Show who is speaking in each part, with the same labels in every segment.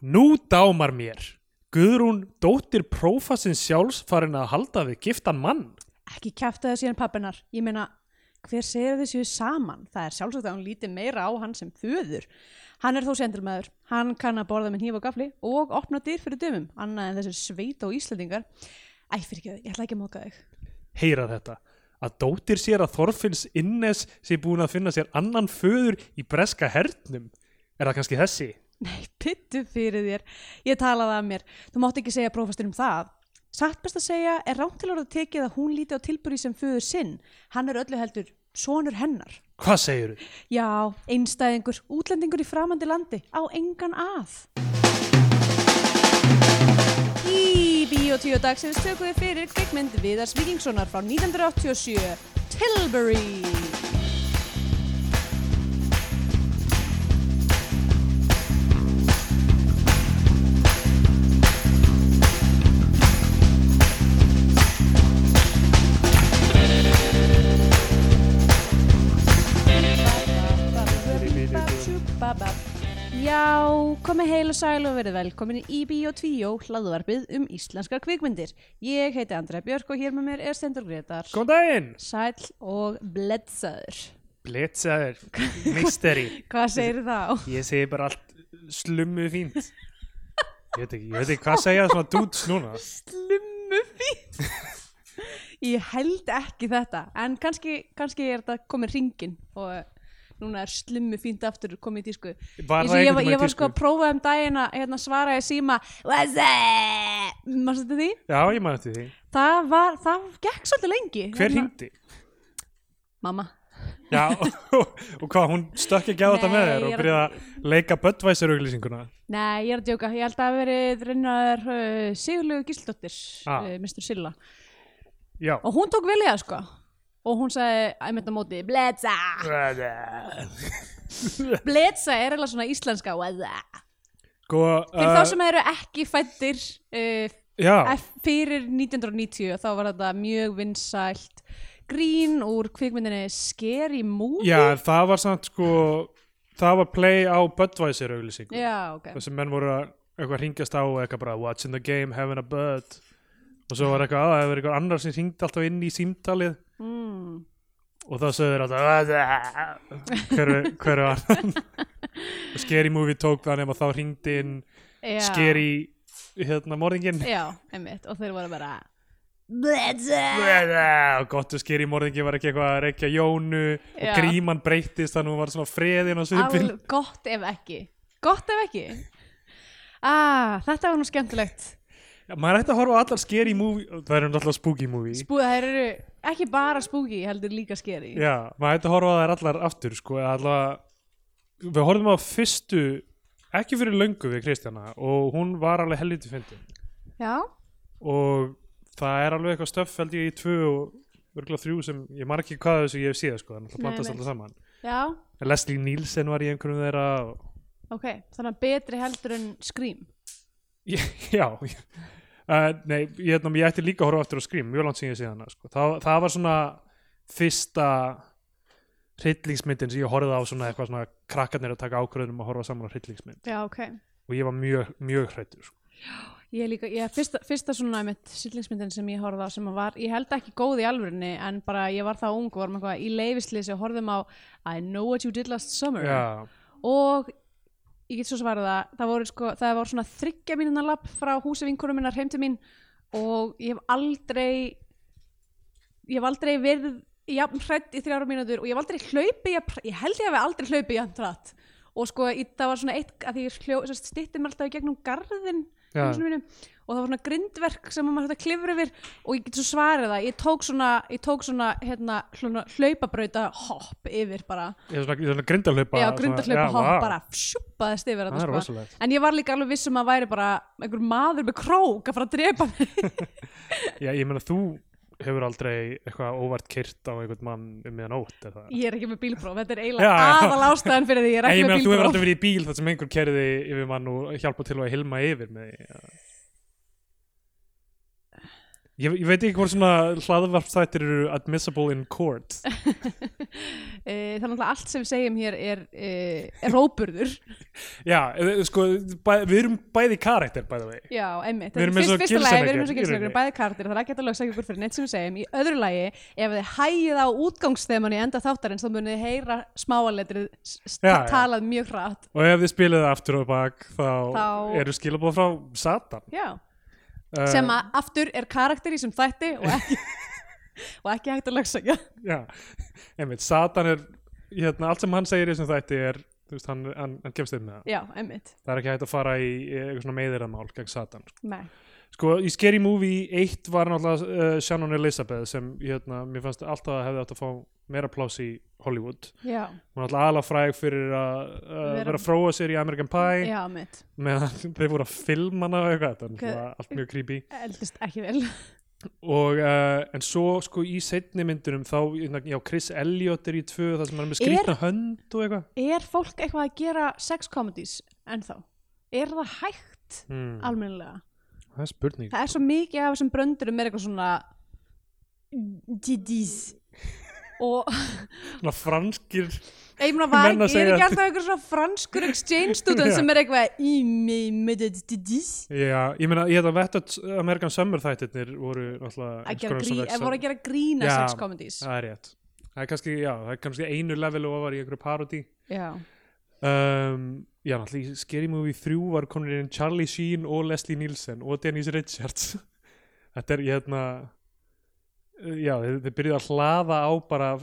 Speaker 1: Nú dámar mér. Guðrún, dóttir prófasins sjálfs farin að halda við giftan mann.
Speaker 2: ekki kæfta það síðan pappinar ég meina, hver segir þau séu saman það er sjálfsagt að hún líti meira á hann sem föður hann er þó sendilmaður hann kann að borða með hníf og gafli og opna dyr fyrir dömum, annað en þessir sveita og íslendingar æ, fyrir ekki, ég ætla ekki að móka þig
Speaker 1: Heyra þetta. Að dóttir sér að Þorfinns Innes sé búin að finna sér annan föður í breska hernum. Er það kannski þessi?
Speaker 2: Nei, pittu fyrir þér. Ég talaði að mér. Þú mátt ekki segja prófastur um það. Satt best að segja er rámt til orða tekið að hún líti á tilbúri sem föður sinn. Hann er öllu heldur sonur hennar.
Speaker 1: Hvað segirðu?
Speaker 2: Já, einstæðingur, útlendingur í framandi landi, á engan að. Í Bíotíu dagsins tökum við fyrir kvikmynd Viðars Víkingssonar frá 1987, Tilbury. Já, komið heil og sæl og verið velkomin í Bíó 2, hlaðvarpið um íslenskar kvikmyndir. Ég heiti Andrea Björk og hér með mér er Stendur Gretar,
Speaker 1: Góðan daginn!
Speaker 2: sæl og bledsaður.
Speaker 1: Blitzaður, misteri.
Speaker 2: Hvað segir þá?
Speaker 1: Ég segi bara allt slummu fínt. Ég veit ekki, ég veit ekki hvað segja svona dudes núna.
Speaker 2: Slummu fínt. Ég held ekki þetta, en kannski, kannski er þetta komið ringin og núna er slummu fínt aftur komið í tísku.
Speaker 1: Var
Speaker 2: Ég,
Speaker 1: það einhvern
Speaker 2: ég, var,
Speaker 1: tímann
Speaker 2: ég
Speaker 1: í
Speaker 2: var
Speaker 1: tísku?
Speaker 2: sko að prófa um daginn að hérna, svara í síma What's up? Mástu þetta því?
Speaker 1: Já, ég man eftir því.
Speaker 2: Það var, það gekk svolítið lengi hérna.
Speaker 1: Hver hringdi?
Speaker 2: Mamma
Speaker 1: Já, og, og hvað, hún stökk ekki að þetta
Speaker 2: Nei,
Speaker 1: með þér
Speaker 2: ég
Speaker 1: og
Speaker 2: er-
Speaker 1: byrjaði að leika Budweiser-auglýsinguna.
Speaker 2: Nei, ég er að djóka, ég held að hafi verið reynaður uh, Sigurlegu Gísldóttir
Speaker 1: Ah.
Speaker 2: uh, Mr. Silla
Speaker 1: Já.
Speaker 2: og hún tók vel í það sko og hún sagði, að mynda móti, bletsa bletsa er eða svona íslenska weather.
Speaker 1: Sko, uh,
Speaker 2: fyrir
Speaker 1: Ah.
Speaker 2: þá sem eru ekki fættir uh,
Speaker 1: já,
Speaker 2: f- fyrir 1990 þá var þetta mjög vinsælt grín úr kvikmyndinni Scary Movie
Speaker 1: já, en það var samt sko, það var play á Budweiser auglýsingu.
Speaker 2: Já, ok
Speaker 1: Þessum menn voru að eitthvað ringjast á og eitthvað bara watching the game, having a bud. Og svo var eitthvað að það var eitthvað annar sem hringdi alltaf inn í símtalið
Speaker 2: mm.
Speaker 1: og þá sögðu "Ah, þér alltaf hverju, hverju annan. og Scary Movie tók það nema þá hringdi inn
Speaker 2: Já.
Speaker 1: Scary, hérna, morðinginn.
Speaker 2: Já, einmitt, og þeir voru bara Bledsa
Speaker 1: og gott og skýri morðingi var ekki eitthvað að reykja jónu
Speaker 2: Já.
Speaker 1: og gríman breyttist þannig að hún var svona freðin og svipin
Speaker 2: Al, Gott ef ekki Gott ef ekki ah, Þetta var nú skemmtilegt
Speaker 1: Já, maður ætti að horfa á allar skýri movie það eru alltaf spooky movie
Speaker 2: Spú, Það eru ekki bara spooky, heldur líka skeri
Speaker 1: Já, maður ætti að horfa á þær allar aftur sko, eða allavega við horfum á fyrstu ekki fyrir löngu við Kristjana og hún var alveg helviti fyndin
Speaker 2: Já,
Speaker 1: og það er alveg eitthvað stöff held ég í tvö og örgulega þrjú sem ég marg ekki hvað af þessu ég hef séð sko, þannig að
Speaker 2: Nei,
Speaker 1: það blandast
Speaker 2: nei.
Speaker 1: alltaf saman
Speaker 2: já,
Speaker 1: Leslie Nielsen var í einhverjum þeirra og
Speaker 2: ok Þannig að betri heldur en Scream
Speaker 1: Ég- Já, ég- uh, nei, ég, hérna, ég ætti líka að horfa aftur á skrým, mjög langt sem ég sé hana sko. það, það var svona fyrsta hryllingsmyndin sem ég horfði á svona eitthvað svona krakkarnir að taka ákvörðunum að horfa saman á hryllingsmynd
Speaker 2: Já, ok
Speaker 1: og ég var mjög, mjög hrættur sko.
Speaker 2: Ég líka, ég, fyrsta, fyrsta svona mitt sillingsmyndin sem ég horfði á sem að var, ég held ekki góð í alvörinni en bara ég var það ung og varum eitthvað í leifislýsi og horfðum á I know what you did last summer
Speaker 1: Já,
Speaker 2: og ég get svo svarað að það voru sko, það var svona þryggja mínuna lapp frá húsi vinkunum minnar heim til mín og ég hef aldrei ég hef aldrei verið jafn hrætt í þrjára mínútur og ég hef aldrei hlaupið, jafn- ég held ég hef aldrei hlaupið jafn hrætt og sko í, það var svona eitt að því ég hljó, stittir mér alltaf í gegnum garðin í
Speaker 1: Já.
Speaker 2: húsinu mínu og það var svona grindverk sem maður hægt að klifra yfir og ég get svo svarið það, ég tók svona, ég tók svona hérna, hluna, hlaupabrauta hopp yfir bara
Speaker 1: ég er svona, ég er svona grindahlaupa
Speaker 2: Já,
Speaker 1: svona-
Speaker 2: grundarhlaupa
Speaker 1: já,
Speaker 2: hopp
Speaker 1: vá.
Speaker 2: bara sjúpaðist yfir
Speaker 1: Það er
Speaker 2: þetta sko.
Speaker 1: rosalegt.
Speaker 2: En ég var líka alveg viss um að væri bara einhver maður með krók að fara að drepa mig
Speaker 1: Já, ég meina þú hefur aldrei eitthvað óvart kyrt á einhvern mann um meðan ótt er það?
Speaker 2: Ég er ekki með bílpróf, þetta er
Speaker 1: Já,
Speaker 2: eiginlega
Speaker 1: já.
Speaker 2: aðal ástæðan fyrir því ég er
Speaker 1: Nei,
Speaker 2: ekki
Speaker 1: ég meina
Speaker 2: með
Speaker 1: þú hefur
Speaker 2: bílpróf
Speaker 1: aldrei verið í bíl þar sem einhver kerði yfir mann og hjálpa til að hilma yfir með því. Ég, ég veit ekki hvort svona hlaðvarpstættir eru admissible in court
Speaker 2: Eh, þannig að allt sem við segjum hér er, eh, er róburður
Speaker 1: Já, eh, sko, bæ, við erum bæði karakter by the way
Speaker 2: já, emmitt,
Speaker 1: Við erum eins og
Speaker 2: fyrsta lagi við erum eins
Speaker 1: Gilsenegger, í
Speaker 2: og gilsenegger,
Speaker 1: rauninni.
Speaker 2: bæði kartir það er ekki hægt að lögsa ykkur fyrir neitt sem við segjum í öðru lagi, ef þið hægið á útgangsþeman í enda þáttarins, þá munið þið heyra smáaletrið s- s-
Speaker 1: Já, já.
Speaker 2: talað mjög hratt
Speaker 1: Og ef þið spilið það aftur og bak þá,
Speaker 2: Þá-
Speaker 1: eru skilabóð frá Satan
Speaker 2: já,
Speaker 1: Eh,
Speaker 2: sem að aftur er karakter í sem þætti og ekki, og ekki hægt að lögsa
Speaker 1: Já, einmitt, Satan er hérna, allt sem hann segir í þessum þætti er þú veist, hann, hann, hann kemst inn með það
Speaker 2: já, emmitt,
Speaker 1: það er ekki hægt að fara í eh, eitthvað svona meðiramál gegn Satan sko.
Speaker 2: nei
Speaker 1: sko, í Scary Movie 1 var náttúrulega uh, Shannon Elizabeth sem hérna, mér fannst alltaf að hefði átt að fá meira pláss í Hollywood
Speaker 2: já,
Speaker 1: hún er alltaf aðla fræg fyrir að uh,
Speaker 2: Vera-
Speaker 1: vera að fróa sér í American Pie
Speaker 2: já, emmitt
Speaker 1: meðan þeir voru að filma hana og eitthvað, þannig
Speaker 2: Hvað-
Speaker 1: að allt mjög creepy
Speaker 2: eldist ekki vel
Speaker 1: og uh, en svo sko í setni myndunum þá, hérna, já, Chris Elliot er í tvö, það sem hann er með
Speaker 2: Er-
Speaker 1: skrýtna hönd og eitthvað
Speaker 2: er fólk eitthvað að gera sex comedies ennþá? Er það hægt
Speaker 1: hmm.
Speaker 2: almennilega?
Speaker 1: það er spurning
Speaker 2: Það er svo mikið af þessum bröndurum er eitthvað svona didís og
Speaker 1: Svona franskir
Speaker 2: ég meina var
Speaker 1: Menn að
Speaker 2: ekki, er
Speaker 1: segja-
Speaker 2: ekki alltaf eitthvað svona franskur exchange student
Speaker 1: Já.
Speaker 2: sem er eitthvað í mig með þetta didís
Speaker 1: já, ég meina, ég hefði að vetta Amerikan Summer þættirnir voru náttúrulega
Speaker 2: að
Speaker 1: eins
Speaker 2: gera
Speaker 1: konar
Speaker 2: grín,
Speaker 1: svona-
Speaker 2: ef voru að gera grína
Speaker 1: Já.
Speaker 2: sex comedies
Speaker 1: það er rétt það er kannski, já, það er kannski einu level ofar í einhverju parody
Speaker 2: Já,
Speaker 1: um, já, náttúrulega í Scary Movie 3 var komin inn Charlie Sheen og Leslie Nielsen og Dennis Richards þetta er, ég hérna uh, já, þeir, þeir byrjuðu að hlaða á bara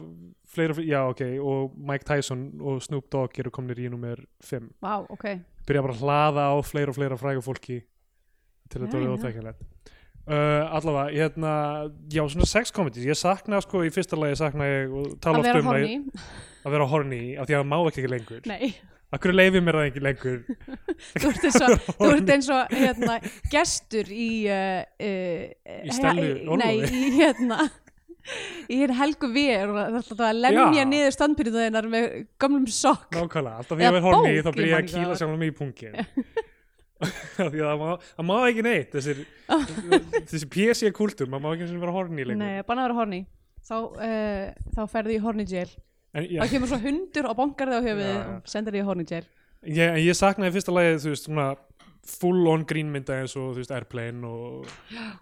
Speaker 1: fleira, já, ok og Mike Tyson og Snoop Dogg eru komin í nummer 5
Speaker 2: vá, ok
Speaker 1: byrja bara að hlaða á fleira og fleira fræga fólki til þetta
Speaker 2: Já,
Speaker 1: verið
Speaker 2: já.
Speaker 1: óþekjanlegt uh, allavega, hérna já, svona sex comedies, ég sakna sko í fyrsta lagi sakna ég og tala
Speaker 2: Að
Speaker 1: oft
Speaker 2: vera
Speaker 1: um
Speaker 2: horny,
Speaker 1: að- að vera horny af því að það má ekki ekki lengur
Speaker 2: nei
Speaker 1: af hverju leifir mér það ekki lengur
Speaker 2: Þú ert eins og, þú ert eins og hérna, gestur í uh, uh,
Speaker 1: Í Stellu Orlofi.
Speaker 2: Nei, í hérna Í hér helgu vér og það er alltaf að lemja
Speaker 1: Já.
Speaker 2: niður standpyrðu þeinar með gömlum sokk
Speaker 1: nákvæmlega, alltaf því
Speaker 2: Eða
Speaker 1: að vera horny
Speaker 2: bók,
Speaker 1: þá
Speaker 2: ég
Speaker 1: byrja ég
Speaker 2: man
Speaker 1: að
Speaker 2: ekki
Speaker 1: kýla
Speaker 2: það.
Speaker 1: sjálfum mig í punkin af því að það má, það má ekki neitt þessir, þessi PC kultur maður má ekki einu sinni vera horny lengur
Speaker 2: Nei, banna að vera horni Þá, uh, þá ferðu í horni jail
Speaker 1: en, já,
Speaker 2: Þá kemur svo hundur og bankar þig á höfuðið
Speaker 1: Já, já.
Speaker 2: og sendir þig í horni jail
Speaker 1: ég, en ég saknaði í fyrsta lagi þú veist svona full on grínmynda eins og þú veist Airplane og,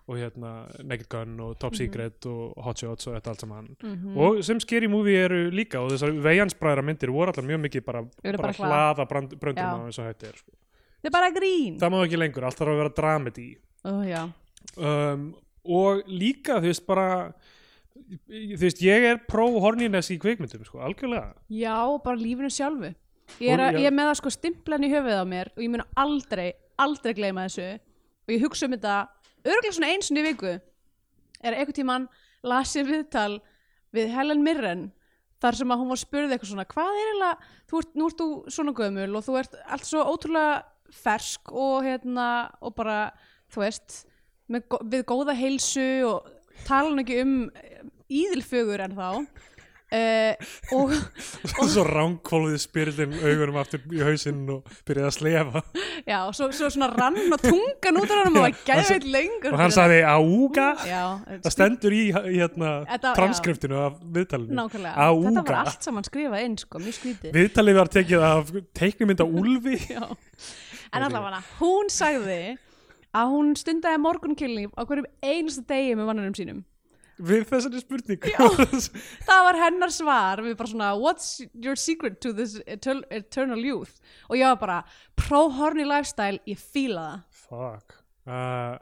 Speaker 1: og hérna Naked Gun og
Speaker 2: Mhm.
Speaker 1: Top Secret og Hot Shots og þetta allt saman og sem Scary Movie eru líka og þessar veiansbræðra myndir voru allar mjög mikið bara,
Speaker 2: Eru
Speaker 1: bara
Speaker 2: bara
Speaker 1: hlaða brand- bröndum
Speaker 2: Já.
Speaker 1: á eins og hætti er sko.
Speaker 2: Það er bara grín
Speaker 1: það má ekki lengur, allt þarf að vera dramedy
Speaker 2: Ó, já.
Speaker 1: um, og líka þú veist bara þú veist ég er pro horniness í kvikmyndum sko, algjörlega
Speaker 2: já, bara lífinu sjálfu Ég
Speaker 1: Og
Speaker 2: er, að,
Speaker 1: já.
Speaker 2: ég er með það sko stimplan í höfuðið á mér og ég mun aldrei, aldrei gleyma þessu og ég hugsa um þetta örgulega svona eins og í viku er einhvern tímann las ég viðtal við Helen Mirren þar sem að hún var spurðið eitthvað svona hvað er eiginlega, þú ert, nú ert þú svona gömul og þú ert allt svo ótrúlega fersk og hérna og bara, þú veist með, gó- við góða heilsu og tala hann ekki um eh, íðilfögur en þá uh, og
Speaker 1: svo ránkólfið spyrlin augunum aftur í hausinn og byrjaði að slefa
Speaker 2: Já, og svo, svo svona rann og tungan út af hann og var gæðveit lengur
Speaker 1: og hann
Speaker 2: fyrir
Speaker 1: sagði ága
Speaker 2: það. Já,
Speaker 1: það stendur í í hérna
Speaker 2: Þetta- já.
Speaker 1: transkriptinu af viðtalinu
Speaker 2: nákvæmlega. Þetta
Speaker 1: ága
Speaker 2: var allt saman skrifað inn, sko, mjög skrítið.
Speaker 1: viðtalið var tekið af teiknumynda Úlfi
Speaker 2: Já. En allavega, hún sagði að hún stundaði morgunkilning á hverjum einasta degi með mannunum sínum.
Speaker 1: við þessari spurningu
Speaker 2: Það var hennar svar, við bara svona, what's your secret to this etern- eternal youth? Og ég var bara, pro-horny lifestyle, ég fíla það.
Speaker 1: fuck uh,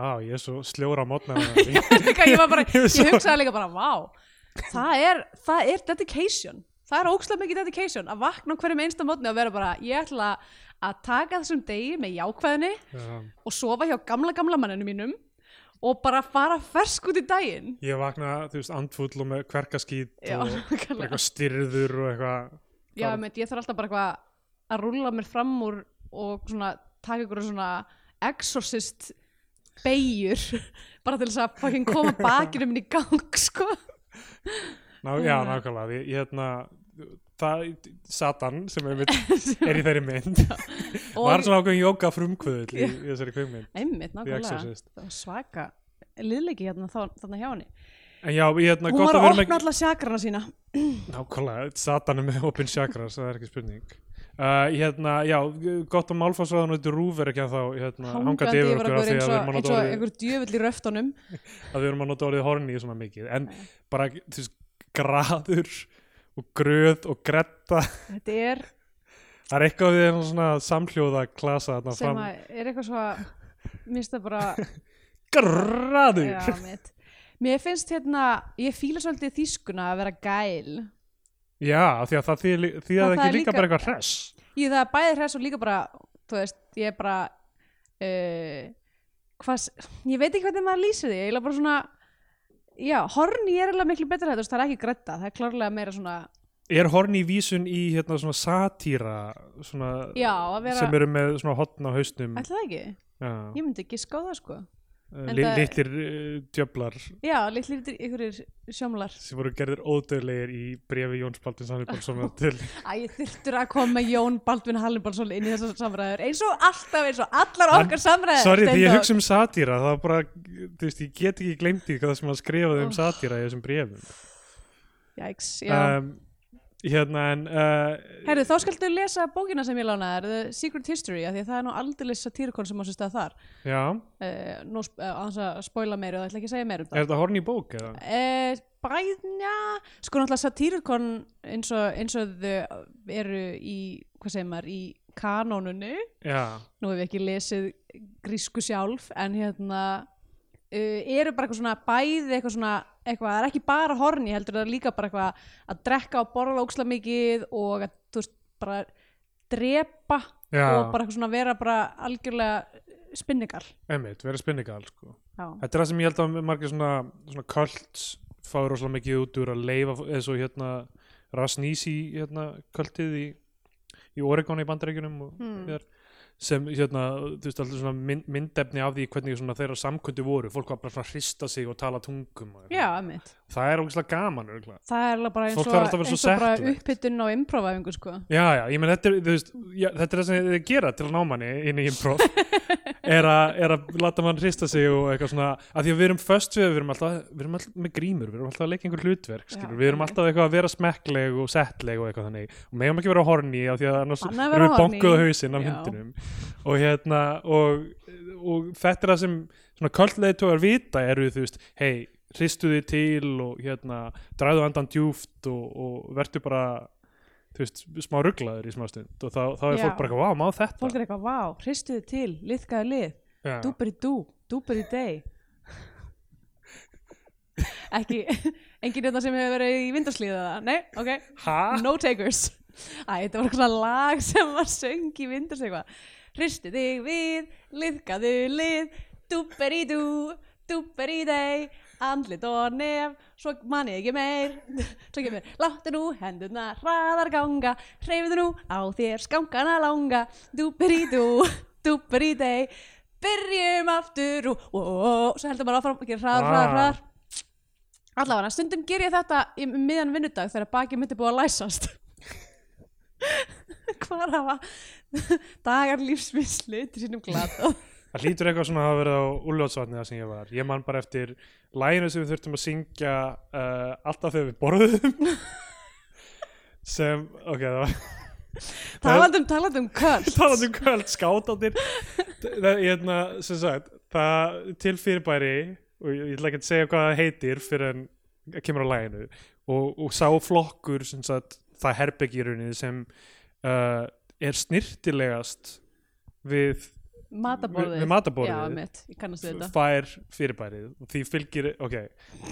Speaker 1: á ég er svo sljóra mótna
Speaker 2: Líka, ég, var bara,
Speaker 1: Ég
Speaker 2: ég
Speaker 1: svo-
Speaker 2: hugsaði líka bara, vá það er, það er dedication það er ókslega mikið dedication að vakna á hverjum einsta mótni og vera bara ég ætla að taka þessum degi með jákvæðinni og sofa hjá gamla gamla manninu mínum og bara fara fersk út í daginn
Speaker 1: ég vakna þú veist andfull og með kverkaskít
Speaker 2: Já,
Speaker 1: og bara
Speaker 2: nákvæmlega.
Speaker 1: eitthvað styrður og eitthvað
Speaker 2: Já, meit, ég þarf alltaf bara eitthvað að rúlla mér fram úr og svona taka ykkur svona exorcist beigjur bara til þess að fucking koma bakinu minn í gang sko
Speaker 1: Ná, já,
Speaker 2: Mm.
Speaker 1: nákvæmlega, ég, ég hérna það, Satan sem er, er í þeirri mynd
Speaker 2: Og-
Speaker 1: var svona ákveðin jóka frumkvöðull í, í þessari kvikmynd
Speaker 2: Einmitt,
Speaker 1: The
Speaker 2: nákvæmlega.
Speaker 1: Exorcist.
Speaker 2: Það var svaka liðleiki hérna þá, þarna hjá henni
Speaker 1: en já, ég hérna
Speaker 2: hún
Speaker 1: gott að
Speaker 2: var að
Speaker 1: vera
Speaker 2: opna
Speaker 1: með
Speaker 2: alla sjakrana sína
Speaker 1: nákvæmlega, satan er með opinn chakra það er ekki spurning Uh, hérna, já, gott að málfarsraðan og rúf er ekki að þá hérna, hangandi yfir okkur af því
Speaker 2: eins
Speaker 1: að við erum að
Speaker 2: og, eins
Speaker 1: nota
Speaker 2: og
Speaker 1: orðið-
Speaker 2: einhver djöfull í röftunum
Speaker 1: að við erum að nota orðið horni svona mikið en bara, þú veist, graður og gröð og gretta
Speaker 2: þetta er
Speaker 1: það er eitthvað við þennan svona samhljóða klasa þarna
Speaker 2: sem
Speaker 1: fram
Speaker 2: að er eitthvað svo að mér finnst það bara
Speaker 1: graður
Speaker 2: já, mitt. mér finnst hérna ég fíla svolítið þýskuna að vera gæl
Speaker 1: Já, af því að það þýðir lí- því
Speaker 2: Já,
Speaker 1: að
Speaker 2: það
Speaker 1: ekki
Speaker 2: er
Speaker 1: líka
Speaker 2: líka-
Speaker 1: bara eitthvað hress
Speaker 2: ég það er bæði hress og líka bara þú veist, ég er bara uh, hvað, s- ég veit ekki hvernig maður lýsir því, ég er bara svona já, horni er alveg miklu betra þetta, það er ekki gretta, það er klárlega meira svona
Speaker 1: Er horni vísun í hérna svona satíra svona,
Speaker 2: já, að vera,
Speaker 1: sem eru með svona hotn á hausnum
Speaker 2: ætla það ekki
Speaker 1: já,
Speaker 2: ég myndi ekki skáða sko en
Speaker 1: li,
Speaker 2: það-
Speaker 1: litlir uh, djöflar
Speaker 2: já, litlir ykkurir sjómlar
Speaker 1: sem voru gerðir ódöðlegir í brefi Jóns Baldins Hannibalsson til
Speaker 2: Æ, ég þurftur að koma Jón Baldvin Hallibalsson inn í þessar samræður eins og alltaf, eins og allar
Speaker 1: Hann-
Speaker 2: okkar samræður
Speaker 1: Sorry, því ég
Speaker 2: Steindór.
Speaker 1: hugsa um satíra það var bara, þú veist, ég get ekki glemt í hvað sem hann skrifaði um satíra í þessum brefum
Speaker 2: Jæks, já
Speaker 1: um, Hérna en uh,
Speaker 2: Herru, þá skaldu lesa bókina sem ég lánaði þér, The Secret History, af því að það er nú aldrei satírikon sem á sér stað þar
Speaker 1: Já,
Speaker 2: uh, Nú sp- eh, án þess að spoila meira og það ætla ekki að segja meira um
Speaker 1: er
Speaker 2: það
Speaker 1: þetta horni í bók eða?
Speaker 2: uh, Bæðnja Sko náttúrulega satírikon eins og, eins og þau eru í, hvað segir maður, í kanónunni
Speaker 1: Já,
Speaker 2: nú hef ég ekki lesið grísku sjálf en hérna uh, eru bara eitthvað svona bæði eitthvað svona eitthvað, það er ekki bara horni heldur það er líka bara eitthvað að drekka og borða óksla mikið og að þú veist bara drepa
Speaker 1: já,
Speaker 2: og bara eitthvað svona vera bara algjörlega spinningar
Speaker 1: einmitt, vera spinningal sko.
Speaker 2: Já,
Speaker 1: Þetta er það sem ég held að margir svona, svona kvöld fáir rosalega mikið út úr að leifa eins og hérna Rasnísi hérna kvöldið í, í Oregon í bandaríkjunum og
Speaker 2: Hmm.
Speaker 1: hér sem hérna, þú veist, alltaf svona mynd, myndefni af því hvernig svona þeirra samkundi voru fólk var bara svona að hrista sig og tala tungum og eitthvað.
Speaker 2: já einmitt.
Speaker 1: það er ógeðslega gaman örugglega.
Speaker 2: það er alveg bara eins
Speaker 1: Fólk
Speaker 2: og,
Speaker 1: þarf alltaf að vera
Speaker 2: eins
Speaker 1: svo
Speaker 2: og bara
Speaker 1: settlegt.
Speaker 2: upphittun á improvæfingu sko.
Speaker 1: já, já, ég menn þetta er, þú veist, já, þetta er það sem þeir gera til að ná manni inn í improv er, a, er að láta mann hrista sig og eitthvað svona, að því að við erum föst við, við erum alltaf, við erum alltaf með grímur við erum alltaf að leika einhver hlutverk,
Speaker 2: Já,
Speaker 1: skilur við erum alltaf eitthvað að vera smekkleg og settleg og eitthvað þannig, og megum ekki vera horni af því að annars
Speaker 2: Bannað
Speaker 1: erum
Speaker 2: að vera
Speaker 1: við
Speaker 2: horny.
Speaker 1: bonkuð á hausinn af
Speaker 2: Já.
Speaker 1: hundinum og hérna, og, og þetta er það sem svona kvöldleði tógar vita eru, þú veist, hei hristu þig til og hérna dræðu andan djúft og, og vertu bara þú veist, smá rugglaður í smá stund og þá, þá er
Speaker 2: Já.
Speaker 1: fólk bara eitthvað, vá, má þetta
Speaker 2: Fólk er eitthvað, vá, hristu þið til, liðkaðu lið
Speaker 1: Já.
Speaker 2: dúpir í dú, dúpir í deg ekki enginn hérna sem hefur verið í vindarslíða það nei, ok,
Speaker 1: Ha?
Speaker 2: no takers Æ, þetta var eitthvað svona lag sem var söng í vindars eitthvað hristu þig við, liðkaðu lið dúpir í dú, dúpir í deg andlit og nef svo man ég ekki meir svo kemur, láttu nú hendurna hraðar ganga, hreyfðu nú á þér skankana langa, dúpir í dú dúpir í deg byrjum aftur og, og, og, og svo heldur maður áfram að gera hraðar,
Speaker 1: Ah.
Speaker 2: hraðar, hraðar Allavega, stundum ger ég þetta í um miðjan vinnudag þegar bakið mitt er búið að læsast. Hvar hafa dagar lífsmisli til sínum glatað?
Speaker 1: Það hlýtur eitthvað svona að hafa verið á úljótsvatni það sem ég var. Ég man bara eftir læginu sem við þurftum að syngja uh, alltaf þegar við borðum sem, ok, það var
Speaker 2: Talandum, talandum köll.
Speaker 1: talað um kvöld, skátandir það, hérna, sem sagt það til fyrirbæri og ég, ég ætla ekki að segja hvað það heitir fyrir en kemur á læginu og, og sá flokkur, sem sagt það herbergirunni sem uh, er snirtilegast við
Speaker 2: Mataborðið.
Speaker 1: Við- við mataborðið.
Speaker 2: Já, mitt, ég kannast við þetta.
Speaker 1: fær fyrirbærið og því fylgir, ok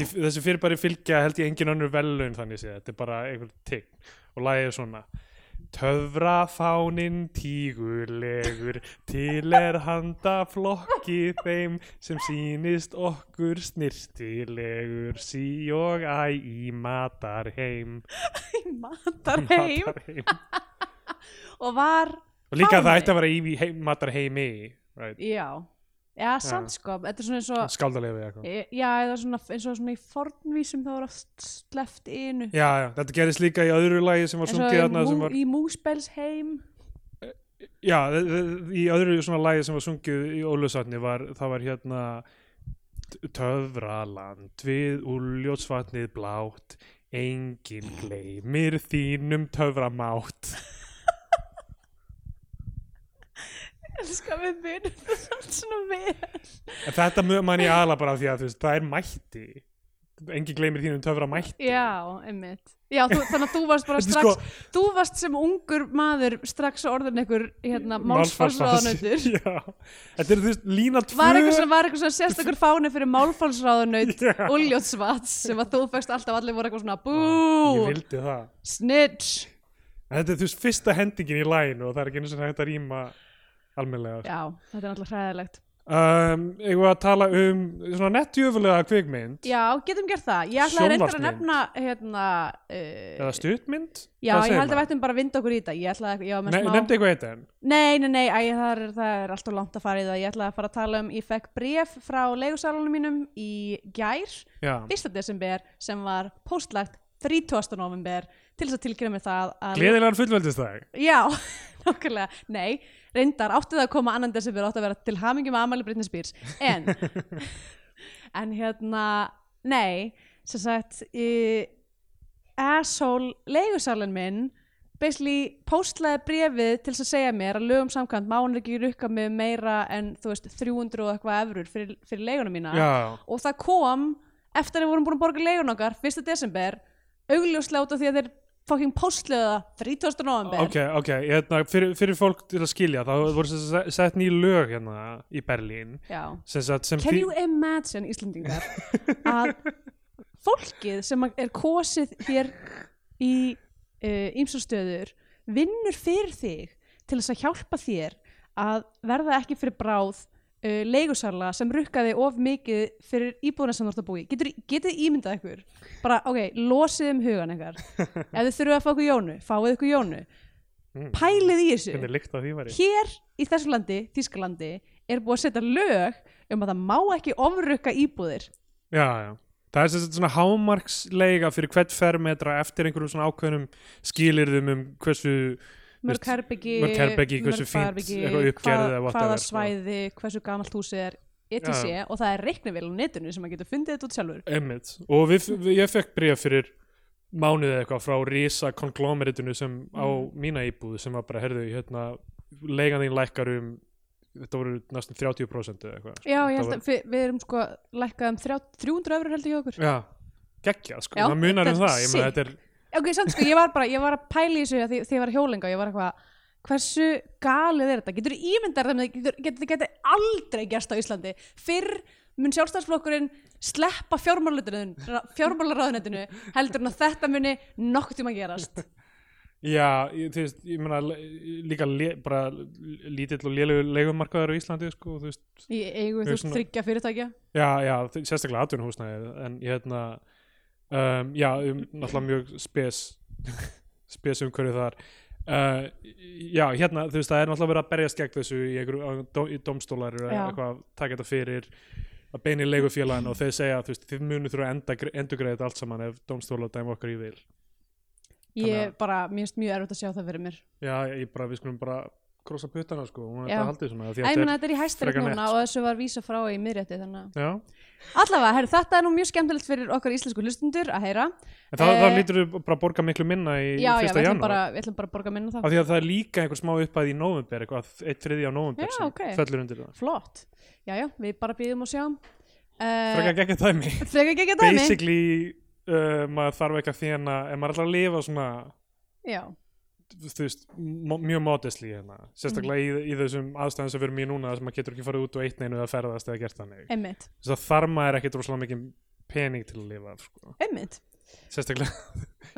Speaker 1: því, þessu fyrirbæri fylgja held ég engin önnur velun þannig sé, þetta er bara einhver tigg og lagið er svona Töfrafáninn tígulegur til er handa flokki þeim sem sýnist okkur snirtilegur sí og æ í matarheim
Speaker 2: Í matarheim
Speaker 1: Matarheim.
Speaker 2: og var,
Speaker 1: og líka
Speaker 2: Fáni.
Speaker 1: það ætti að vera í heim, matarheimi right?
Speaker 2: já, já, samt sko, þetta er svona eins og, e,
Speaker 1: skaldalega við eitthvað
Speaker 2: já, eða svona eins og svona í fornvísum þá var oft sleft inu.
Speaker 1: Já, já, þetta gerist líka í öðru lagi sem var
Speaker 2: Eins og
Speaker 1: sungið
Speaker 2: í,
Speaker 1: þarna sem
Speaker 2: mú,
Speaker 1: var
Speaker 2: í múspelsheim.
Speaker 1: Já, þ- þ- í öðru svona lagi sem var sungið í Ólusatni var, það var hérna töfraland við úljótsvatnið blátt enginn gleymir þínum töframátt
Speaker 2: Elskar við munum það samt svona vel.
Speaker 1: en þetta mjög mann ég ala bara af því að þú veist, það er mætti enginn gleymir þínum töframætti
Speaker 2: Já, einmitt. Já, þú, þannig að þú varst bara
Speaker 1: Þetta er
Speaker 2: strax, þú varst sem ungur maður strax orðin einhver hérna, málsfálsráðanautur.
Speaker 1: Já. þetta er þú veist lína tvö
Speaker 2: Var eitthvað, svona, var eitthvað svona sérstakur fáni fyrir málfálsráðanaut
Speaker 1: Já.
Speaker 2: Uljótsvats sem að þú fegst alltaf allir voru eitthvað svona
Speaker 1: ég
Speaker 2: bú,
Speaker 1: vildi það
Speaker 2: snitch.
Speaker 1: en þetta er þú veist fyrsta hendingin í læn og það er ekki eins og hægt að rýma almennilega
Speaker 2: Já, þetta er alltaf hræðilegt.
Speaker 1: um, eigum við að tala um svona nettjöfulega kvikmynd
Speaker 2: Já, getum gert það. Ég ætlaði reyndar að
Speaker 1: Sjónvarpsmynd.
Speaker 2: nefna hérna, uh,
Speaker 1: eða stuttmynd
Speaker 2: já, ég held að við ættum bara að vinda okkur í þetta. Ég ætlaði, að- ég var með smá...
Speaker 1: nefndi eitthvað eitt en
Speaker 2: Nei, nei, nei, æ, það, er, það er alltaf langt að fara í það. Ég ætla að fara að tala um, ég fekk bref frá leigusalunum mínum í gær,
Speaker 1: já.
Speaker 2: 1. desember, sem var postlagt 30. november, til þess að tilkynna mér það að...
Speaker 1: gleðilegan fullveldistag
Speaker 2: Já, nokkulega, nei, reyndar, átti það að koma annan desember, átti að vera til hamingjum að amæli Britney Spears, en, en hérna, nei, sem sagt, í, asshole leigusalinn minn, basically postlaði brefið til þess að segja mér að lögum samkvæmt má hann ekki rukka mig meira en, þú veist, 300 og eitthvað efrur fyrir, fyrir leiguna mína
Speaker 1: já,
Speaker 2: og það kom eftir að við vorum búin að borga leigun okkar 1. desember augljóslega út af því að þeir fucking postluðu það 30. november
Speaker 1: ok, ok hérna, fyrir, fyrir fólk til að skilja þá voru sem sagt sett ný lög hérna í Berlín
Speaker 2: Já.
Speaker 1: sem sagt sem
Speaker 2: Can
Speaker 1: þý-
Speaker 2: you imagine Íslendingar að fólkið sem er kosið hér í ímsastöður vinnur fyrir þig til þess að hjálpa þér að verða ekki fyrir bráð uh, leigusarla sem rukkaði of mikið fyrir íbúðuna sem þú ert að búi getur, getið ímyndað ykkur bara ok, losið um hugan ykkar ef þið þurfum að fá ykkur jónu, fáið ykkur jónu
Speaker 1: Mm.
Speaker 2: pælið í þessu
Speaker 1: hvernig líkt að því væri
Speaker 2: hér í þessu landi, Þískalandi er búið að setja lög um að það má ekki ofrukka íbúðir
Speaker 1: já, já Það er sem sagt svona hámarksleiga fyrir hvert fermetra eftir einhverjum svona ákveðnum skilirðum um hversu
Speaker 2: mörg
Speaker 1: Veist,
Speaker 2: herbyggi,
Speaker 1: mörg herbergi, hversu fínt, eitthvað uppgerð eða
Speaker 2: hvað,
Speaker 1: whatever,
Speaker 2: hvaða
Speaker 1: sko.
Speaker 2: svæði, hversu gamalt hús er etc.
Speaker 1: Já.
Speaker 2: og það er reiknivél á netinu sem maður getur fundið þetta út sjálfur
Speaker 1: emmitt og við, við, ég fekk bríða fyrir mánuðið eitthvað frá risa konglomeritinu sem á
Speaker 2: Mm.
Speaker 1: mína íbúð sem var bara, heyrðu, hérna leigan þín lækkar um þetta voru næstum 30% eða eitthvað
Speaker 2: já,
Speaker 1: Þetta
Speaker 2: ég held
Speaker 1: var-
Speaker 2: að við, við erum sko lækkað um þrjá- 300 öfrur heldur hjá okkur
Speaker 1: Já, geggjað sko,
Speaker 2: Já,
Speaker 1: það munar um
Speaker 2: þetta er
Speaker 1: það, ég meina
Speaker 2: sick.
Speaker 1: þetta er
Speaker 2: ok, samt sko, ég var bara, ég var að pæla í þessu af því þegar ég var að hjólinga og ég var eitthvað hversu galið er þetta, getur ímyndar það getur, getur, getur aldrei gerst á Íslandi fyrr mun sjálfstæðsflokkurinn sleppa fjármálaráðunetinu heldur en að þetta muni nokkuð tíma gerast
Speaker 1: Já, ég- þú veist, ég meina le- líka le, bara lítill og lélugur leigumarkaðar á Íslandi sko, þú veist,
Speaker 2: í eigu
Speaker 1: Ég er
Speaker 2: þú
Speaker 1: svona-
Speaker 2: þryggja fyrirtækja
Speaker 1: já, já, þ- sérstaklega atvinnuhúsnæði en ég hérna um, já, um, náttúrulega mjög spes spes umhverju þar uh, já, hérna, þú veist, það er náttúrulega verið að berjast gegn þessu í, einhverju, á dó, í domstólar eða
Speaker 2: Já.
Speaker 1: eitthvað að taka þetta fyrir að beina í leigufélagin og þeir segja þú veist, þið munið þurfa að enda, endugreið þetta allt saman ef domstólar dæma okkar í vil Þannig
Speaker 2: ég
Speaker 1: að-
Speaker 2: bara, mér finnst mjög erfitt að sjá það fyrir mér
Speaker 1: Já, ég bara, við skulum bara krossa puttana sko, hún er
Speaker 2: Já.
Speaker 1: þetta haldið svona því
Speaker 2: Æ,
Speaker 1: að
Speaker 2: ég meina
Speaker 1: þetta
Speaker 2: þetta er í hæstarinn
Speaker 1: frekar
Speaker 2: núna
Speaker 1: nett.
Speaker 2: og þessu var vísa frá í miðrétti þannig að
Speaker 1: er, já,
Speaker 2: allavega, herru, þetta er nú mjög skemmtilegt fyrir okkar íslensku hlustundur að heyra
Speaker 1: en þá, þá
Speaker 2: Eh,
Speaker 1: lítur þú bara að borga miklu minna í
Speaker 2: já, já, við
Speaker 1: fyrsta
Speaker 2: ætlum,
Speaker 1: janúar,
Speaker 2: bara, við ætlum bara að borga minna það
Speaker 1: af því að það er líka einhver smá uppæð í november, eitthvað, eitt þriði á november
Speaker 2: Já,
Speaker 1: sem
Speaker 2: ok.
Speaker 1: fellur undir það.
Speaker 2: flott, já já, við bara býðum og sjáum uh,
Speaker 1: Frekar gekk að dæmi,
Speaker 2: frekar ekki að dæmi
Speaker 1: basically uh, maður þarf ekki að þjána, en maður er alltaf að lifa svona,
Speaker 2: já,
Speaker 1: þú veist, mo- mjög modestly hérna,
Speaker 2: Mm.
Speaker 1: sérstaklega í, í þessum aðstæðan sem við erum í núna, þess að maður getur ekki farið út og eitt neinu að ferðast eða gert þannig,
Speaker 2: einmitt,
Speaker 1: þess að þar maður ekki droslega mikið pening til að lifa, sko.
Speaker 2: einmitt
Speaker 1: sérstaklega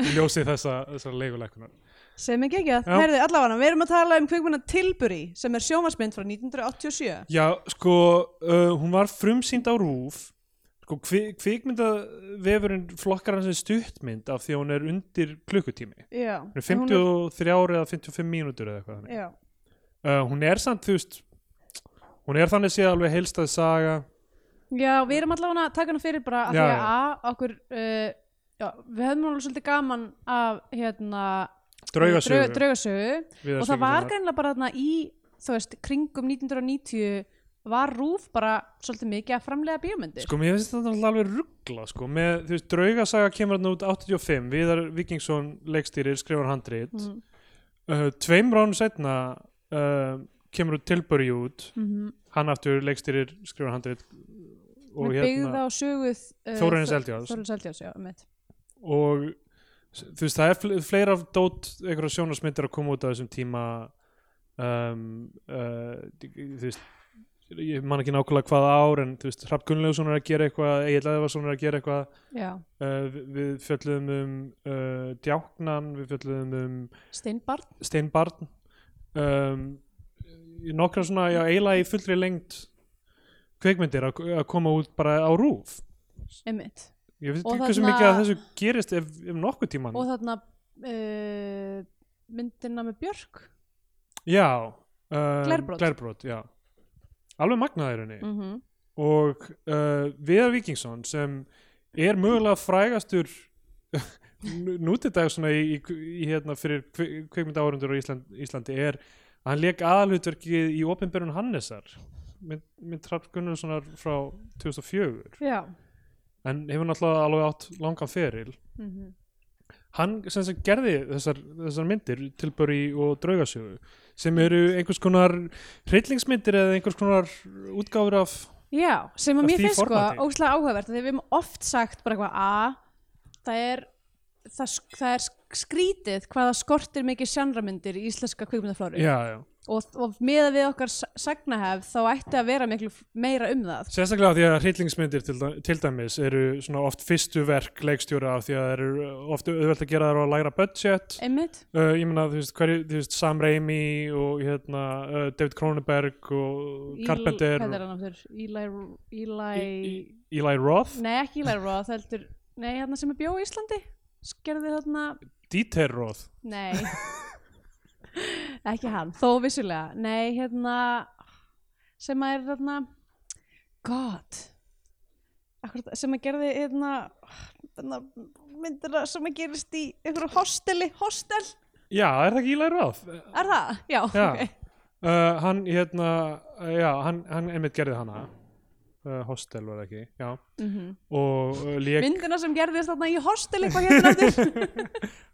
Speaker 1: í ljósi þessa, þessar leiguleikunar
Speaker 2: sem ekki ekki að,
Speaker 1: Já.
Speaker 2: herðu allavega við erum að tala um kvikmynda Tilbury sem er sjómasmynd frá 1987
Speaker 1: Já, sko, uh, hún var frumsýnd á RÚF sko, kvi, kvikmyndavefurinn flokkar hans er stuttmynd af því að hún er undir klukkutími
Speaker 2: já,
Speaker 1: hún er 53 hún eða 55 mínútur eða eitthvað þannig.
Speaker 2: já,
Speaker 1: uh, hún er samt, þú veist hún er þannig séð alveg heilstæð saga
Speaker 2: já, við erum allavega að taka hana fyrir bara að
Speaker 1: Já,
Speaker 2: því að að okkur uh, já, við höfum alveg svolítið gaman af hérna
Speaker 1: draugasögur
Speaker 2: draugasögu og það var greinilega bara þarna í þú veist, kringum 1990 var rúf bara svolítið mikið að framlega bíómyndir
Speaker 1: Sko, mér finnst þetta náttúrulega alveg ruggla, sko, með, þú veist, draugasaga kemur hann út 85, Viðar Vikingsson leikstýrir, skrifar handrit,
Speaker 2: Mhm.
Speaker 1: uh, tveim ránu setna uh, kemur út Tilbury út,
Speaker 2: Mhm.
Speaker 1: hann aftur leikstýrir, skrifar handrit og hérna
Speaker 2: Hún er byggð á söguð uh,
Speaker 1: Þórarins
Speaker 2: Þór-
Speaker 1: Eldjárns.
Speaker 2: Þórarins Eldjáðs, já, mitt
Speaker 1: og s- þú veist, það er fle- fleira af dót einhverja sjónasmyndir að koma út á þessum tíma um, uh, d- þú veist ég man ekki nákvæmlega hvað ár en þú veist, Hrafn Gunnlaugsson er að gera eitthvað Egil Æðvarsson er að gera eitthvað
Speaker 2: Já,
Speaker 1: uh, við, við fjöllum um uh, Djáknan, við fjöllum um
Speaker 2: Steinbarn
Speaker 1: Steinbarn um, í nokkra svona, já, eiginlega í fullri lengt kveikmyndir að, að koma út bara á rúf
Speaker 2: einmitt.
Speaker 1: ég veit
Speaker 2: Og
Speaker 1: ekki hversu
Speaker 2: þarna-
Speaker 1: mikið að þessu gerist ef, ef nokkuð tíman
Speaker 2: og þarna uh, myndina með Björk
Speaker 1: Já, um,
Speaker 2: Glerbrot.
Speaker 1: já. Alveg magnaði henni
Speaker 2: mm -hmm.
Speaker 1: og uh, Viðar Víkingsson sem er mögulega frægastur nú- nútidag svona í, í, í hérna fyrir kveikmynda árundur á Ísland, Íslandi er að hann leik aðalhutverkið í opinberun Hannesar mynd, mynd Trapp Gunnarssonar frá 2004
Speaker 2: Já
Speaker 1: en hefur náttúrulega alveg átt langan feril
Speaker 2: mm
Speaker 1: hann sem sem gerði þessar, þessar myndir tilböri og draugasögu sem eru einhvers konar hryllingsmyndir eða einhvers konar útgáfur af
Speaker 2: Já, sem að
Speaker 1: Af
Speaker 2: mér
Speaker 1: því
Speaker 2: finnst sko
Speaker 1: formati.
Speaker 2: óslega áhugavert af því við hefum oft sagt bara eitthvað að það er það, sk- það er sk- skrítið hvaða skortir mikið sjánramyndir í íslenska kvikmyndaflóru
Speaker 1: já, já.
Speaker 2: og, og meða við okkar s- sagnahefð þá ætti að vera miklu f- meira um það
Speaker 1: sérstaklega af því að hryllingsmyndir til, dæ- til dæmis eru svona oft fyrstu verk leikstjóra af því að það eru oft auðvelt að gera þær á lægra budget
Speaker 2: einmitt,
Speaker 1: uh, ég meina þú veist, hverju, þú veist Sam Raimi og hérna uh, David Cronenberg og
Speaker 2: Eli-
Speaker 1: Carpenter
Speaker 2: hvað er
Speaker 1: og
Speaker 2: hann aftur? Eli, Eli
Speaker 1: Í- Í- Eli Roth,
Speaker 2: nei ekki Eli Roth heldur, nei hérna sem er bjó í Íslandi skerði þarna
Speaker 1: Dieter Roth
Speaker 2: Nei Ekki hann, þó vissulega Nei, hérna sem að er hérna God Akkurat, sem að gerði hérna, hérna myndina sem að gerist í einhverju hosteli, hostel
Speaker 1: já, er það ekki Eli Roth?
Speaker 2: er það? Já,
Speaker 1: Já.
Speaker 2: ok
Speaker 1: uh, hann hérna uh, já, hann, hann einmitt gerði hana uh, hostel var það ekki já.
Speaker 2: Mhm.
Speaker 1: og uh, lék
Speaker 2: Myndina sem gerðist þarna í hostel eitthvað hérna aftur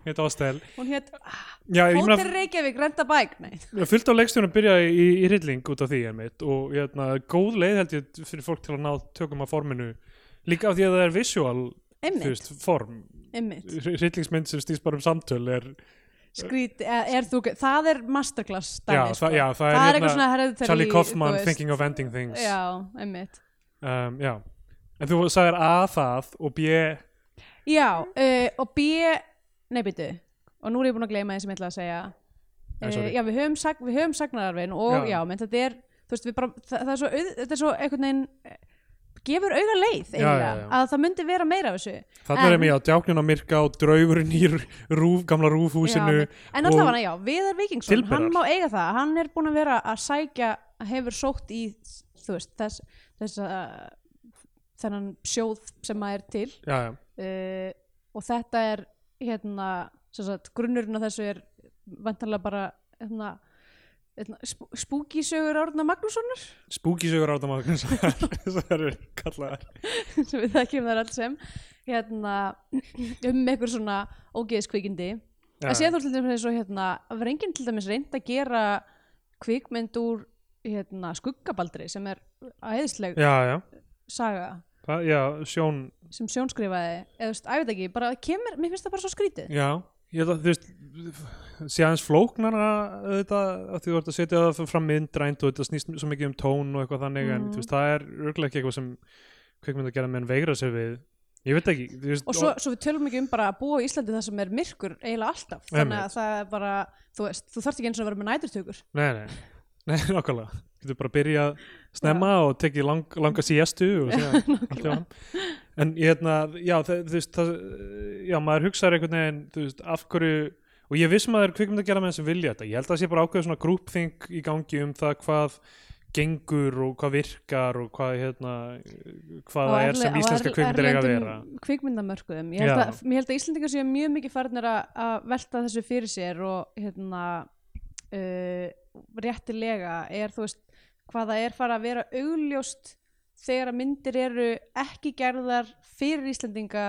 Speaker 1: hérna hostel
Speaker 2: Hún hétt
Speaker 1: já, ég
Speaker 2: Hótel
Speaker 1: meina,
Speaker 2: Reykjavík, renta bæk Nei,
Speaker 1: fullt á leikstjónum byrjaði í, í rilling út af því einmitt og hérna, góð leið held ég fyrir fólk til að ná tökum að forminu líka af því að það er visual þú
Speaker 2: einmitt,
Speaker 1: veist, form
Speaker 2: einmitt
Speaker 1: rillingsmynd sem snýst bara um samtöl er
Speaker 2: Skrít, er, er þú, það er masterclass
Speaker 1: Já,
Speaker 2: dæmi,
Speaker 1: það-
Speaker 2: sko.
Speaker 1: já, það er
Speaker 2: er
Speaker 1: hérna
Speaker 2: eitthvað svona hereditary,
Speaker 1: Charlie
Speaker 2: þú
Speaker 1: Kaufman
Speaker 2: veist.
Speaker 1: thinking of ending things
Speaker 2: Já, einmitt.
Speaker 1: Um, já. en þú sagðir A það og B
Speaker 2: Já, uh, og B, nei býtu, og nú er ég búin að gleyma því sem ég ætla að segja.
Speaker 1: Nei,
Speaker 2: Uh,
Speaker 1: sorry.
Speaker 2: já, við höfum, sag, við höfum sagnararfin og
Speaker 1: Já.
Speaker 2: já, menn þetta er, þú veist, við bara, það, það er svo, auð, þetta er svo einhvern veginn, eh, gefur auga leið
Speaker 1: Já,
Speaker 2: eiginlega,
Speaker 1: já, já.
Speaker 2: að það myndi vera meira af þessu.
Speaker 1: Þannig
Speaker 2: En-
Speaker 1: erum við á djáknin á myrka og draugurinn í rúf, gamla rúfhúsinu
Speaker 2: Já, en
Speaker 1: og-
Speaker 2: alltaf hann, já, Viðar Víkingsson,
Speaker 1: Tilberar.
Speaker 2: hann má eiga það, hann er búin að vera að sækja, hefur sótt í, þú veist, þess, þess að, þennan sjóð sem maður er til.
Speaker 1: já, já.
Speaker 2: uh, og þetta er hérna, sem sagt, grunnurinn á þessu er vantarlega bara hérna, hérna, sp- spúkisögur Árna Magnússonar
Speaker 1: spúkisögur áttamann það eru kallaðar
Speaker 2: sem við þekkjum þar allt sem hérna, um einhver svona ógeðskvikindi
Speaker 1: Já,
Speaker 2: að sé þú til dæmis eins og hérna var enginn til dæmis reynd að gera kvikmynd úr hérna, skuggabaldri sem er æðisleg
Speaker 1: já, já,
Speaker 2: saga
Speaker 1: það, já, sjón
Speaker 2: sem sjónskrifaði eða þú veist, að ég veit ekki, bara kemur, mér finnst það bara svo skrítið
Speaker 1: já, ég það, þú veist sé aðeins flóknara þetta, að því þú ert að setja það fram myndrænt og þetta snýst svo mikið um tón og eitthvað þannig en
Speaker 2: Mhm.
Speaker 1: þú veist, það er örglega ekki eitthvað sem kveikmynd að gera menn veigra sér við ég veit ekki, þú veist
Speaker 2: og svo, svo við tölum ekki um bara að búa í Íslandi það sem er myrkur eiginlega alltaf þannig
Speaker 1: Einmitt.
Speaker 2: að það er bara, þú veist, þú þarft ekki eins og að vera með næturtökur
Speaker 1: nei, nei, nei, nákvæmlega getur bara að byrja að snemma og tekið lang, langa síestu og segja allt í hann en ég hérna, já, það, þú veist það, já, maður hugsaður einhvern veginn þú veist, af hverju, og ég vissum að það er kvikmynd að gera með sem vilja þetta, ég held að það sé bara ákveð svona grúpþing í gangi um það hvað gengur og hvað virkar og hvað, hérna hvað það er sem íslenska kvikmyndir eiga að vera
Speaker 2: kvikmyndamörkuðum, ég held,
Speaker 1: Já.
Speaker 2: að, ég held að Íslandingar séu mjög mikið farnir að, að velta þessu fyrir sér og hérna uh, réttilega er þú veist hvað það er fara að vera augljóst þegar að myndir eru ekki gerðar fyrir Íslendinga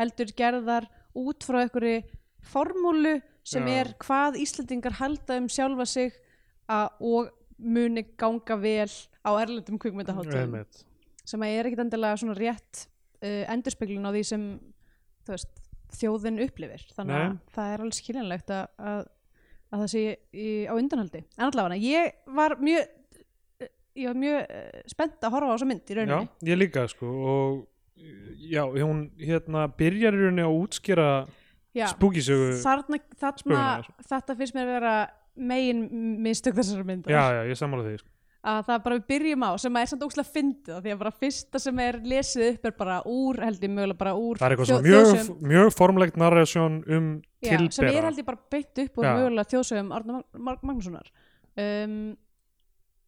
Speaker 2: heldur gerðar út frá einhverju formúlu sem
Speaker 1: Já.
Speaker 2: er hvað Íslendingar halda um sjálfa sig að, og muni ganga vel á erlendum kvikmyndaháttum
Speaker 1: Einmitt.
Speaker 2: sem að er ekkit endilega svona rétt uh, endurspeglun á því sem þú veist, þjóðin upplifir þannig að
Speaker 1: Nei.
Speaker 2: það er alveg skiljanlegt að, að, að það sé í, á undanhaldi en allavega, ég var mjög ég var mjög uh, spennt að horfa á þessa mynd í
Speaker 1: Já,
Speaker 2: rauninni
Speaker 1: ég líka sko og já, hún hérna byrjar í rauninni að útskýra
Speaker 2: Já,
Speaker 1: spúkisögu
Speaker 2: þarna, þarna
Speaker 1: spögunar.
Speaker 2: þetta finnst mér að vera megin mistök þessar myndar
Speaker 1: Já, já, ég sammála því sko.
Speaker 2: að það bara við byrjum á sem að er samt ókslega fyndið af því að bara fyrsta sem er lesið upp er bara úr held ég mögulega bara úr
Speaker 1: Það er eitthvað
Speaker 2: þjó-
Speaker 1: svona mjög,
Speaker 2: þjóðsögum.
Speaker 1: mjög formlegt narrasjón um
Speaker 2: Já, sem er
Speaker 1: tilbera
Speaker 2: held ég bara beint upp úr
Speaker 1: Já.
Speaker 2: mögulega þjóðsögum Arna Mag Magnússonar um,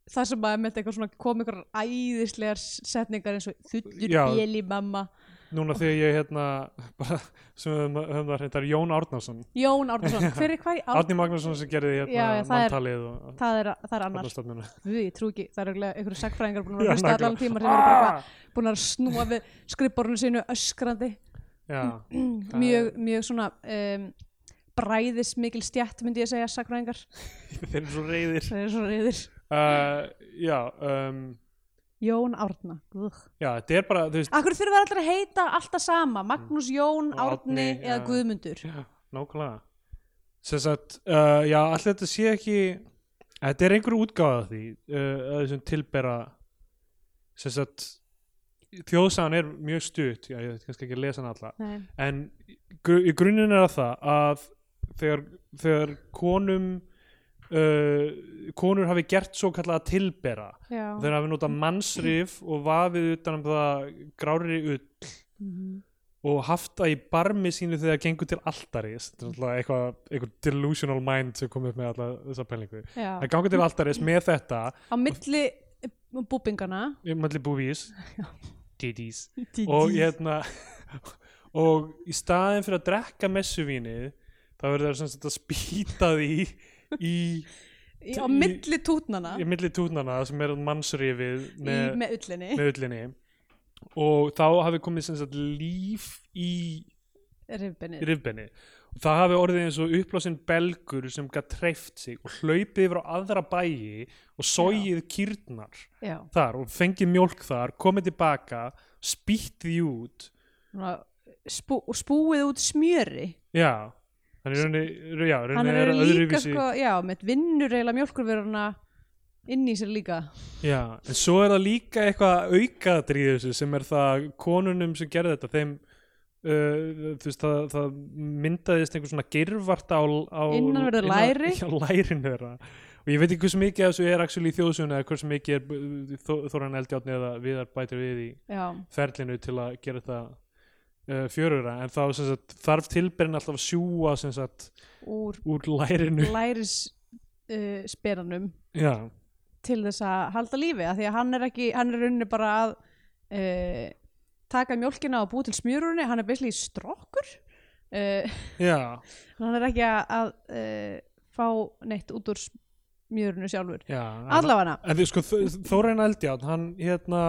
Speaker 2: það sem að með eitthvað svona kom ykkur æðislegar setningar eins og þullur
Speaker 1: Já.
Speaker 2: bjeli mamma
Speaker 1: Núna þegar ég hérna bara, sem við höfum- höfum það hérna Jón Árnason
Speaker 2: Jón Árnason, hver er hvað í Árn
Speaker 1: Árni Magnússon sem gerði hérna
Speaker 2: Já, já, það er-
Speaker 1: manntalið og
Speaker 2: það er, það er annar,
Speaker 1: allarstofnuna
Speaker 2: við ég trú ekki það er eiginlega einhverju sagfræðingar búin
Speaker 1: Já,
Speaker 2: að hlusta
Speaker 1: nákvæmlega. Ah!
Speaker 2: allan tíma sem eru bara eitthvað búin að snúa við skrifborinu sínu öskrandi
Speaker 1: Já, Það
Speaker 2: mjög, mjög svona um, bræðismikil stjætt myndi ég segja sakræðingar
Speaker 1: þeir eru svo reyðir
Speaker 2: það er svona yfir
Speaker 1: uh, Já, um,
Speaker 2: Jón Árna Ugh.
Speaker 1: já, þetta er bara, þú veist
Speaker 2: Akkur þurfa allir að heita alltaf sama Magnús Jón
Speaker 1: Og
Speaker 2: Árni
Speaker 1: Árni,
Speaker 2: eða
Speaker 1: já.
Speaker 2: Guðmundur
Speaker 1: Já, nákvæmlega sem sagt, uh, já, allir þetta sé ekki þetta er einhver útgáfa af því uh, að þessum tilbera sem sagt þjóðsagan er mjög stutt já, ég veit kannski ekki að lesa hana alla
Speaker 2: Nei.
Speaker 1: en gru, í grunin er það að þegar, þegar konum uh, konur hafi gert svo kallaða tilbera
Speaker 2: Já.
Speaker 1: þegar hafi notað mannsrif og vafið utan um það grári ull
Speaker 2: Mhm.
Speaker 1: og haft það í barmi sínu þegar það gengur til altaris þetta er alltaf eitthvað, eitthvað delusional mind sem kom upp með alltaf þessa pælingu
Speaker 2: Já.
Speaker 1: það gangur til altaris með þetta
Speaker 2: Á milli eh, búbingana
Speaker 1: ég mætli búvís didís og hérna og í staðin fyrir að drekka messuvínið þá verður það sem sagt að spýta því í,
Speaker 2: Í- Á milli tútnana
Speaker 1: í milli tútnana sem er mannsrifið með,
Speaker 2: í, með ullinni
Speaker 1: með ullinni og þá hafi komið sem sagt líf í
Speaker 2: rifbennið
Speaker 1: rifbenni og það hafi orðið eins og upplásin belgur sem gætt treyft sig og hlaupið yfir á aðra bæi og sógið kýrnar
Speaker 2: Já,
Speaker 1: þar og fengið mjólk þar komið tilbaka, spýtt því út
Speaker 2: svona spú, og spúið út smjöri
Speaker 1: já þannig rauninni, já,
Speaker 2: hann
Speaker 1: rauninni
Speaker 2: er
Speaker 1: er
Speaker 2: líka
Speaker 1: öðruvísi
Speaker 2: sko, já, með vinnur eiginlega mjólkurveruna inn í sér líka
Speaker 1: já, en svo er það líka eitthvað aukaðatrið þessu sem er það konunum sem gerði þetta þeim Uh, þú veist, það, það myndaðist einhver svona gyrvart á, á
Speaker 2: Innanverðu læri.
Speaker 1: á lærinu þeirra og ég veit ekki hversu mikið af þessu er actually í þjóðsjónu eða hversu mikið er uh, Þó- Þóran Eldjáttni eða Viðar bætir við í
Speaker 2: já,
Speaker 1: ferlinu til að gera þetta uh, fjörura en þá sem sagt, þarf tilberin alltaf að sjúa sem sagt,
Speaker 2: úr
Speaker 1: úr lærinu
Speaker 2: læris uh, speranum
Speaker 1: já,
Speaker 2: til þess að halda lífi af því að hann er ekki, hann er í rauninni bara að uh, taka mjólkina og búi til smjörunni, hann er beislega í strokkur uh,
Speaker 1: já,
Speaker 2: hann er ekki að, að uh, fá neitt út úr smjörunu sjálfur,
Speaker 1: já en-
Speaker 2: allafana
Speaker 1: En því sko, Þ- Þórainn Eldjátt, hann hérna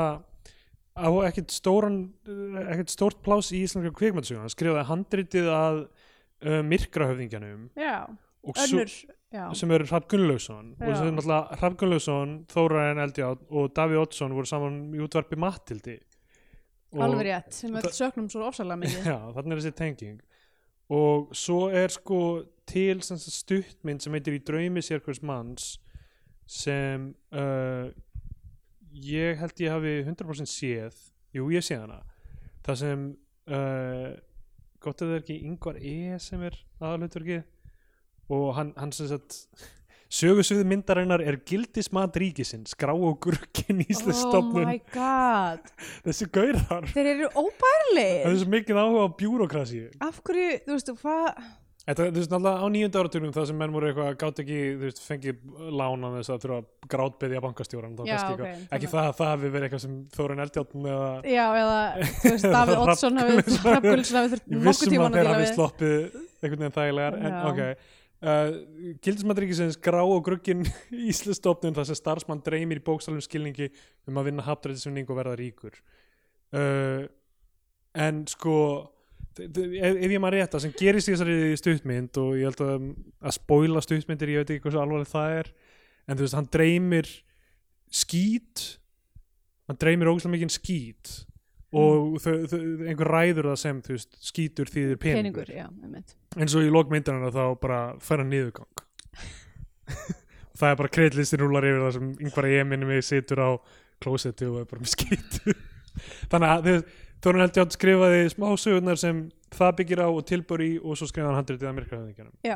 Speaker 1: á ekkert stóran ekkert stórt pláss í íslenska kvikmyndsögun hann skrifaði handritið að uh, myrkrahöfðingjanum
Speaker 2: já,
Speaker 1: og svo,
Speaker 2: önnur já,
Speaker 1: sem eru Hrafn Gunnlaugsson og
Speaker 2: Já.
Speaker 1: sem er náttúrulega Hrafn Gunnlaugsson, Þórainn Eldjátt og Daví Oddsson voru saman í útvarpi Mattildi
Speaker 2: alveg rétt sem öll
Speaker 1: það-
Speaker 2: söknum svo ofsalega mikið
Speaker 1: Já, þannig er þessi tenging og svo er sko til sem sagt, stuttmynd sem heitir í draumi sér hvers manns sem uh, ég held ég hafi 100% séð jú ég séð hana það sem uh, gott að það er ekki yngvar E sem er aðalhutverki og hann, hann sem sagt sögusviði myndarinnar er gildismat ríkisins grá og gurkin íslensk
Speaker 2: oh
Speaker 1: stofnun
Speaker 2: my god
Speaker 1: þessi gaurar
Speaker 2: þeir
Speaker 1: það
Speaker 2: eru
Speaker 1: er
Speaker 2: óbærilegir
Speaker 1: svo mikið áhuga á bjúrokrasi
Speaker 2: af hverju, þú veistu, hvað
Speaker 1: Þetta, þú veist, náttúrulega á nýjönda áratugum það sem menn voru eitthvað, gátt ekki, þú veist, fengið lána þess að þurfa að grátbeðja bankastjóran, þá
Speaker 2: Já,
Speaker 1: kannski
Speaker 2: ok,
Speaker 1: eitthvað,
Speaker 2: þannig-
Speaker 1: ekki það að það hafi verið eitthvað sem Þórun Eldjátn eða
Speaker 2: já, eða, þú veist, Davíð
Speaker 1: Hrafn
Speaker 2: Oddsson hafið
Speaker 1: Gunnlaugsson.
Speaker 2: Hrafn Gullsson hafið þurft
Speaker 1: ég
Speaker 2: nokkuð
Speaker 1: vissum
Speaker 2: tíma
Speaker 1: að
Speaker 2: að
Speaker 1: þeir
Speaker 2: díla
Speaker 1: hafi
Speaker 2: við
Speaker 1: sloppið einhvern veginn þægilegar, en
Speaker 2: Já.
Speaker 1: ok, Uh, Gildismættrikkisins grá og gruggin Íslustofnun þar sem starfsmann dreymir í bókstælum skilningi um að vinna haptrættisvinning og verða ríkur uh, en sko þ- þ- ef, ef ég maður rétt það sem gerist í þessari stuttmynd og ég held að, um, að spóila stuttmyndir, ég veit ekki hversu alvarleg það er en þú veist, hann dreymir skít hann dreymir ógæslega mikinn skít
Speaker 2: Mm.
Speaker 1: og þau, þau, einhver ræður það sem þú veist, skítur þýðir peningur
Speaker 2: peningur, já, einmitt
Speaker 1: eins og í lokmyndanina þá bara fær hann niðurgang það er bara kreitlistin rúlar yfir það sem yngvar ég minni mig situr á klósetti og er bara með skýt þannig að þau- Þórun Heldjátt skrifaði smásögurnar sem það byggir á og tilbúr í og svo skrifaði hann handritið að myrkrafæðingjörnum
Speaker 2: Já.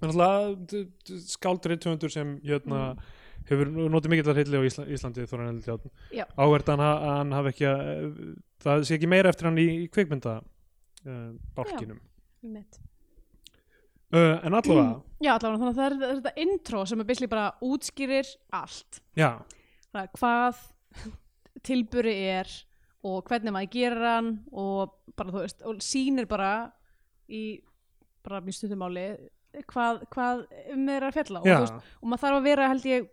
Speaker 1: þannig að skáldur eittöndur sem jötna hefur notið mikill að hilli á Ísla, Íslandi Þórun Heldjátt
Speaker 2: Já.
Speaker 1: áverð hann, ha- að hann hafi ekki að, það sé ekki meira eftir hann í, í kvikmynda uh, bálkinum
Speaker 2: einmitt
Speaker 1: uh, en allavega
Speaker 2: Já, allavega, þannig að það er, það er þetta intro sem er byrslið bara útskýrir allt.
Speaker 1: Já,
Speaker 2: Það er hvað tilburi er og hvernig maður gerir hann og bara, þú veist, og sýnir bara í, bara mjög stundum hvað, hvað um er að fjalla. Og,
Speaker 1: já,
Speaker 2: þú veist, og maður þarf að vera, held ég,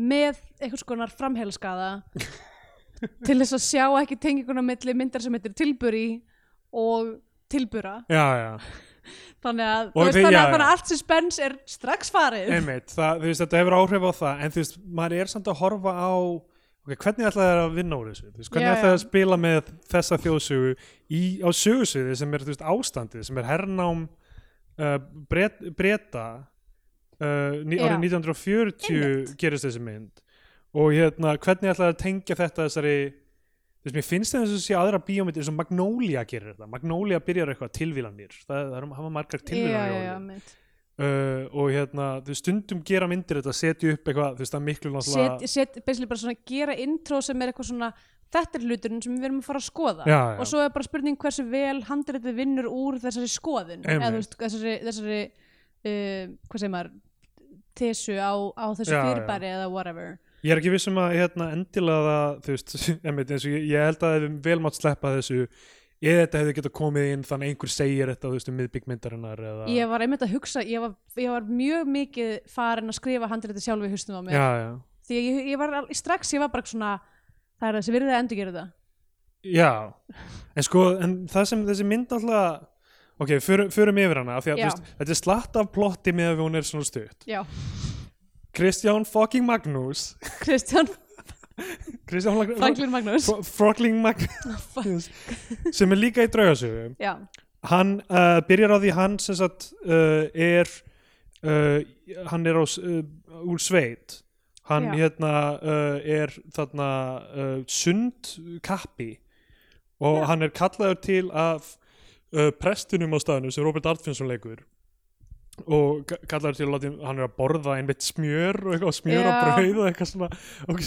Speaker 2: með einhvers konar framhelskaða til þess að sjá ekki tenginguna milli myndar sem heitir tilburi og tilbura.
Speaker 1: já, já,
Speaker 2: þannig að,
Speaker 1: Og
Speaker 2: þú veist,
Speaker 1: þið-
Speaker 2: þannig,
Speaker 1: já,
Speaker 2: að, þannig
Speaker 1: já.
Speaker 2: að allt suspens er strax farið
Speaker 1: einmitt það, þú veist, þetta hefur áhrif á það en þú veist, maður er samt að horfa á ok, hvernig ætla það að vinna úr þessu Þú veist, hvernig
Speaker 2: Já,
Speaker 1: ætla það
Speaker 2: já.
Speaker 1: að spila með þessa þjóðsögu í, á sögusviði sem er þú veist, ástandið, sem er hernám uh, bret, breta uh, ní,
Speaker 2: Já.
Speaker 1: árið 1940 gerist þessi mynd og hérna, hvernig ætla það að tengja þetta þessari þú veist, mér finnst það eins og sé aðra bíómyndir eins og Magnolia gerir þetta Magnolia byrjar eitthvað tilvílanir það, það er, hafa margar tilvílanir
Speaker 2: já, já, einmitt.
Speaker 1: uh, og hérna, þú veist, stundum gera myndir þetta, setja upp eitthvað, þú veist, það er miklu
Speaker 2: set,
Speaker 1: náttúrulega,
Speaker 2: set, basically bara svona gera intro sem er eitthvað svona þetta er hluturinn sem við erum að fara að skoða
Speaker 1: Já, já.
Speaker 2: og svo er bara spurning hversu vel handritið vinnur úr þessari skoðun
Speaker 1: Einmitt.
Speaker 2: eða þú veist, þessari, þessari uh, hvað segir maður tesu á, á þessu
Speaker 1: Já, já.
Speaker 2: fyrirbæri eða whatever
Speaker 1: ég er ekki viss um að hérna, endilega það, þú veist, emeit, eins og ég, ég held að það hefði vel mátt sleppa þessu eða þetta hefði getað komið inn þannig að einhver segir þetta, þú veist, um miðbyggmyndarinnar eða,
Speaker 2: ég var einmitt að hugsa, ég var, ég var mjög mikið farin að skrifa handritið sjálf í hustum á mig
Speaker 1: já, já,
Speaker 2: því að ég, ég var al- strax, ég var bara svona það er þessi virðið að endur gera þetta
Speaker 1: Já, en sko en það sem þessi mynd alltaf ok, förum, förum yfir hana af því að
Speaker 2: Já.
Speaker 1: þú veist, þetta er slatt af plotti með að hún er svona stutt
Speaker 2: Já,
Speaker 1: Kristján fucking Magnús
Speaker 2: Kristján
Speaker 1: Kristján Lag-
Speaker 2: Franklin Magnús
Speaker 1: Fro- Frogling Magnús sem er líka í draugasögu
Speaker 2: Já,
Speaker 1: hann uh, byrjar á því hann sem sagt uh, er uh, hann er á, s- uh, úr sveit hann
Speaker 2: Já.
Speaker 1: hérna uh, er þarna uh, sund kappi og
Speaker 2: Já.
Speaker 1: hann er kallaður til af uh, prestunum á staðinu sem Robert Artfinsson leikur og ka- kallaður til að láta- hann er að borða einmitt smjör og eitthvað smjör og
Speaker 2: Já.
Speaker 1: brauð og eitthvað svona og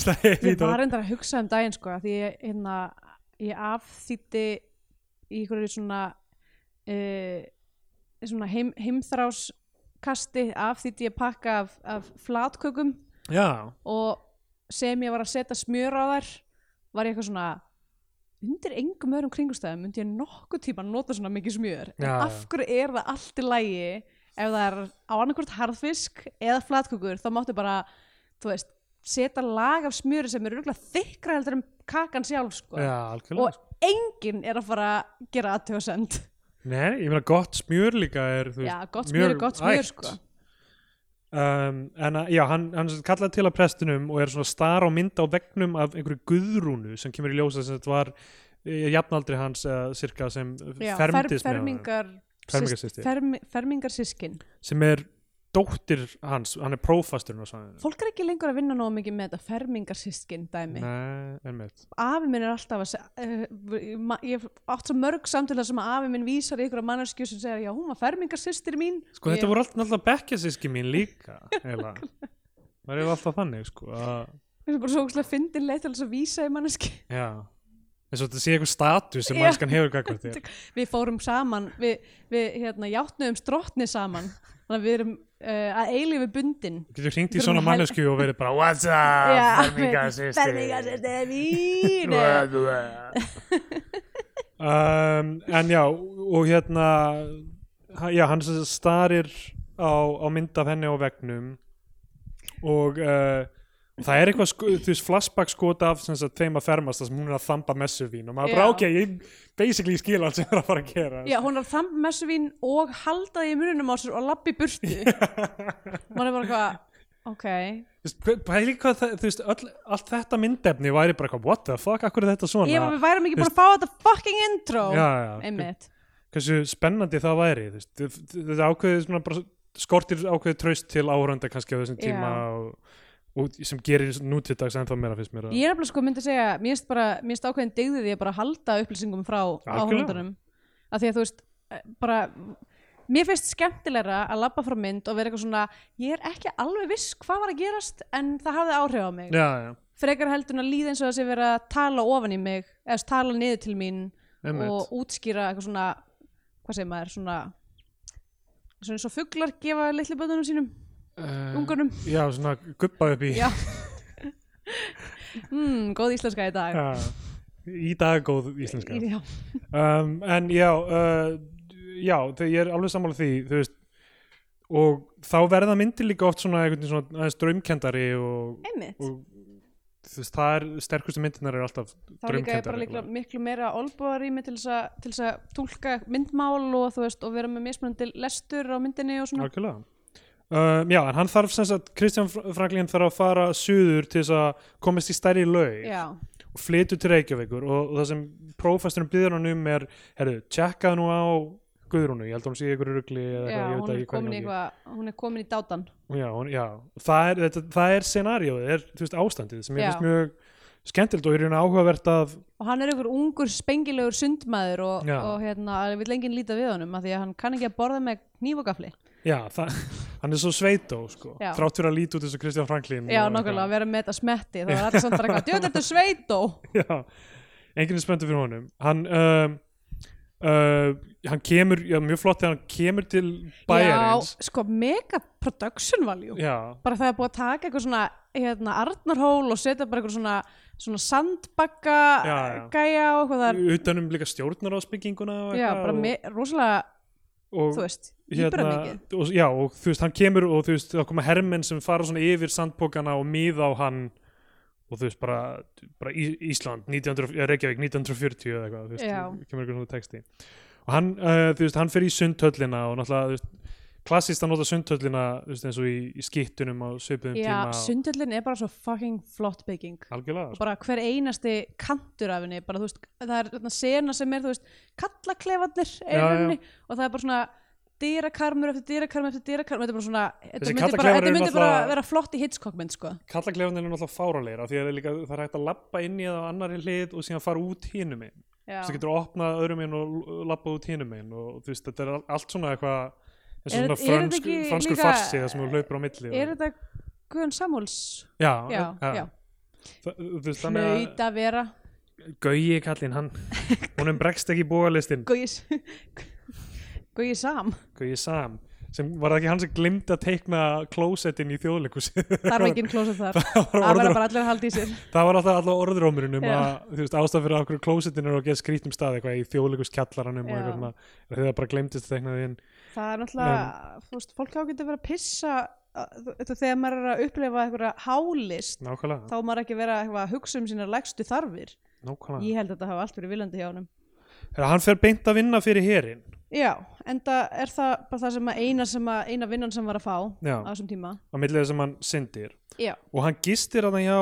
Speaker 2: ég var reyndar að hugsa um daginn sko af því ég, hérna, ég afþýtti í einhverju svona uh, svona heim, heimþráskasti afþýtti ég pakka af, af flatkökum
Speaker 1: já,
Speaker 2: og sem ég var að setja smjör á þær var ég eitthvað svona undir engum öðrum kringustæðum myndi ég nokkuð tíma nota svona mikið smjör en
Speaker 1: Já, já.
Speaker 2: af hverju er það allt í lægi ef það er á annarkvort harðfisk eða flatkukur þá máttu bara þú veist, setja lag af smjöri sem er rúglega þykra heldur en kakan sjálf sko.
Speaker 1: já, algjörlega
Speaker 2: og enginn er að fara að gera aðtöðsend
Speaker 1: Nei, ég meina gott smjör líka er þú
Speaker 2: já,
Speaker 1: veist,
Speaker 2: gott smjör
Speaker 1: mjög
Speaker 2: er gott smjör
Speaker 1: ætt.
Speaker 2: sko.
Speaker 1: um, en að, já, hann, hann sem sagt kallaði til að prestunum og er svona star á mynd á vegnum af einhverju guðrúnu sem kemur í ljósa sem þetta var eh, jafnaldri hans uh, sirka sem
Speaker 2: já,
Speaker 1: fermdist með honum,
Speaker 2: fermingar,
Speaker 1: Fermingarsystir.
Speaker 2: fermi, fermingar sískin
Speaker 1: sem er dóttir hans, hann er prófasturinn á svæðinu
Speaker 2: fólk er ekki lengur að vinna nógu mikið með þetta fermingarsyskin dæmi
Speaker 1: Nei, einmitt
Speaker 2: afi minn er alltaf að segja uh, ma- ég hef átt svo mörg samtilega sem að afi minn vísar í ykkur að mannarskju sem segja já hún var fermingarsystir mín
Speaker 1: Sko
Speaker 2: Og ég-
Speaker 1: þetta voru alltaf náttúrulega bekkjasíski mín líka eiginlega. Það er alltaf þannig sko að,
Speaker 2: þetta er bara svo ógustlega fyndin leið til þess að vísa í mannarskju
Speaker 1: já eins og þetta sé eitthvað status sem
Speaker 2: Já.
Speaker 1: mannskan hefur kakvart þér
Speaker 2: við fórum saman við, við hérna játnuðum strótni saman þannig að við erum uh, að eilífi bundin
Speaker 1: Þú getur hringt í
Speaker 2: Við
Speaker 1: svona
Speaker 2: þurfum að hel-
Speaker 1: mannesku og verið bara What's up, fermingasystir
Speaker 2: fermingarsystir mín eða-
Speaker 1: um, En já, og hérna ha- Já, hann sem sagt starir á, á mynd af henni á vegnum og uh, það er eitthvað sko, þú veist flashback skot af sem sagt, þeim að fermast þar sem hún er að þamba messuvín og maður bara
Speaker 2: Já.
Speaker 1: ok, ég basically skil allt sem er að fara að gera
Speaker 2: Já, hún er þamb messuvín og haldaði í mununum á sér og lappi burtu Man er bara eitthvað Ok,
Speaker 1: Þú veist, pæ- pæli hvað það, þú veist öll, allt þetta myndefni væri bara eitthvað what the fuck, akkur er þetta svona
Speaker 2: ef að við værum ekki búin að fá þetta fucking intro
Speaker 1: já, já,
Speaker 2: Einmitt
Speaker 1: hversu spennandi það væri þú veist, þ- þ- þetta ákveðið svona bara skortir ákveðið traust til áhörunda kannski á þessum
Speaker 2: Já.
Speaker 1: tíma og, og sem gerir nútíðdags ennþá meira fyrst mér að-
Speaker 2: Ég er alveg sko myndi að segja, mér finnst bara, mér finnst ákveðin dygði því að bara halda upplýsingum frá áhundunum. Af því að þú veist, eh, bara, mér finnst skemmtilegra að labba frá mynd og vera eitthvað svona, ég er ekki alveg viss hvað var að gerast en það hafði áhrif á mig.
Speaker 1: já, já,
Speaker 2: Frekar heldur en að líða eins og þessi verið að tala ofan í mig, eða þess tala niður til mín
Speaker 1: emmitt
Speaker 2: og útskýra eitthvað svona, hvað segir maður, svona, svona eins og fuglar gefa litli bötunum sínum, ungunum.
Speaker 1: Eh, já, svona guppa upp í
Speaker 2: Já. Mm, góð íslenska í dag.
Speaker 1: Já. í dag góð íslenska
Speaker 2: Í- Já.
Speaker 1: um, en já uh, já, þau- ég er alveg sammála því þú veist og þá verða myndir líka oft svona, einhvern veginn svona aðeins draumkendari og,
Speaker 2: Einmitt.
Speaker 1: og þú veist, það er sterkustu myndirnar er alltaf
Speaker 2: þá líka er bara
Speaker 1: draumkenndar,
Speaker 2: líkla, miklu meira olbúarými til þess að- til þess að túlka myndmál og þú veist og vera með mismunandi lestur á myndinni og svona
Speaker 1: Algjörlega. Um, já, en hann þarf sem sagt, Kristján Franklin þarf að fara suður til þess að komast í stærri laug
Speaker 2: já,
Speaker 1: og flytu til Reykjavíkur og, og það sem prófasturinn byður hann um er, herru, tjekkaðu nú á Guðrúnu, ég held að hún sé í ykkur rugli eða eitthvað,
Speaker 2: já
Speaker 1: ég
Speaker 2: hún,
Speaker 1: veit
Speaker 2: er
Speaker 1: ekki hvað
Speaker 2: komin í
Speaker 1: gangi.
Speaker 2: eitthvað, hún er komin í dátan
Speaker 1: Já, hún, já, það er, þetta, það er scenarióið, er, þú veist, ástandið sem ég
Speaker 2: Já.
Speaker 1: finnst mjög skemmtild og er hérna áhugavert að,
Speaker 2: og hann er einhver ungur spengilegur sundmaður og,
Speaker 1: Já.
Speaker 2: og hérna, það vil enginn líta við honum af því að hann kann ekki að borða með hnífogafli
Speaker 1: já, það, hann er svo sveitó, sko,
Speaker 2: Já.
Speaker 1: þrátt fyrir að líti út eins og Kristján Franklin.
Speaker 2: já,
Speaker 1: og eitthvað.
Speaker 2: nákvæmlega, vera með þetta smetti þá er alltaf samt bara eitthvað, djóð þetta er sveitó
Speaker 1: já, enginn er spenntur fyrir honum hann um, uh, hann kemur, já, mjög flott þegar hann kemur til bæjarins
Speaker 2: já, sko, mega production value
Speaker 1: já,
Speaker 2: bara það er búið að taka eitthvað svona hérna, Arnarhól og setja bara eitthvað svona, svona sandbakka
Speaker 1: Já, já.
Speaker 2: gæja og eitthvað þar
Speaker 1: utanum líka stjórnar á spengjinguna og,
Speaker 2: já, bara me, rosalega,
Speaker 1: og, hérna um
Speaker 2: þú veist, íbra mikið
Speaker 1: og, já, og þú veist, hann kemur og þú veist, þá koma hermenn sem fara svona yfir sandpókana og miða á hann og þú veist, bara, bara Í- Ísland 1900, eða Reykjavík 1940 eða eitthvað, þú veist,
Speaker 2: Já.
Speaker 1: kemur eitthvað svona texti og hann, uh, þú veist, hann fer í sundhöllina og náttúrulega, þú veist, klassist að nota sundhöllina, þú veist, eins og í, í skittunum á svipuðum
Speaker 2: já,
Speaker 1: tíma og-
Speaker 2: sundhöllin er bara svo fucking flott bygging
Speaker 1: algjörlega, sko.
Speaker 2: Og bara hver einasti kantur af henni bara þú veist, það er þarna sena sem er þú veist, kallaklefarnir er
Speaker 1: Já,
Speaker 2: í
Speaker 1: já.
Speaker 2: henni og það er bara svona dýrakarmur eftir dýrakarmur eftir dýrakarmur þetta er bara svona, þetta
Speaker 1: Þessi
Speaker 2: myndi, bara,
Speaker 1: kallaklefar
Speaker 2: þetta
Speaker 1: eru
Speaker 2: myndi bara
Speaker 1: náttúrulega-
Speaker 2: vera flott í Hitchcockmynd sko.
Speaker 1: kallaklefanir er náttúrulega fáralegir af því að það er líka, það er hægt að lappa inn í það á annari hlið og síðan fara út hinum einn
Speaker 2: Já.
Speaker 1: þú getur opnað öðrum einn og l- labbað út hinum einn og þú veist, þetta er al- allt svona eitthvað eins og
Speaker 2: Er-
Speaker 1: svona
Speaker 2: er þetta
Speaker 1: frönsk,
Speaker 2: ekki
Speaker 1: franskur
Speaker 2: líka-
Speaker 1: farsi það sem þú hlaupir á milli
Speaker 2: er
Speaker 1: og,
Speaker 2: þetta Guðan Samúls
Speaker 1: já,
Speaker 2: já, já.
Speaker 1: Það, þú veist, þannig
Speaker 2: Hlaut
Speaker 1: að
Speaker 2: að vera
Speaker 1: Gauji kallinn, hann honum bregst ekki búalistin
Speaker 2: Guðis Guðis sam
Speaker 1: Gauji Sam, sem var það ekki hann sem glimta að teikna klósettin í þjóðleikus
Speaker 2: Þarf ekki klósa þar
Speaker 1: var
Speaker 2: Það verða
Speaker 1: orður,
Speaker 2: bara allir að halda í sér
Speaker 1: það var alltaf alltaf orðrómurinn um
Speaker 2: Já.
Speaker 1: að þú veist, ástæð fyrir okkur klósettin er á að geta skrýtnum stað eitthvað í þjóðleikus kjallaranum og
Speaker 2: Já.
Speaker 1: eitthvað svona, þegar bara glemtist að teikna því inn
Speaker 2: Það er náttúrulega, þú veist, fólk á getur verið að pissa að- þú- þú- þegar maður er að upplifa einhverja hálist
Speaker 1: nákvæmlega,
Speaker 2: þá á maður ekki vera eitthvað að hugsa um sínar lægstu þarfir
Speaker 1: nákvæmlega.
Speaker 2: Ég held að þetta hafa allt verið viljandi hjá honum
Speaker 1: Þegar hann fer beint að vinna fyrir herin
Speaker 2: Já, en það er það bara það sem að eina, sem að, eina vinnan sem var að fá
Speaker 1: Já.
Speaker 2: á þessum tíma
Speaker 1: á milli þess að hann syndir
Speaker 2: Já,
Speaker 1: og hann gistir að hann hjá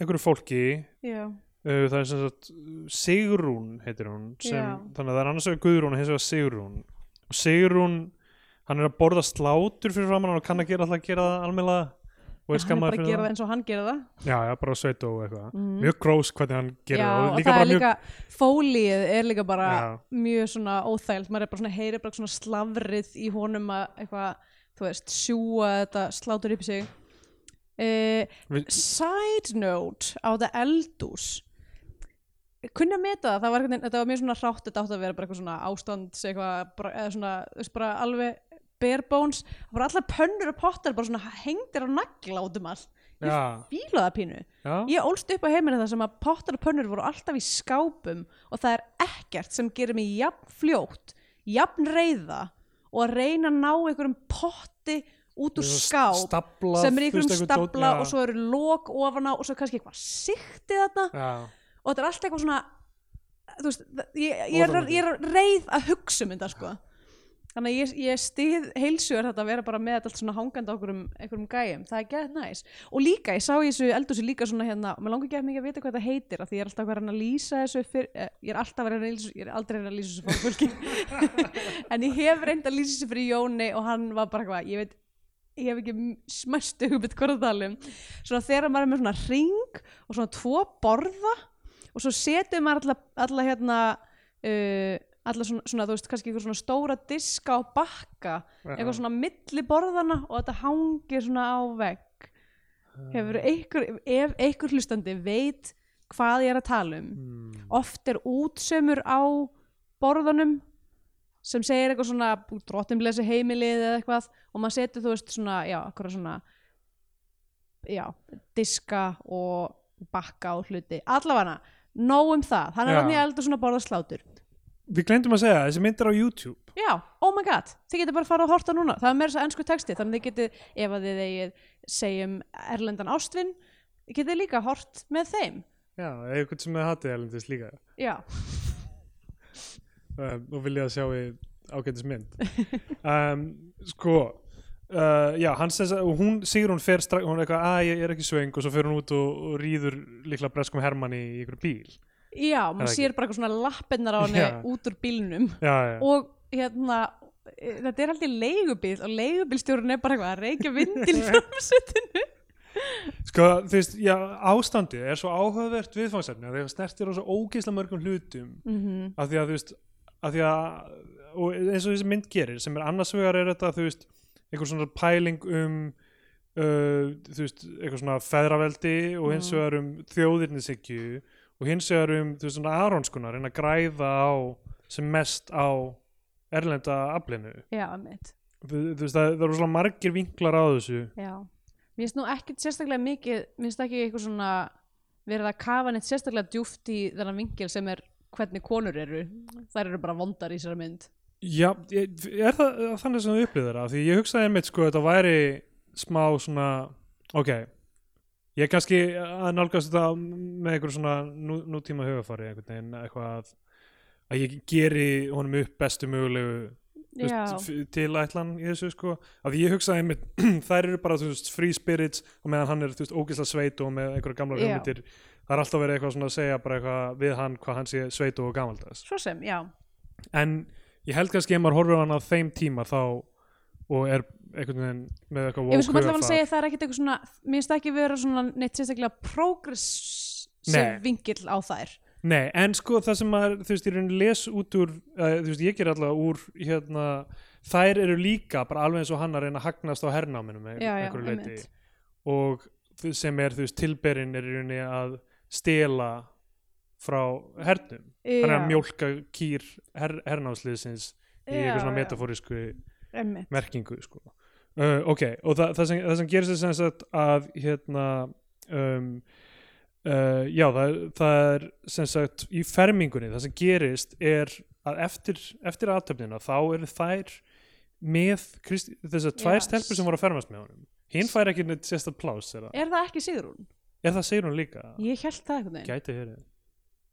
Speaker 1: einhverju fólki
Speaker 2: já,
Speaker 1: uh, það er sem sagt uh, Sigrún heitir hún sem,
Speaker 2: Já.
Speaker 1: þannig að það er annars vegar Guðrún og hins vegar Sigrún og Sigrún, hann er að borða slátur fyrir framann og kann að gera alltaf að gera það almela og er
Speaker 2: hann er bara
Speaker 1: skammaður
Speaker 2: að
Speaker 1: fyrir
Speaker 2: gera það
Speaker 1: það
Speaker 2: eins og hann gera það Mhm.
Speaker 1: já, já, bara sveit og eitthvað mjög grós hvernig hann gerir
Speaker 2: Já,
Speaker 1: það
Speaker 2: og
Speaker 1: og líka
Speaker 2: það er
Speaker 1: bara mjög
Speaker 2: líka, fólið er líka bara
Speaker 1: Já.
Speaker 2: mjög svona óþægild, maður er bara svona heyrir bara svona slavrið í honum að eitthvað, þú veist, sjúa þetta slátur upp í sig uh,
Speaker 1: Við-
Speaker 2: Side note á þetta eldús kunni að meta það, það var, einhvern veginn- þetta var mjög svona rátt þetta átt að vera bara eitthvað svona ástand eitthvað, bara, eða svona, þú veist, bara alveg bare bones, það voru allar pönnur og pottar bara svona hengdir á nagla út um allt ég
Speaker 1: já,
Speaker 2: fíla það pínu
Speaker 1: já,
Speaker 2: Ég ólst upp á heiminu þar sem að pottar og pönnur voru alltaf í skápum og það er ekkert sem gerir mig jafn fljótt, jafn reyða og að reyna að ná einhverjum potti hluti út úr
Speaker 1: Svo
Speaker 2: skáp
Speaker 1: stafla,
Speaker 2: sem er í
Speaker 1: þú veist,
Speaker 2: einhverjum
Speaker 1: einhver dót-
Speaker 2: stafla
Speaker 1: já.
Speaker 2: og svo eru lok ofan á og svo er kannski eitthvað sikti þarna
Speaker 1: já,
Speaker 2: og þetta er allt eitthvað svona þú veist, það- ég, ég, er,
Speaker 1: Óþolandi.
Speaker 2: ég er reið að hugsa um þetta sko þannig að ég, ég stið heilsugur þetta að vera bara með þetta allt svona hangandi á einhverjum, einhverjum gæjum, það er gett næs og líka, ég sá í þessu eldhúsi líka svona hérna og mér langar ekki að mikið að vita hvað þetta heitir af því ég er alltaf að vera að reyna að lýsa þessu fyr, eh, ég er alltaf að vera að lýsa, ég er aldrei að reyna að lýsa þessu fyrir fólki en ég hef reynda að lýsa þessu fyrir Jóni og hann var bara hvað, ég veit ég hef ekki smæstu hugmynd hvað það talum um. svona þegar maður er með svona ring og svona tvo borða og svo setur maður alla, alla hérna uh, alla svona, svona, þú veist, kannski einhver svona stóra diska á bakka
Speaker 1: já.
Speaker 2: eitthvað svona milli borðana og þetta hangir svona á vegg hefur einhver, ef einhver hlustandi veit hvað ég er að tala um
Speaker 1: Mm.
Speaker 2: oft er útsömmur á borðunum sem segir eitthvað svona drottin blessi heimilið eða eitthvað og maður setur þú veist svona, já, eitthvað svona já, diska og bakka og hluti allavega, nóg um það hann
Speaker 1: Já.
Speaker 2: er hann í eldur svona borðaslátur
Speaker 1: Við glemdum að segja, þessi mynd er á YouTube
Speaker 2: já, oh my god, þið getið bara að fara að horta núna það er meira þess að ennsku texti, þannig þið getið ef að þið eigið segjum erlendan ástvin, getið líka hort með þeim,
Speaker 1: Já, eða eitthvað sem er hatið erlendis líka
Speaker 2: já
Speaker 1: um, og vilja að sjá í ágætis mynd um, Sko uh, Já, hann sess að og hún, Sigrún fer strax, hún er eitthvað að ég er ekki svöng og svo fer hún út og, og rýður líkla breskum hermann í einhverjum bíl
Speaker 2: já,
Speaker 1: Er
Speaker 2: maður
Speaker 1: það
Speaker 2: sér bara eitthvað svona lappinnar á henni
Speaker 1: Já.
Speaker 2: út úr bílnum
Speaker 1: Já, já,
Speaker 2: og hérna e, þetta er alltaf leigubíl og leigubílstjórun er bara eitthvað að reykja vindil framsettinu
Speaker 1: Sko, þú veist, já, ástandið er svo áhugavert viðfangsefni að því að snertir á svo ógeisla mörgum hlutum
Speaker 2: mm -hmm.
Speaker 1: af því að þú veist af því að, og eins og þessi mynd gerir sem er annars vegar er þetta þú veist einhver svona pæling um uh, þú veist, eitthvað svona feðraveldi og hins
Speaker 2: Mm.
Speaker 1: vegar um þjóðirnisikju og hins vegar um þú veist svona aronskuna, reyna að græða á sem mest á erlenda aflinu,
Speaker 2: já, mitt
Speaker 1: þú, þú veist, það, það eru svona margir vinklar á þessu
Speaker 2: já. mér finnst nú ekkit sérstaklega mikið mér finnst ekki eitthvað svona verið að kafa neitt sérstaklega djúft í þennan vingil sem er hvernig konur eru þær eru bara vondar í sér mynd
Speaker 1: Já, ég, er það þannig sem þú upplýðir það? Því ég hugsaði einmitt sko þetta væri smá svona, ok, ég er kannski að nálgast þetta með einhver svona nú, nútíma hugafari einhvern veginn, eitthvað að, að ég geri honum upp bestu mögulegu þú
Speaker 2: já,
Speaker 1: veist, f- tilætlan í þessu sko, af því ég hugsaði einmitt, þær eru bara þú veist free spirits og meðan hann er þú veist ógislega sveit og með einhverja gamla
Speaker 2: Já.
Speaker 1: hugmyndir, það er alltaf verið eitthvað svona að segja bara eitthvað við hann hvað hann sé sveit og gamaldags
Speaker 2: svo sem, já
Speaker 1: en ég held kannski ef maður horfir á hann á þeim tíma þá og er einhvern veginn með eitthvað
Speaker 2: ég veist sko alltaf að
Speaker 1: hugafar.
Speaker 2: segja að það er ekkit eitthvað svona mér finnst ekki vera svona neitt sérstaklega progress
Speaker 1: Nei.
Speaker 2: vingil á þær
Speaker 1: Nei, en sko það sem maður, þú veist, ég raunin les út úr, uh, þú veist, ég ger allavega úr hérna, þær eru líka bara alveg eins og hann að reyna að hagnast á hernáminu með
Speaker 2: Já, já,
Speaker 1: einhverju leiti
Speaker 2: einmitt.
Speaker 1: og þú- sem er, þú veist, tilberin er í rauninni að stela frá hernum, hann er
Speaker 2: Já.
Speaker 1: að mjólka kýr her, hernámsliðsins í
Speaker 2: Já,
Speaker 1: eitthvað svona
Speaker 2: já.
Speaker 1: metaforísku
Speaker 2: Einmitt.
Speaker 1: merkingu sko. uh, ok, og það, það, sem, það sem gerist er sem sagt að hérna um, uh, já, það, það er sem sagt í fermingunni, það sem gerist er að eftir, eftir aðtöfnina þá eru þær með Krist, þessar tvær
Speaker 2: Já,
Speaker 1: stelpur sem voru að fermast með honum hinn fær ekki neitt sérstætt plás er, það?
Speaker 2: er það ekki Sigrún?
Speaker 1: er það segir hún líka?
Speaker 2: Ég held það einhvern veginn.
Speaker 1: gæti verið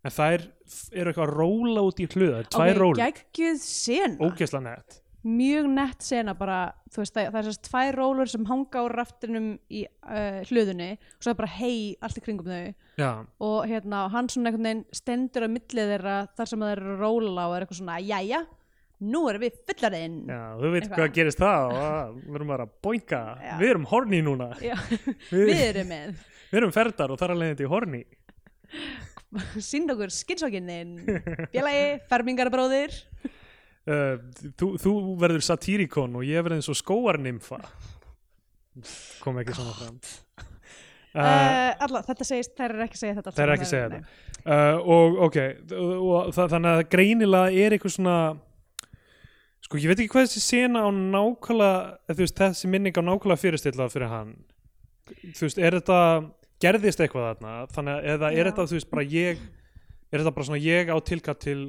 Speaker 1: en þær f- eru eitthvað að róla út í hluða tvær okay, róla,
Speaker 2: Gægjuð sena.
Speaker 1: ógeðslega nett
Speaker 2: Mjög nett sena bara, þú veist, það, það er þess að tvær rólur sem hanga á raftinum í uh, hlöðunni og svo er bara hei allt í kringum þau
Speaker 1: já,
Speaker 2: og hérna, og hann svona einhvern veginn stendur á millið þeirra þar sem þeir eru að róla og er eitthvað svona, jæja, nú erum við fullarinn.
Speaker 1: Já, þú veit
Speaker 2: Eitthvað.
Speaker 1: hvað gerist það og að, við erum bara að boinga,
Speaker 2: Já.
Speaker 1: við erum horni núna
Speaker 2: Já,
Speaker 1: við,
Speaker 2: við erum með.
Speaker 1: við erum ferðar og þar að leiðandi í horni
Speaker 2: Sýnd okkur skinnsókinnin, félagi, fermingarbróðir.
Speaker 1: uh, þú, þú verður satírikon og ég verður eins og skóarnimfa kom ekki svona fram uh,
Speaker 2: Uh, alla, þetta segist, þær eru ekki að segja þetta. allt
Speaker 1: það er
Speaker 2: saman,
Speaker 1: ekki að segja
Speaker 2: nei.
Speaker 1: þetta uh, og ok, og, það, þannig að greinilega er eitthvað svona sko, ég veit ekki hvað þessi sena á nákvæmlega, eða þú veist, þessi minning á nákvæmlega fyrirstillað fyrir hann þú veist, er þetta, gerðist eitthvað þarna, þannig að, eða er
Speaker 2: Já.
Speaker 1: þetta þú veist, bara ég, er þetta bara svona ég á tilkatt til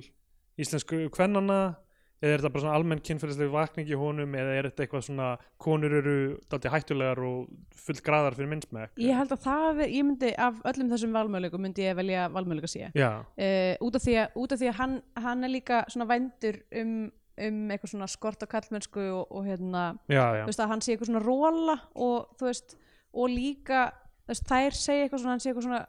Speaker 1: íslensku kvennana eða er þetta bara svona almenn kynferðislega vakning í honum eða er þetta eitthvað svona konur eru dálítið hættulegar og fullt graðar fyrir minnsmekk
Speaker 2: Ég held að það, er- ég myndi af öllum þessum valmöðleikum myndi ég velja valmöðleika sé.
Speaker 1: Já,
Speaker 2: Uh, út af því að, út af því að hann, hann er líka svona vendur um, um eitthvað svona skort og kallmennsku og, og hérna,
Speaker 1: já, já,
Speaker 2: þú veist að hann sé eitthvað svona róla og þú veist, og líka þú veist, þær segja eitthvað svona, hann sé eitthvað svona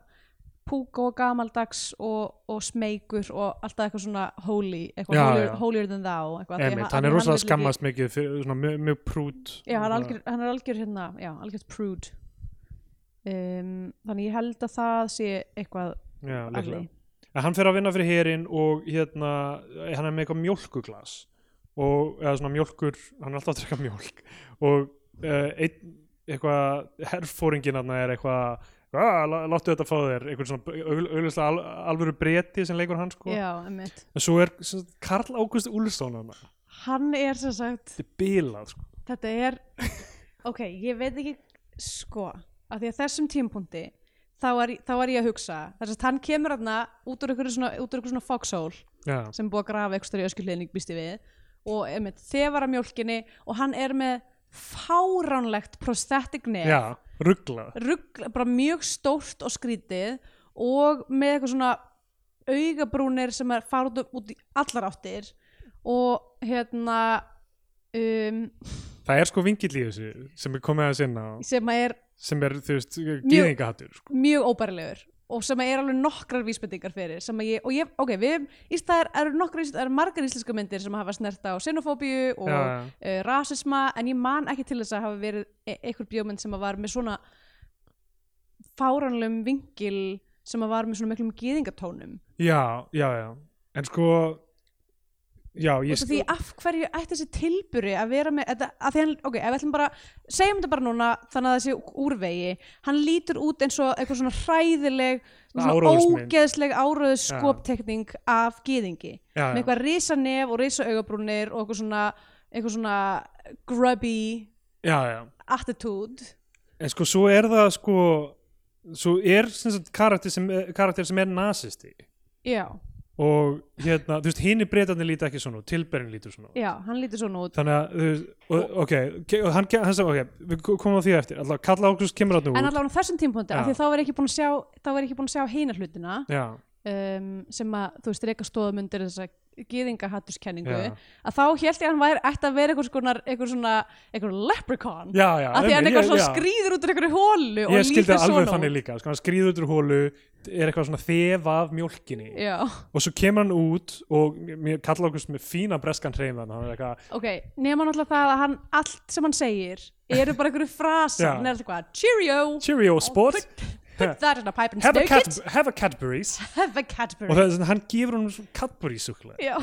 Speaker 2: púka og gamaldags og, og smeykur og alltaf eitthvað svona holy, eitthvað
Speaker 1: Já,
Speaker 2: holier,
Speaker 1: já.
Speaker 2: holier than thou eitthvað, af því að
Speaker 1: emitt, hann er rosalega
Speaker 2: vill ekki-
Speaker 1: skammast mikið fyrir svona mjög, mjög prút
Speaker 2: Já, hann er algjör, hann er algjör hérna, já, algjör prude um, Þannig ég held að það sé eitthvað
Speaker 1: já,
Speaker 2: að
Speaker 1: líklega.
Speaker 2: því.
Speaker 1: En hann fer að vinna fyrir herin og hérna, hann er með eitthvað mjólkuglas og, eða svona mjólkur hann er alltaf að drekka mjólk og uh, einn, eitthvað herfóringin hann er eitthvað "Ah, lá- láttu þetta fá þér, eitthvað svona augl- augljóslega al, alvöru breti sem leikur hann sko,
Speaker 2: Já, emmitt
Speaker 1: en svo er sem sagt, Karl Ágúst Úlfsson hann, þetta
Speaker 2: Hann er sem sagt,
Speaker 1: er bilað sko.
Speaker 2: þetta er Ok, ég veit ekki sko, af því að þessum tímpúndi þá er, þá er ég að hugsa þess að hann kemur hérna út úr einhverju svona, út úr einhverju svona foxhole
Speaker 1: Já,
Speaker 2: sem er búið að grafa eitthvað í öskjuhliðin ég býst ég við og einmitt, þefara mjólkinni og hann er með fáránlegt prosthetic nef
Speaker 1: já rugglað
Speaker 2: rugl, bara mjög stórt og skrítið og með eitthvað svona augabrúnir sem er fara út, út í allar áttir og hérna um,
Speaker 1: Það er sko vingill í þessu sem er komið aðeins inn á
Speaker 2: sem er
Speaker 1: sem er, þú veist, gýðingahattur sko.
Speaker 2: mjög óbærilegur og sem er alveg nokkrar vísbendingar fyrir sem að ég, og ég, ok, við, í staðar eru nokkrar, það eru margar íslenska myndir sem hafa snert á xenofóbíu og
Speaker 1: Já,
Speaker 2: uh,
Speaker 1: já.
Speaker 2: rasisma en ég man ekki til þess að hafa verið e einhver bjómynd sem að var með svona fáranlegum vingil sem að var með svona miklum gýðingatónum
Speaker 1: Já, já, já En sko Já, ég
Speaker 2: Út af því af hverju ætti þessi tilburi að vera með, þetta, að því hann, ok, ef við ætlum bara, segjum þetta bara núna, þannig að það sé úrvegi, hann lítur út eins og eitthvað svona hræðileg, svona
Speaker 1: Áróðursmynd.
Speaker 2: ógeðsleg áraðu skoptekning af gýðingi,
Speaker 1: já,
Speaker 2: með eitthvað risanef og risaugabrúnir og eitthvað svona, eitthvað svona grubby
Speaker 1: já, já, já.
Speaker 2: attitude.
Speaker 1: En sko, svo er það sko Svo er sem sagt, karakter, sem, eh, karakter sem er nasisti
Speaker 2: Já,
Speaker 1: Og hérna, þú veist, hinn í breytarnir líta ekki svona út, Tilberin lítur svona út
Speaker 2: já, hann lítur svona út.
Speaker 1: Þannig að, þú veist, og, ok, ke- og hann, hann sem, ok, við ko- komum á því eftir Alltaf, kalla ákvæmst kemur hann út
Speaker 2: En allavega á þessum tímpúndi, af
Speaker 1: Já.
Speaker 2: því þá er ég ekki búin að sjá, þá er ég ekki búin að sjá hina hlutina,
Speaker 1: Já,
Speaker 2: um, sem að, þú veist, reyka stóðum undir þessa gýðingahatturskenningu
Speaker 1: já,
Speaker 2: að þá held ég að hann væri ætti að vera einhvers konar einhver svona, einhver leprechaun
Speaker 1: já, já
Speaker 2: að því hann
Speaker 1: einmitt,
Speaker 2: eitthvað
Speaker 1: ég-
Speaker 2: svona
Speaker 1: já.
Speaker 2: skrýður út úr einhverju hólu og
Speaker 1: Ég skildi
Speaker 2: lítur
Speaker 1: það alveg
Speaker 2: svona
Speaker 1: þannig líka, sko, hann skrýður út úr hólu, er eitthvað svona þefa af mjólkinni
Speaker 2: Já,
Speaker 1: og svo kemur hann út og mér kalla okkur með fína breskan hreyfðan hann er eitthvað,
Speaker 2: ok, nema náttúrulega það að hann allt sem hann segir eru bara einhverju frasar,
Speaker 1: Já.
Speaker 2: hann er alltaf eitthvað cheerio,
Speaker 1: cheerio sport
Speaker 2: put that in a pipe and
Speaker 1: have a,
Speaker 2: smoke
Speaker 1: cat,
Speaker 2: it
Speaker 1: have a Cadbury's
Speaker 2: have a
Speaker 1: og
Speaker 2: Cadbury
Speaker 1: það, er svona, hann gefur hann svona Cadbury súkulega
Speaker 2: Já,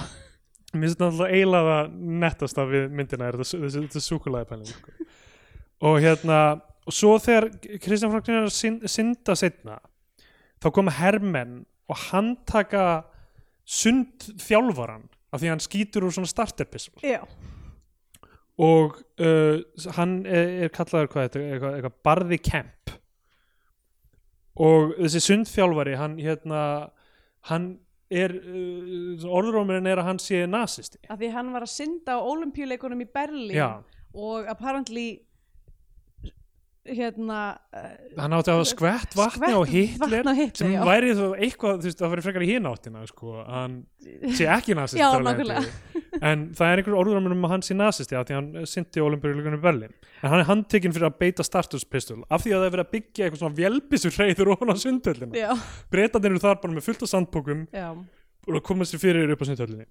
Speaker 1: mér finnst þetta eiginlega það nettasta við myndina er þetta, þessi- þetta súkulega pæling sko. og hérna og svo þegar Kristján Franknir er að syn- synda setna þá koma hermenn og handtaka sund þjálfaran af því að hann skýtur úr svona starterpissum
Speaker 2: já,
Speaker 1: og uh, hann er, er kallaður hvað þetta, eitthvað, eitthvað barði kemp og þessi sundþjálfari hann hérna hann er, uh, orðrómurinn er að hann sé nasisti
Speaker 2: að því hann var að synda á olimpíuleikunum í Berlín
Speaker 1: Já.
Speaker 2: og apparently hérna uh,
Speaker 1: hann átti að hafa skvett vatni
Speaker 2: Skvett
Speaker 1: á Hitler
Speaker 2: vatni á Hitler,
Speaker 1: sem
Speaker 2: já.
Speaker 1: væri þá eitthvað þú veist, það væri frekar í hináttina sko, að hann sé ekki nasisti
Speaker 2: Já,
Speaker 1: á leiðinni. en það er einhver orðrómur um að hann sé nasisti af því að hann synti olimpíuleikunum í Berlín en hann er handtekinn fyrir að beita startuspistol af því að það er verið að byggja eitthvað svona vélbissur reyður ofan á sundöllina
Speaker 2: já,
Speaker 1: breytandir eru þar bara með fullt af sandbókum
Speaker 2: já,
Speaker 1: og koma sér fyrir upp á sundhöllinni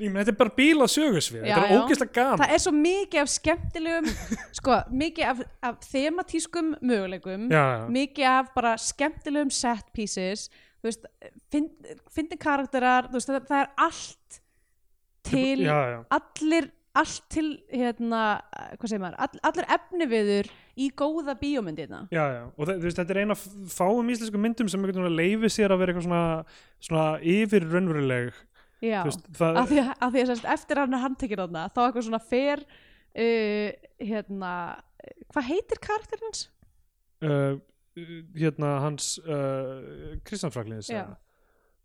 Speaker 1: ég meina þetta er bara bíla sögusvið
Speaker 2: Já,
Speaker 1: þetta er
Speaker 2: já.
Speaker 1: ógeðslega gaman
Speaker 2: það er svo mikið af skemmtilegum sko, mikið af, af thematískum möguleikum
Speaker 1: já, já,
Speaker 2: mikið af bara skemmtilegum set pieces þú veist, fynd- fyndin karakterar þú veist, það, það er allt til,
Speaker 1: já, já,
Speaker 2: allir allt til, hérna hvað segir maður, all, allir efniviður í góða bíómyndina
Speaker 1: já, já. og það, þú veist, þetta er eina af fáum íslensku myndum sem einhvern veginn leifi sér að vera eitthvað svona, svona yfir raunveruleg
Speaker 2: já,
Speaker 1: þú veist, það,
Speaker 2: af því að, að, því að sérst, eftir hann er handtekinn þarna, þá eitthvað svona fer uh, hérna hvað heitir karakterinn hans?
Speaker 1: uh, hérna hans uh, Kristján Fraklins
Speaker 2: Já.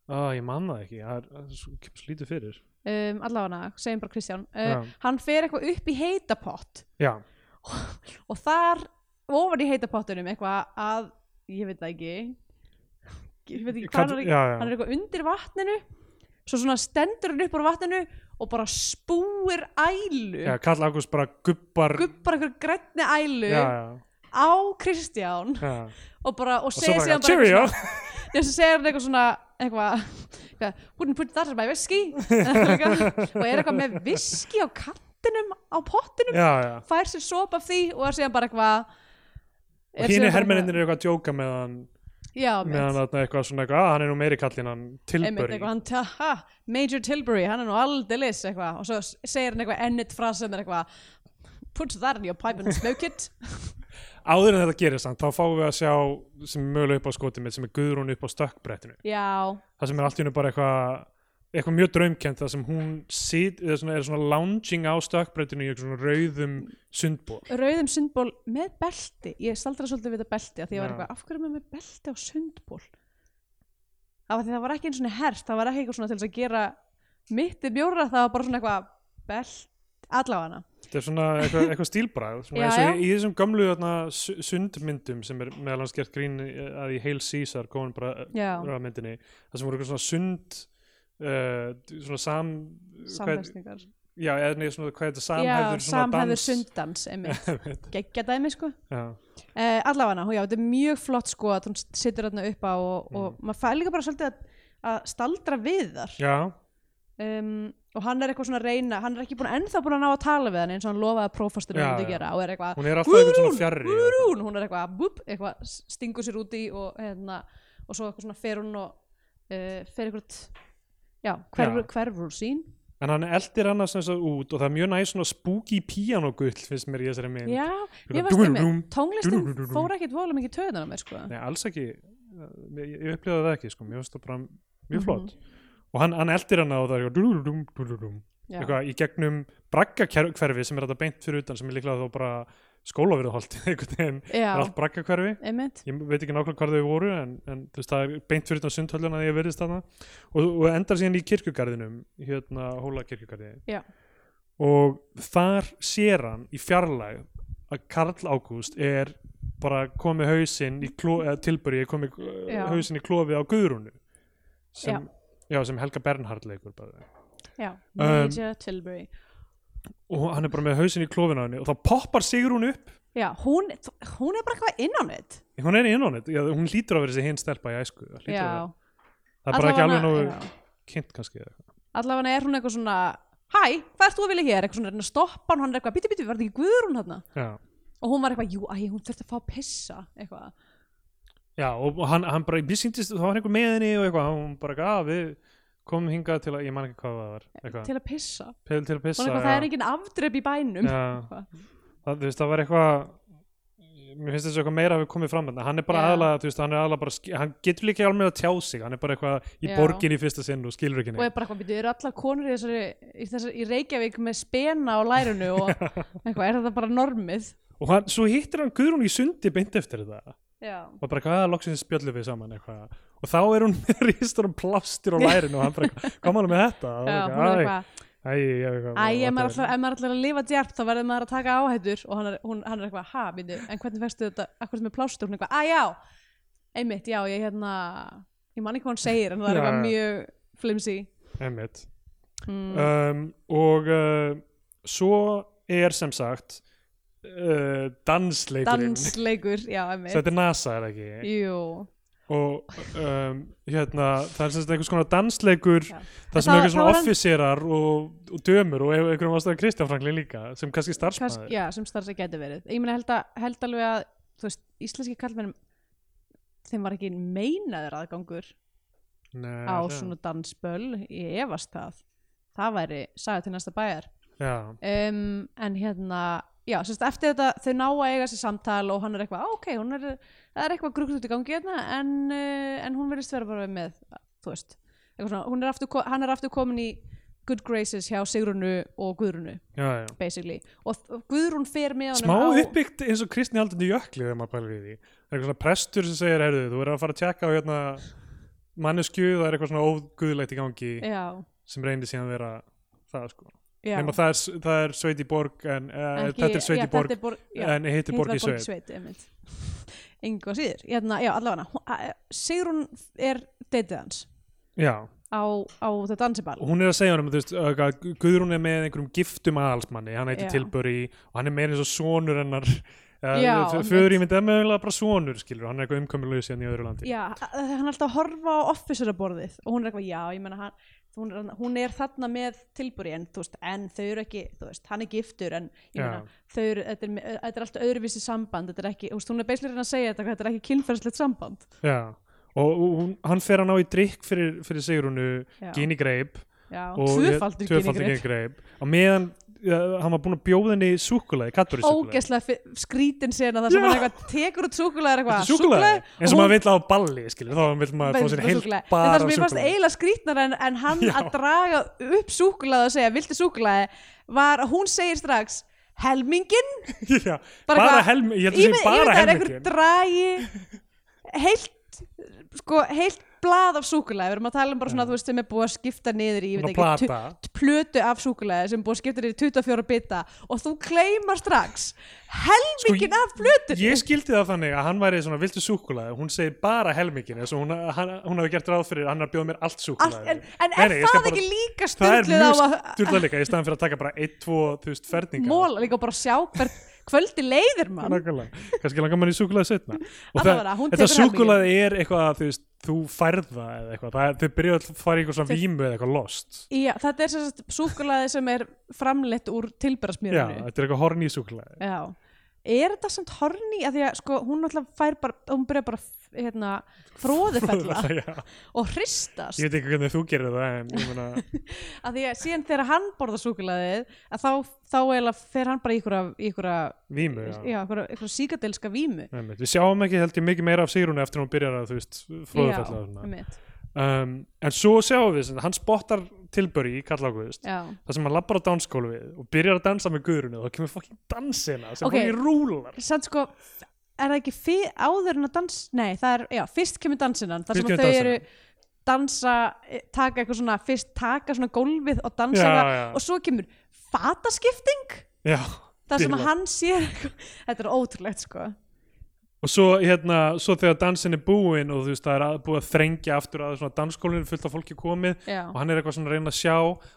Speaker 1: að ég man það ekki það er- það er svo- kemur svo lítið fyrir
Speaker 2: um, allavega, segjum bara Kristján
Speaker 1: Já.
Speaker 2: uh, hann fer eitthvað upp í heitapott
Speaker 1: já,
Speaker 2: og þar ofan í heitapottunum eitthvað að, ég veit það ekki ég veit ekki hvað
Speaker 1: Hvað-
Speaker 2: hann er
Speaker 1: já, já.
Speaker 2: hann er eitthvað undir vatninu svo svona stendur hann upp úr vatninu og bara spúir ælu
Speaker 1: já Karl Ágúst bara gubbar
Speaker 2: gubbar eitthvað grænni ælu
Speaker 1: já, já,
Speaker 2: á Kristján
Speaker 1: já.
Speaker 2: og bara,
Speaker 1: og
Speaker 2: og
Speaker 1: svo
Speaker 2: segir
Speaker 1: bara
Speaker 2: síðan bara
Speaker 1: cheerio
Speaker 2: eitthvað svona- já, svo segir hann eitthvað svona eitthvað, eitthvað, wouldn't put that in my whiskey og er eitthvað með whiskey á kantinum á pottinum
Speaker 1: já, já
Speaker 2: fær sér sop af því og er síðan bara eitthvað
Speaker 1: og hínir hermenninir eru eitthvað að djóka með hann
Speaker 2: já,
Speaker 1: með hann
Speaker 2: með
Speaker 1: eitthvað svona eitthvað að hann er nú meiri kallinn hann
Speaker 2: Einmitt,
Speaker 1: tilböri
Speaker 2: eitthvað, hann, ta- ha, Major Tilbury, hann er nú aldeilis eitthvað, og svo s- segir hann eitthvað ennit frasen eitthvað, put that in your pipe and smoke it
Speaker 1: áður en þetta gerist hann, þá fáum við að sjá sem er mögulega upp á skoti mitt, sem er Guðrún upp á stökkbrettinu
Speaker 2: já,
Speaker 1: það sem er allt í hennu bara eitthvað eitthvað mjög draumkend, það sem hún sit, eða svona, er svona lounging á stökkbrettinu í eitthvað svona rauðum sundból
Speaker 2: rauðum sundból með belti ég staldra svolítið við þetta belti af því ég var
Speaker 1: Já.
Speaker 2: eitthvað, af hverju er maður með belti á sundból af því það var ekki einu svona hert það var ekki eitthvað svona til þess að gera mitti bjóra, það var bara svona eitthvað belt, allavega
Speaker 1: þetta er svona eitthvað, eitthvað stílbræð svona
Speaker 2: Já,
Speaker 1: eins og
Speaker 2: já.
Speaker 1: í, í þessum gamlu þarna, su- sundmyndum sem er meðal hans gert grín eh, að í Hail Caesar góðan
Speaker 2: Já.
Speaker 1: bara myndinni það sem voru eitthvað svona sund uh, svona sam hvað,
Speaker 2: samfæstingar
Speaker 1: já, eða neður svona hvað þetta
Speaker 2: já,
Speaker 1: samhæður
Speaker 2: samhæður sunddans einmitt, geggja dæmi sko
Speaker 1: já,
Speaker 2: uh, allavega, já, þetta er mjög flott sko að hún situr þarna upp á og,
Speaker 1: Mm.
Speaker 2: og maður fær líka bara svolítið að, að staldra við þar
Speaker 1: já,
Speaker 2: um, og hann er eitthvað svona að reyna hann er ekki búin ennþá búin að ná að tala við hann eins og hann lofaði að prófastur
Speaker 1: Já,
Speaker 2: hann myndi
Speaker 1: já.
Speaker 2: gera og er eitthvað
Speaker 1: hún er alltaf eitthvað svona
Speaker 2: Guðrún,
Speaker 1: fjarrri og-
Speaker 2: Guðrún, hún er eitthvað, búp, eitthvað s- stingur sér úti og hérna og svo eitthvað svona fer hún og uh, fer eitthvað já, hverfur,
Speaker 1: Já.
Speaker 2: hverfur sín
Speaker 1: en hann eldir annars þess að út og það er mjög næst svona spooky pianogull finnst mér í þessari mynd
Speaker 2: já,
Speaker 1: Eitthvað
Speaker 2: ég veist það með
Speaker 1: dúrúrúm,
Speaker 2: tónlistin
Speaker 1: dúrúrúrúrúm.
Speaker 2: fór ekkit vola mikið töðan á mér sko
Speaker 1: Nei, alls ekki, ég, ég- ég upplýða það ekki sko, mér finnst það bara mjög
Speaker 2: Mhm.
Speaker 1: flott og hann, hann eldir hana og það er eitthvað dúlúlúm, dúlúlúm,
Speaker 2: Já.
Speaker 1: eitthvað í gegnum braggakverfi sem er þetta beint fyrir utan sem er líklega þá bara skólaverðuholt einhvern veginn, það
Speaker 2: já,
Speaker 1: er allt braggakverfi
Speaker 2: einmitt
Speaker 1: ég veit ekki nákvæmlega hvar þau voru en, en þú veist, það er beint fyrir utan sundhölluna þegar ég verðist þarna og, og endar síðan í kirkjugarðinum hérna hóla kirkjugarði
Speaker 2: Já.
Speaker 1: og þar sér hann í fjarlæg að Karl Ágúst er bara komið hausinn í klo, eða tilbyrji komið
Speaker 2: Já.
Speaker 1: uh, hausinn í klofið á Guðrúnu sem, já. sem Helga Bernhard leikur bara
Speaker 2: já,
Speaker 1: Um,
Speaker 2: Major Tilbury
Speaker 1: og hann er bara með hausinn í klofin á henni og þá poppar Sigrún upp
Speaker 2: já, hún, hún er bara eitthvað inn á neitt
Speaker 1: hún er inn á henni, já, hún lítur að vera þessi hinn stelpa í æsku það, hlýtur að vera.
Speaker 2: já,
Speaker 1: það er bara ekki
Speaker 2: Allavega-
Speaker 1: alveg nógu
Speaker 2: já.
Speaker 1: kynnt kannski eða eitthvað
Speaker 2: allavega er hún eitthvað svona hæ, hvað ert þú að vilja hér, eitthvað svona er hann að stoppa hann, hann er eitthvað, bíti, bíti, var þetta ekki Guðrún þarna
Speaker 1: Já,
Speaker 2: og hún var eitthvað, jú, æ, hún þurfti að fá að pissa eitthvað,
Speaker 1: já og hann, hann bara, mér sýndist, það var einhver með henni og eitthvað, hún bara, að við komum hingað til að, ég man ekki hvað það var, eitthvað,
Speaker 2: Eh, til að pissa hún
Speaker 1: til, til að
Speaker 2: er
Speaker 1: pissa.
Speaker 2: eitthvað, það er engin afdrepp í bænum
Speaker 1: Já,
Speaker 2: Eitthvað.
Speaker 1: það, þú veist, það var eitthvað, mér finnst þessu eitthvað meira að við komið fram þarna, hann er bara
Speaker 2: Já.
Speaker 1: aðalega, þú veist, hann er aðalega bara, ski- hann getur líka alveg að tjá sig, hann er bara eitthvað í
Speaker 2: Já.
Speaker 1: borginni í fyrsta sinn og skilur ekki
Speaker 2: og
Speaker 1: neitt.
Speaker 2: er bara eitthvað, bíti, eru allar konur í þessari, í þessari í Reykjavík með spena á lærinu og eitthvað, er þetta bara normið
Speaker 1: Og hann, svo hittir hann Guðrún í sundi beint eftir þetta
Speaker 2: já,
Speaker 1: og bara eitthvað, að loksins spjöllum við saman eitthvað og þá er hún með rístur um plástir og lærin og hann bara, eitthvað, hvað málum með þetta? Og
Speaker 2: já,
Speaker 1: eitthvað,
Speaker 2: hún er
Speaker 1: "Æ,
Speaker 2: eitthvað
Speaker 1: Æ, ég, ég, ég,
Speaker 2: Æ, ef maður, alltaf, ef maður alltaf er að lifa djart þá verður maður að taka áhættur og hann er, hún, hann er eitthvað, ha, býtu, en hvernig fæstu þetta akkur með plástur, hún er eitthvað, að já einmitt, já, ég hérna ég man ekki hvað hún segir, en það er
Speaker 1: Já,
Speaker 2: eitthvað
Speaker 1: já.
Speaker 2: mjög flimsy
Speaker 1: Einmitt.
Speaker 2: mm,
Speaker 1: Um, og uh, svo er sem sagt uh, dansleikurinn
Speaker 2: dansleikur, já,
Speaker 1: Svo
Speaker 2: einmitt
Speaker 1: þetta er NASA er það ekki
Speaker 2: Jú,
Speaker 1: og um, hérna, það er sem sagt einhvers konar dansleikur
Speaker 2: Já.
Speaker 1: það sem einhvers
Speaker 2: Það- það var
Speaker 1: svona
Speaker 2: hann-
Speaker 1: offisírar og, og dömur og ef- einhverjum ástæðan Kristján Franklin líka sem kannski
Speaker 2: hvers,
Speaker 1: starfsmæður
Speaker 2: já, sem starfs að geti verið ég meina held, að, held alveg að, þú veist, íslenski kallmennum þeim var ekki meinaður aðgangur
Speaker 1: Nei,
Speaker 2: á
Speaker 1: það-
Speaker 2: svona dansböll, ég efast það það væri saga til næsta bæjar
Speaker 1: já,
Speaker 2: um, en hérna já, sérst, eftir þetta þau ná að eiga sér samtal og hann er eitthvað, "Á, ok, hún er það er eitthvað gruggt út í gangi hérna en, uh, en hún verðist vera bara með þú veist, eitthvað svona, hún er aftur, ko- hann er aftur komin í Good Graces hjá Sigrunu og Guðrunu,
Speaker 1: já, já
Speaker 2: basically og þ- Guðrún fer með
Speaker 1: smá
Speaker 2: honum á
Speaker 1: uppbyggt eins og Kristni Aldundi Jökli þegar maður pælir í því það er eitthvað svona prestur sem segir herðu, þú er að fara að tjekka á hérna manneskju, það er eitthvað svona óguðlegt í gangi
Speaker 2: já,
Speaker 1: sem reynir síðan að vera stað sko.
Speaker 2: já.
Speaker 1: nema það er, það er sveit í borg en, eh,
Speaker 2: Ekki-
Speaker 1: þetta er sveit
Speaker 2: já,
Speaker 1: í borg
Speaker 2: þetta er borg já,
Speaker 1: en hitt er borg í sveit
Speaker 2: sveit einmitt. engu að síður Jæna, já, allavega, hún- a- Sigrún er deytið hans
Speaker 1: já,
Speaker 2: á, á þetta dansiball
Speaker 1: hún er að segja honum þú veist, uh, að Guðrún er með einhverjum giftum aðalsmanni, hann heitir
Speaker 2: Já.
Speaker 1: Tilbury og hann er meira eins og sonur hennar
Speaker 2: Já,
Speaker 1: föður í myndið er mögulega bara sonur skilur, hann er eitthvað umkomulegur síðan í öðru landi
Speaker 2: já, a- a- hann er alltaf að horfa á officeraborðið og hún er eitthvað, já, ég meina hann hún er, hún er þarna með tilbúri en, þú veist, en þau eru ekki, þú veist, hann er giftur en ég meina, þau eru, þetta er, þetta er alltaf öðruvísi samband, þetta er ekki, þú veist, hún er beislega að segja þetta, hvað þetta er ekki kynferðslegt samband
Speaker 1: Já, og hún, hann fer að ná í drikk fyrir, fyrir Sigrunu
Speaker 2: Já.
Speaker 1: gínigreip
Speaker 2: já,
Speaker 1: og
Speaker 2: tvöfaldur
Speaker 1: tvöfaldur
Speaker 2: kynningur
Speaker 1: gínigreip og meðan uh, hann var búin að bjóða henni súkkulaði, kattbúri súkkulaði
Speaker 2: ógeðslega fi- skrítin sena það
Speaker 1: Já.
Speaker 2: sem hann eitthvað tekur út súkulega eitthvað súkkulaði?
Speaker 1: eins og
Speaker 2: hún-
Speaker 1: maður vill á balli skilur, þá vill maður fá sér
Speaker 2: Bara
Speaker 1: heilt
Speaker 2: súkkulaði. En það
Speaker 1: bara
Speaker 2: sem ég fannst
Speaker 1: súkkulaði
Speaker 2: eiginlega skrýtnar en, en hann
Speaker 1: Já.
Speaker 2: að draga upp súkulaði og segja viltu súkulaði var að hún segir strax helmingin
Speaker 1: Já,
Speaker 2: Bara
Speaker 1: bara
Speaker 2: hvað-
Speaker 1: helmi, ég held að
Speaker 2: Ímynd-
Speaker 1: sé bara
Speaker 2: ímyndaðu þér einhver
Speaker 1: helmingin
Speaker 2: dragi heilt sko heilt blað af súkulaði við erum að tala um bara svona þú veist sem er búið að skipta niður í ég veit
Speaker 1: Svona
Speaker 2: ekki, tu-
Speaker 1: plata.
Speaker 2: plötu af súkulaði sem er búið að skipta niður í 24 bita og þú kleimar strax helmingin af
Speaker 1: Sko,
Speaker 2: plötu
Speaker 1: ég skildi það þannig að hann væri svona viltu súkkulaði, hún segir bara helmingin eins og hún, hann, hún hafi gert ráð fyrir hann að bjóða mér allt
Speaker 2: Allt,
Speaker 1: súkkulaði
Speaker 2: en, en
Speaker 1: Nei,
Speaker 2: er
Speaker 1: nei, ég skal
Speaker 2: það
Speaker 1: bara-
Speaker 2: ekki líka
Speaker 1: það er
Speaker 2: stundluð á
Speaker 1: mjög
Speaker 2: að
Speaker 1: styrla líka í staðan fyrir að taka bara 1-2 þúsund ferningar
Speaker 2: móla líka og bara sjá hvert kvöldi leiðir mann
Speaker 1: Nákvæmlega, kannski langar mann í súkulaði setna og
Speaker 2: Alla
Speaker 1: það,
Speaker 2: vega, hún
Speaker 1: þetta
Speaker 2: tekur
Speaker 1: súkulaði er eitthvað að þú veist, þú færða eða eitthvað, það, þau byrja að fara í eitthvað svona vímu eða eitthvað lost
Speaker 2: Já, þetta er sérst súkulaði sem er framleitt úr
Speaker 1: já,
Speaker 2: tilberasmjörinu
Speaker 1: þetta er eitthvað horni í súkulaði
Speaker 2: Já. Er þetta samt horni að því að sko, hún náttúrulega fær bara, hún byrja bara hérna, fróðufella
Speaker 1: ég
Speaker 2: og hristast
Speaker 1: veit ekki hvernig þú gerir það en ég meina,
Speaker 2: að því að síðan þegar hann borðar súkulaðið að þá, þá eiginlega fer hann bara í einhverja, í einhverja,
Speaker 1: vímu
Speaker 2: já.
Speaker 1: já.
Speaker 2: einhverja, einhverja síkadelska vímu
Speaker 1: Einmitt. við sjáum ekki held ég mikið meira af Sigrúnu eftir hún byrjar að þú veist fróðufella og svona.
Speaker 2: einmitt.
Speaker 1: um, en svo sjáum við, sem- hann spottar tilböri í Karl Ágúðust
Speaker 2: Já.
Speaker 1: það sem hann lappar á danskólu við og byrjar að dansa með guðrunu þá kemur fokkin dansina sem
Speaker 2: Ok.
Speaker 1: okay. fokkin rúlar
Speaker 2: samt sko er það ekki fyr, áður en að dans nei, það er, já, fyrst kemur dansinan þar
Speaker 1: Fyrst
Speaker 2: sem að
Speaker 1: kemur
Speaker 2: þau eru
Speaker 1: dansinn.
Speaker 2: dansa, eh, taka eitthvað svona fyrst taka svona gólfið og dansa
Speaker 1: Já,
Speaker 2: eitthvað,
Speaker 1: já.
Speaker 2: og svo kemur fataskipting
Speaker 1: já,
Speaker 2: þar sem
Speaker 1: Dýrlega.
Speaker 2: að hann sér eitthvað þetta er ótrúlegt sko
Speaker 1: og svo hérna, svo þegar dansin er búin og þú veist það er að, búið að þrengja aftur að svona danskólinu fullt af fólki komið
Speaker 2: já,
Speaker 1: og hann er eitthvað svona að reyna að sjá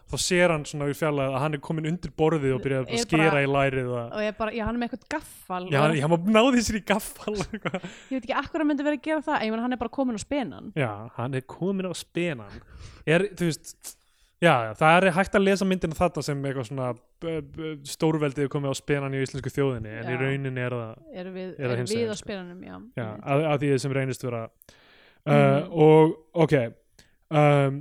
Speaker 1: þá sér hann svona í fjarlæð að hann er komin undir borðið og byrjar að
Speaker 2: Er
Speaker 1: skera
Speaker 2: bara-
Speaker 1: í lærið að,
Speaker 2: og ég bara, já, hann er með eitthvað gaffal
Speaker 1: já,
Speaker 2: og,
Speaker 1: hann, hann náði sér í gaffal eitthvað.
Speaker 2: ég veit ekki akkur að myndi verið að gera það en ég meina hann er bara komin á spenan
Speaker 1: já, hann er komin á spenan er, þú veist já, já, það er hægt að lesa myndina þetta sem eitthvað svona b- b- stórveldið er komið á spenan í íslensku þjóðinni en
Speaker 2: Já.
Speaker 1: í rauninni er það
Speaker 2: erum við,
Speaker 1: Er það
Speaker 2: erum
Speaker 1: hinsegin,
Speaker 2: við á
Speaker 1: sko.
Speaker 2: spenanum já,
Speaker 1: já,
Speaker 2: einmitt.
Speaker 1: að, að því sem reynist vera uh,
Speaker 2: Mhm.
Speaker 1: og ok um,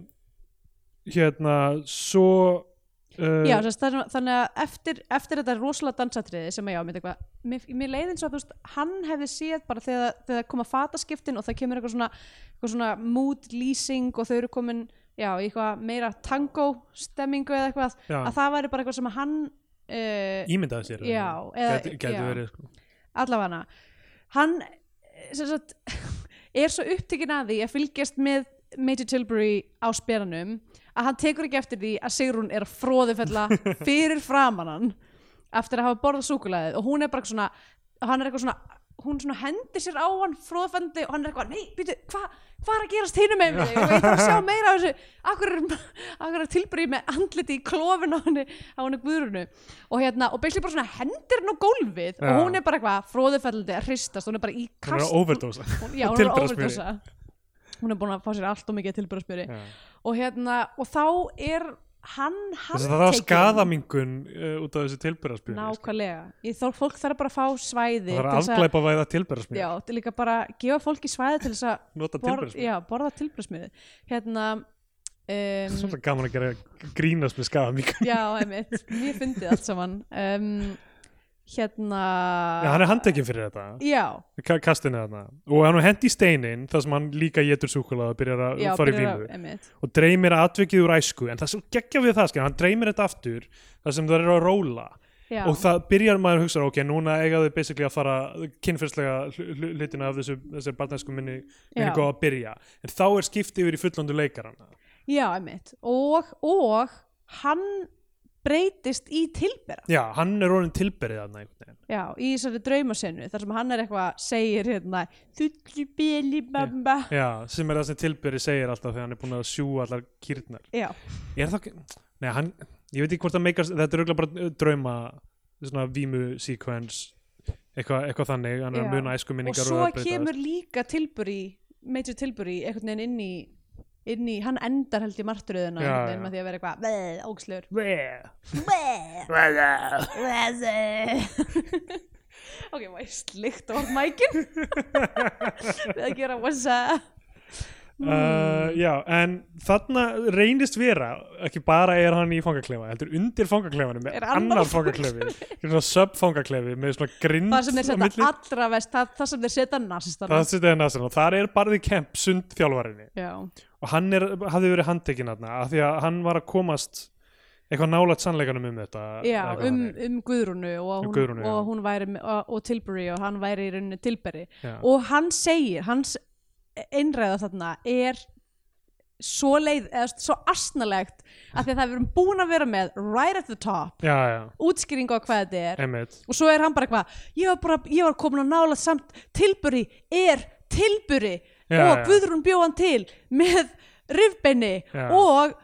Speaker 1: hérna svo uh,
Speaker 2: Já, sérst, þannig, þannig að eftir, eftir þetta rosalega dansatriði sem að já, mér, eitthvað, mér, mér leið eins og að þú veist, hann hefði séð bara þegar, þegar koma fataskiptin og það kemur eitthvað svona, eitthvað svona mood leasing og þau eru komin já, í eitthvað meira tango stemmingu eða eitthvað,
Speaker 1: já,
Speaker 2: að það væri bara eitthvað sem að hann uh,
Speaker 1: ímyndaði sér
Speaker 2: já, eða
Speaker 1: Gæti, gæti
Speaker 2: já,
Speaker 1: verið sko.
Speaker 2: allavega hann eh, sem sagt, er svo upptekinn að því að fylgjast með Major Tilbury á speranum að hann tekur ekki eftir því að Sigrún er að fróðufella fyrir framan hann eftir að hafa borðað súkulaðið og hún er bara svona hann er eitthvað svona hún svona hendir sér á hann fróðfendi og hann er eitthvað, nei, býtu, hvað hva er að gerast hinu með mig, og ég þarf að sjá meira af þessu, akkur er, akkur er tilbyrðið með andliti í klófin á henni á henni guðrunu, og hérna og beislega bara svona hendir hann á gólfið
Speaker 1: Já.
Speaker 2: og hún er bara eitthvað fróðufellandi að hristast hún er bara í
Speaker 1: hann er
Speaker 2: kast
Speaker 1: að overdósa
Speaker 2: hún, já, hún er að
Speaker 1: Tilburðarsmjöri.
Speaker 2: overdosa hún er búin að fá sér allt og mikið tilbyrðarsmjöri
Speaker 1: Já.
Speaker 2: og hérna, og þá er hann
Speaker 1: þess að það þarf
Speaker 2: handtekinn-
Speaker 1: skadamingun uh, út af þessu tilbyrðarspjöri
Speaker 2: nákvæmlega, ég þó fólk þarf bara að fá svæði
Speaker 1: það þarf
Speaker 2: til
Speaker 1: að
Speaker 2: þess
Speaker 1: afglæpa væða tilbyrðarspjöri
Speaker 2: Já, til líka bara gefa fólki svæði til þess að
Speaker 1: nota
Speaker 2: bor,
Speaker 1: tilbyrðarspjöri
Speaker 2: já, borða tilbröðsmiði hérna um,
Speaker 1: Svolítið gaman að gera grínast með skadamingun
Speaker 2: já, einmitt, mér fyndið allt saman um, hérna
Speaker 1: Já, hann er handtekinn fyrir þetta,
Speaker 2: já,
Speaker 1: ka- kastinu þarna og hann hendi í steinin, þar sem hann líka getur súkulega og byrjar að
Speaker 2: já,
Speaker 1: fara í
Speaker 2: byrjar að-
Speaker 1: vímu
Speaker 2: einmitt,
Speaker 1: og dreymir atvikið úr æsku en það sem geggja við það, skil, hann dreymir þetta aftur þar sem það eru að róla
Speaker 2: já,
Speaker 1: og það byrjar maður að hugsa, ok, núna eiga þau basically að fara kynfyrslega hlutina af þessu, þessu barnæsku minni, minni
Speaker 2: Já.
Speaker 1: góð að byrja en þá er skipt yfir í fullondu leikarana
Speaker 2: já, einmitt og, og hann breytist í tilbera
Speaker 1: já, hann er orðin tilberið þarna einhvern veginn
Speaker 2: Já, í þessari draumasennu þar sem hann er eitthvað, segir hérna Þullubili mamma
Speaker 1: Já, sem er það sem Tilberi segir alltaf þegar hann er búin að sjú allar kýrnar
Speaker 2: Já,
Speaker 1: Er það, nei, hann, ég veit ekki hvort það meikast, þetta er auðvitað bara uh, drauma svona vímu sequence eitthvað, eitthvað þannig, hann er
Speaker 2: Já.
Speaker 1: að muna æsku
Speaker 2: og
Speaker 1: minningar
Speaker 2: svo
Speaker 1: að breyta
Speaker 2: kemur líka tilburi Major tilburi einhvern veginn inn í inn í, hann endar held í martröðuna
Speaker 1: Já,
Speaker 2: einhvern veginn
Speaker 1: já.
Speaker 2: með því að vera eitthvað veð, ógslur
Speaker 1: þessu.
Speaker 2: veð,
Speaker 1: Bleh.
Speaker 2: veð ok, maður slikt á mækin við að gera what's
Speaker 1: Uh,
Speaker 2: Mm.
Speaker 1: já, en þarna reynist vera, ekki bara er hann í fangaklefa, heldur undir fangaklefanum
Speaker 2: Er
Speaker 1: er
Speaker 2: annar
Speaker 1: annar fangaklefi, svona subfangaklefi með svona grind
Speaker 2: það sem þeir
Speaker 1: á
Speaker 2: setja allra vest það, það sem þeir setja nasistana
Speaker 1: það sem þetta er næstan og þar er barði Kemp sund þjálfarinni
Speaker 2: já,
Speaker 1: og hann er, hafði verið handtekinn þarna af því að hann var að komast eitthvað nálægt sannleikanum um þetta
Speaker 2: já
Speaker 1: eitthvað
Speaker 2: um,
Speaker 1: þannig.
Speaker 2: um Guðrúnu og,
Speaker 1: Um
Speaker 2: að hún,
Speaker 1: Guðrúnu, já.
Speaker 2: og, hún væri, með- og, og Tilbury og hann væri í rauninni Tilbury
Speaker 1: Já.
Speaker 2: og hann segir, hans einræða þarna er svo leið, eða svo astnalegt af því að það við erum búin að vera með right at the top,
Speaker 1: já, já,
Speaker 2: útskýringu á hvað þetta er
Speaker 1: einmitt
Speaker 2: og svo er hann bara eitthvað ég var, bara, ég var komin að nála samt Tilbury er Tilbury
Speaker 1: Já,
Speaker 2: og
Speaker 1: já.
Speaker 2: Guðrún bjó hann til með rifbeini
Speaker 1: Já.
Speaker 2: og,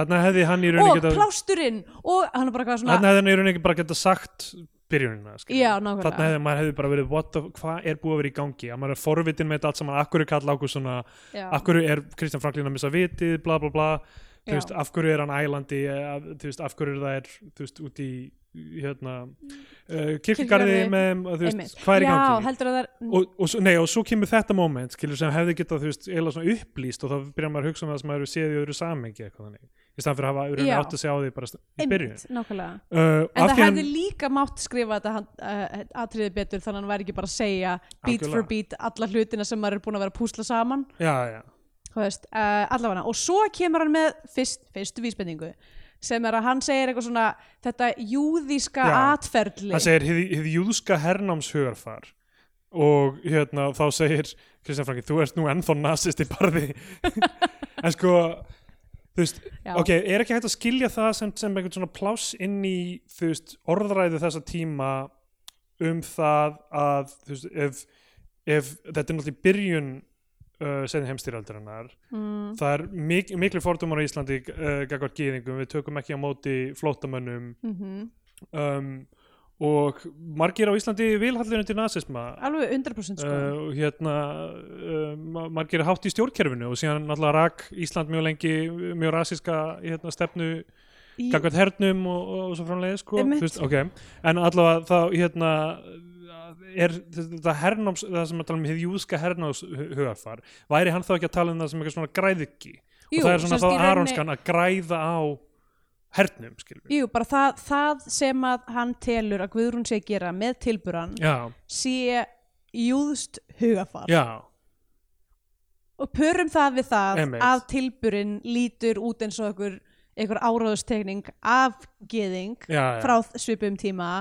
Speaker 1: þarna hefði hann í
Speaker 2: og
Speaker 1: rauninni geta
Speaker 2: plásturinn og hann er bara eitthvað svona
Speaker 1: þarna hefði hann í rauninni ekki bara geta sagt byrjunina skilur.
Speaker 2: Já, nákvæmlega.
Speaker 1: þarna hefði maður hefði bara verið what the, hvað er búið að vera í gangi að maður er forvitin með þetta allt saman af hverju kall ákvæð svona
Speaker 2: Já.
Speaker 1: af hverju er Kristján Franklin að missa vitið bla bla bla
Speaker 2: Já.
Speaker 1: Þú veist, af hverju er hann ælandi eh, af, þú veist, af hverju það er þú veist, út í hérna, uh, kirkigarði
Speaker 2: Mm. Kirkjugarði.
Speaker 1: með, þú veist,
Speaker 2: Einmitt.
Speaker 1: hvað er í gangi
Speaker 2: Já, heldur að það er
Speaker 1: og, og, svo- nei, og svo kemur þetta moment skilur, sem hefði getað þú veist, eiginlega svona upplýst og þá byrjar maður að hugsa um það sem maður hefur séð í öðru samengi eitthvað þannig, í staðan fyrir að hafa öðru
Speaker 2: Já.
Speaker 1: átt að segja á því bara st- í byrjun uh,
Speaker 2: einmitt, nákvæmlega En
Speaker 1: af
Speaker 2: það
Speaker 1: því hann-
Speaker 2: hefði líka mátt skrifa þetta hann- eh, atriði betur þannig að hann væri ekki bara að segja beat
Speaker 1: Algjörlega.
Speaker 2: for beat alla hlutina sem maður er búin að vera að púsla saman
Speaker 1: já, já,
Speaker 2: þú veist, uh, allavega og svo kemur hann með fyrst, fyrstu vísbendingu sem er að hann segir eitthvað svona þetta júðíska
Speaker 1: Já.
Speaker 2: atferli
Speaker 1: hann segir hið, hið júðska hernámshugurfar og hérna þá segir Kristján Franki, þú ert nú ennþá nasist í barði en sko þú veist,
Speaker 2: Já.
Speaker 1: ok, er ekki hægt að skilja það sem, sem einhvern svona pláss inn í þú veist, orðræðu þessa tíma um það að þú veist, ef, ef þetta er náttúrulega í byrjun uh, segni heimstýraldarinnar
Speaker 2: mm,
Speaker 1: það er mik miklu fordumar á Íslandi uh, gagvart gýðingum, við tökum ekki á móti flóttamönnum
Speaker 2: mm
Speaker 1: um, og margir á Íslandi vilhallinu til nasisma
Speaker 2: alveg 100% sko
Speaker 1: uh, og hérna uh, ma- margir er hátt í stjórnkerfinu og síðan náttúrulega rak Ísland mjög lengi mjög rasíska hérna, stefnu
Speaker 2: Í,
Speaker 1: gagvært hernum og, og, og svo framlega sko,
Speaker 2: Einmitt.
Speaker 1: þú veist, okay. en allavega þá hérna er þetta hernáms, það sem að tala um hið júðska hernámshugafar væri hann þá ekki að tala um það sem eitthvað svona græðiki
Speaker 2: Jú,
Speaker 1: og það er svona
Speaker 2: sem
Speaker 1: þá
Speaker 2: sagt í rauninni-
Speaker 1: aronskan að græða á hernum skilur við
Speaker 2: Jú, bara það, það sem að hann telur að Guðrún sé að gera með tilburan
Speaker 1: já,
Speaker 2: sé júðst hugafar
Speaker 1: já,
Speaker 2: og pörum það við það
Speaker 1: Einmitt.
Speaker 2: að tilburinn lítur út eins og einhver, einhver áráðustekning af geðing
Speaker 1: já, já.
Speaker 2: frá svipum tíma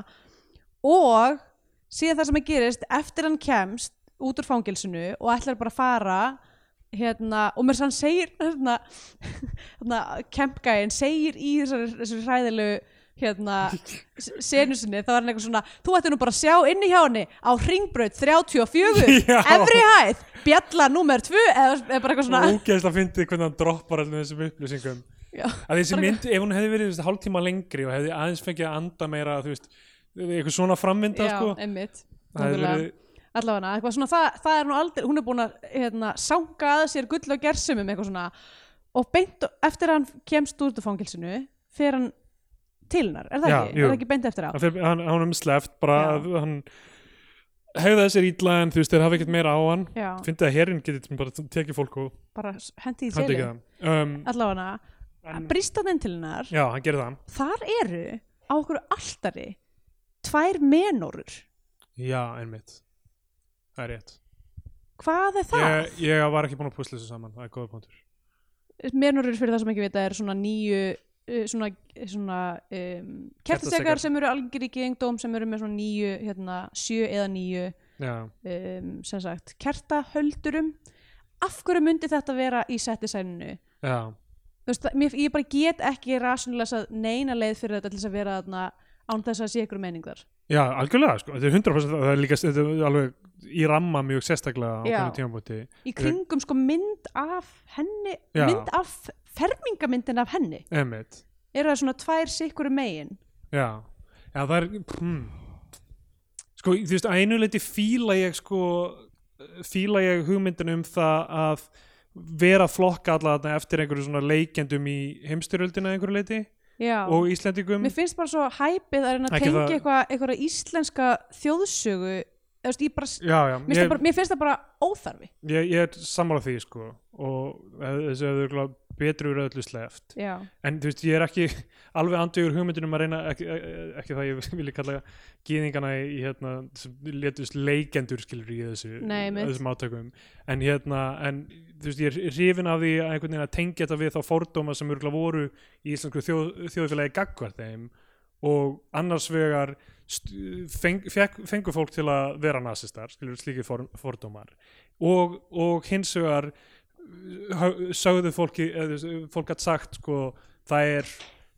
Speaker 2: og síðan það sem að gerist eftir hann kemst út úr fangilsinu og ætlar bara að fara hérna, og mér sann segir hérna, hérna, kempgæin segir í þessari, þessari hræðilegu hérna, senusinni þá var hann eitthvað svona, þú ætti nú bara að sjá inni hjá henni á ringbraut 34
Speaker 1: Já.
Speaker 2: efri hæð, bjalla númer 2 eða, eða bara eitthvað svona
Speaker 1: ógeðslega fyndið hvernig hann droppar allir þessum upplýsingum
Speaker 2: Já.
Speaker 1: að þessi mynd, ef hún hefði verið þú veist, hálftíma lengri og hefði aðeins fengið að anda meira þú veist, eitthvað svona framvinda
Speaker 2: Já,
Speaker 1: sko,
Speaker 2: einmitt
Speaker 1: það hefði
Speaker 2: nákvæmlega.
Speaker 1: verið
Speaker 2: allavega, eitthvað svona, það, það er nú aldrei hún er búin að hérna, sanga að sér gull og gersumum eitthvað svona og beint, eftir að hann kemst úr úr fangilsinu fer hann til hennar er það
Speaker 1: Já,
Speaker 2: ekki?
Speaker 1: jú.
Speaker 2: Er það ekki beint eftir á?
Speaker 1: hann, fyrir, hann, hann um sleft bara
Speaker 2: Já.
Speaker 1: að hann hegðaði sér ítla en þú veist þeir hafa ekkert meira á hann
Speaker 2: Já,
Speaker 1: fyndið að herinn geti bara tekið fólk og
Speaker 2: bara s- hendi í
Speaker 1: hann
Speaker 2: seli
Speaker 1: tekið það um,
Speaker 2: allavega,
Speaker 1: en,
Speaker 2: brýst hann inn til hennar
Speaker 1: já, hann gerir það
Speaker 2: þar eru á okkur altari tvær menorur
Speaker 1: já, einmitt, það er rétt
Speaker 2: hvað er það?
Speaker 1: ég, ég var ekki búin að púsla þessu saman, það er góða punktur
Speaker 2: menorur fyrir það sem ekki vita er svona nýju uh, svona, svona um, kertisekar
Speaker 1: Kertasekar.
Speaker 2: sem eru algjör í geðingdóm sem eru með svona nýju, hérna, sjö eða nýju
Speaker 1: já,
Speaker 2: um, sem sagt kertahöldurum af hverju myndi þetta vera í settisæninu
Speaker 1: já,
Speaker 2: þú veist, það- mér, ég bara get ekki rasunlega neina leið fyrir þetta til þess að vera þarna án þess að sé ykkur meining þar
Speaker 1: Já, algjörlega, sko, þetta er 100% það er líka, þetta er alveg í ramma mjög sérstaklega á
Speaker 2: Já.
Speaker 1: hvernig tímabúti
Speaker 2: í kringum sko mynd af henni
Speaker 1: Já.
Speaker 2: mynd af fermingamyndin af henni
Speaker 1: emitt,
Speaker 2: eru það svona tvær sikkur um megin
Speaker 1: já Já, það er hmm. Sko, þú veist, að einu leiti fíla ég sko, fíla ég hugmyndin um það að vera að flokka alla þarna eftir einhverju svona leikendum í heimstyrjöldina einhverju leiti
Speaker 2: Já.
Speaker 1: og Íslendingum
Speaker 2: mér finnst bara svo hæpið að reyna að
Speaker 1: Ekki
Speaker 2: tengja
Speaker 1: það-
Speaker 2: eitthvað, eitthvað íslenska þjóðsögu eða, þú veist, ég bara,
Speaker 1: Já, já,
Speaker 2: mér, ég... bara, mér finnst það bara óþarfi
Speaker 1: ég, ég er sammála því sko og hef- þessu hefur örugglega betri úr öllu sleft
Speaker 2: Já.
Speaker 1: en þú veist ég er ekki alveg andugur hugmyndunum að reyna ekki, e, ekki það ég vilja kalla gýðingana í hérna sem létust leikendur skilur í þessu
Speaker 2: Nei, mitt.
Speaker 1: þessum átökum en hérna en þú veist ég er hrifin af því að einhvern veginn að tengja þetta við þá fordóma sem örugglega voru í íslensku þjóð, þjóðfélagi gagvart þeim og annars vegar st- feng, fekk, fengu fólk til að vera nasistar, skilur slíki for, fordómar og, og hins vegar hö- sögðu fólki eða, þú veist, fólk að sagt sko, það er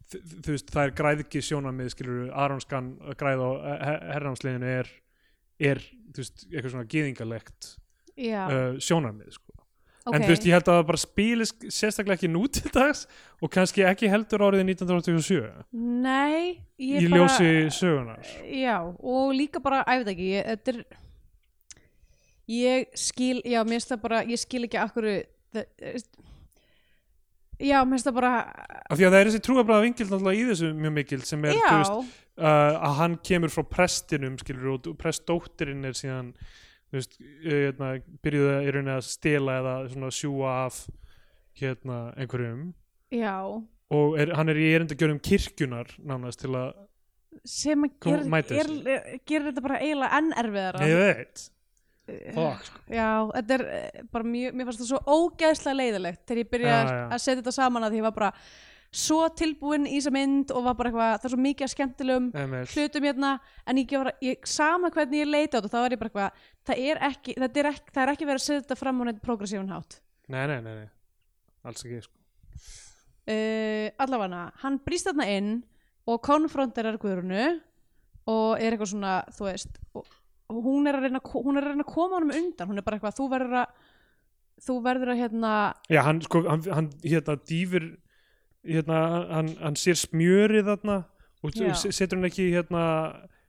Speaker 1: þ- þú veist, það er græðki sjónamið skilur Aronskan græð uh, á eh, her- hernámsliðinu er, er þú veist, eitthvað svona gýðingalegt
Speaker 2: Já.
Speaker 1: uh, sjónamið sko.
Speaker 2: ok.
Speaker 1: en þú veist, ég held að það bara spili sérstaklega ekki nú til dags og kannski ekki heldur árið 1987
Speaker 2: Nei, ég
Speaker 1: í
Speaker 2: bara
Speaker 1: ljósi sögunar
Speaker 2: Já, og líka bara, æ, ég veit ekki ég, þetta er ég skil, já, mér finnst það bara ég skil ekki akkur já, mér finnst það bara
Speaker 1: af því að það er þessi trúabræða vingil náttúrulega í þessu mjög mikil sem er þú veist,
Speaker 2: já,
Speaker 1: uh, að hann kemur frá prestinum skilur og prestdóttirinn er síðan þú veist, eh, hérna, byrjuðu í rauninni að stela eða svona sjúa af hérna einhverjum
Speaker 2: já
Speaker 1: og er, hann er í erindagjörum kirkjunar nánast til að,
Speaker 2: sem að
Speaker 1: Kom-
Speaker 2: gera
Speaker 1: mæta
Speaker 2: er, gerir þetta bara eiginlega enn erfiðara
Speaker 1: ég veit
Speaker 2: Eh,
Speaker 1: fuck, sko.
Speaker 2: Já, þetta er eh, bara mjög, mér fannst það svo ógeðslega leiðilegt þegar ég byrjaði
Speaker 1: Já,
Speaker 2: að-
Speaker 1: já.
Speaker 2: að setja þetta saman að því ég var bara svo tilbúin í þessa mynd og var bara eitthvað, það er svo mikið að skemmtilegum
Speaker 1: Emil.
Speaker 2: hlutum hérna en ég gefur, ég, sama hvernig ég leita á þetta þá er ég bara eitthvað, það er ekki það er ekki, það er ekki verið að setja þetta fram á neitt progressífun hátt
Speaker 1: nei, nei, nei, nei, alls ekki sko.
Speaker 2: uh, allavega, hann brýst þarna inn og konfronterar Guðrunu og er eitthvað svona, þú veist og, og hún er að reyna að ko- hún er að reyna að koma honum undan, hún er bara eitthvað þú verður að þú verður að hérna
Speaker 1: já, hann, sko, hann, hann hérna dýfir hérna, hann, hann sér smjörið þarna og,
Speaker 2: Já.
Speaker 1: og setur hann ekki hérna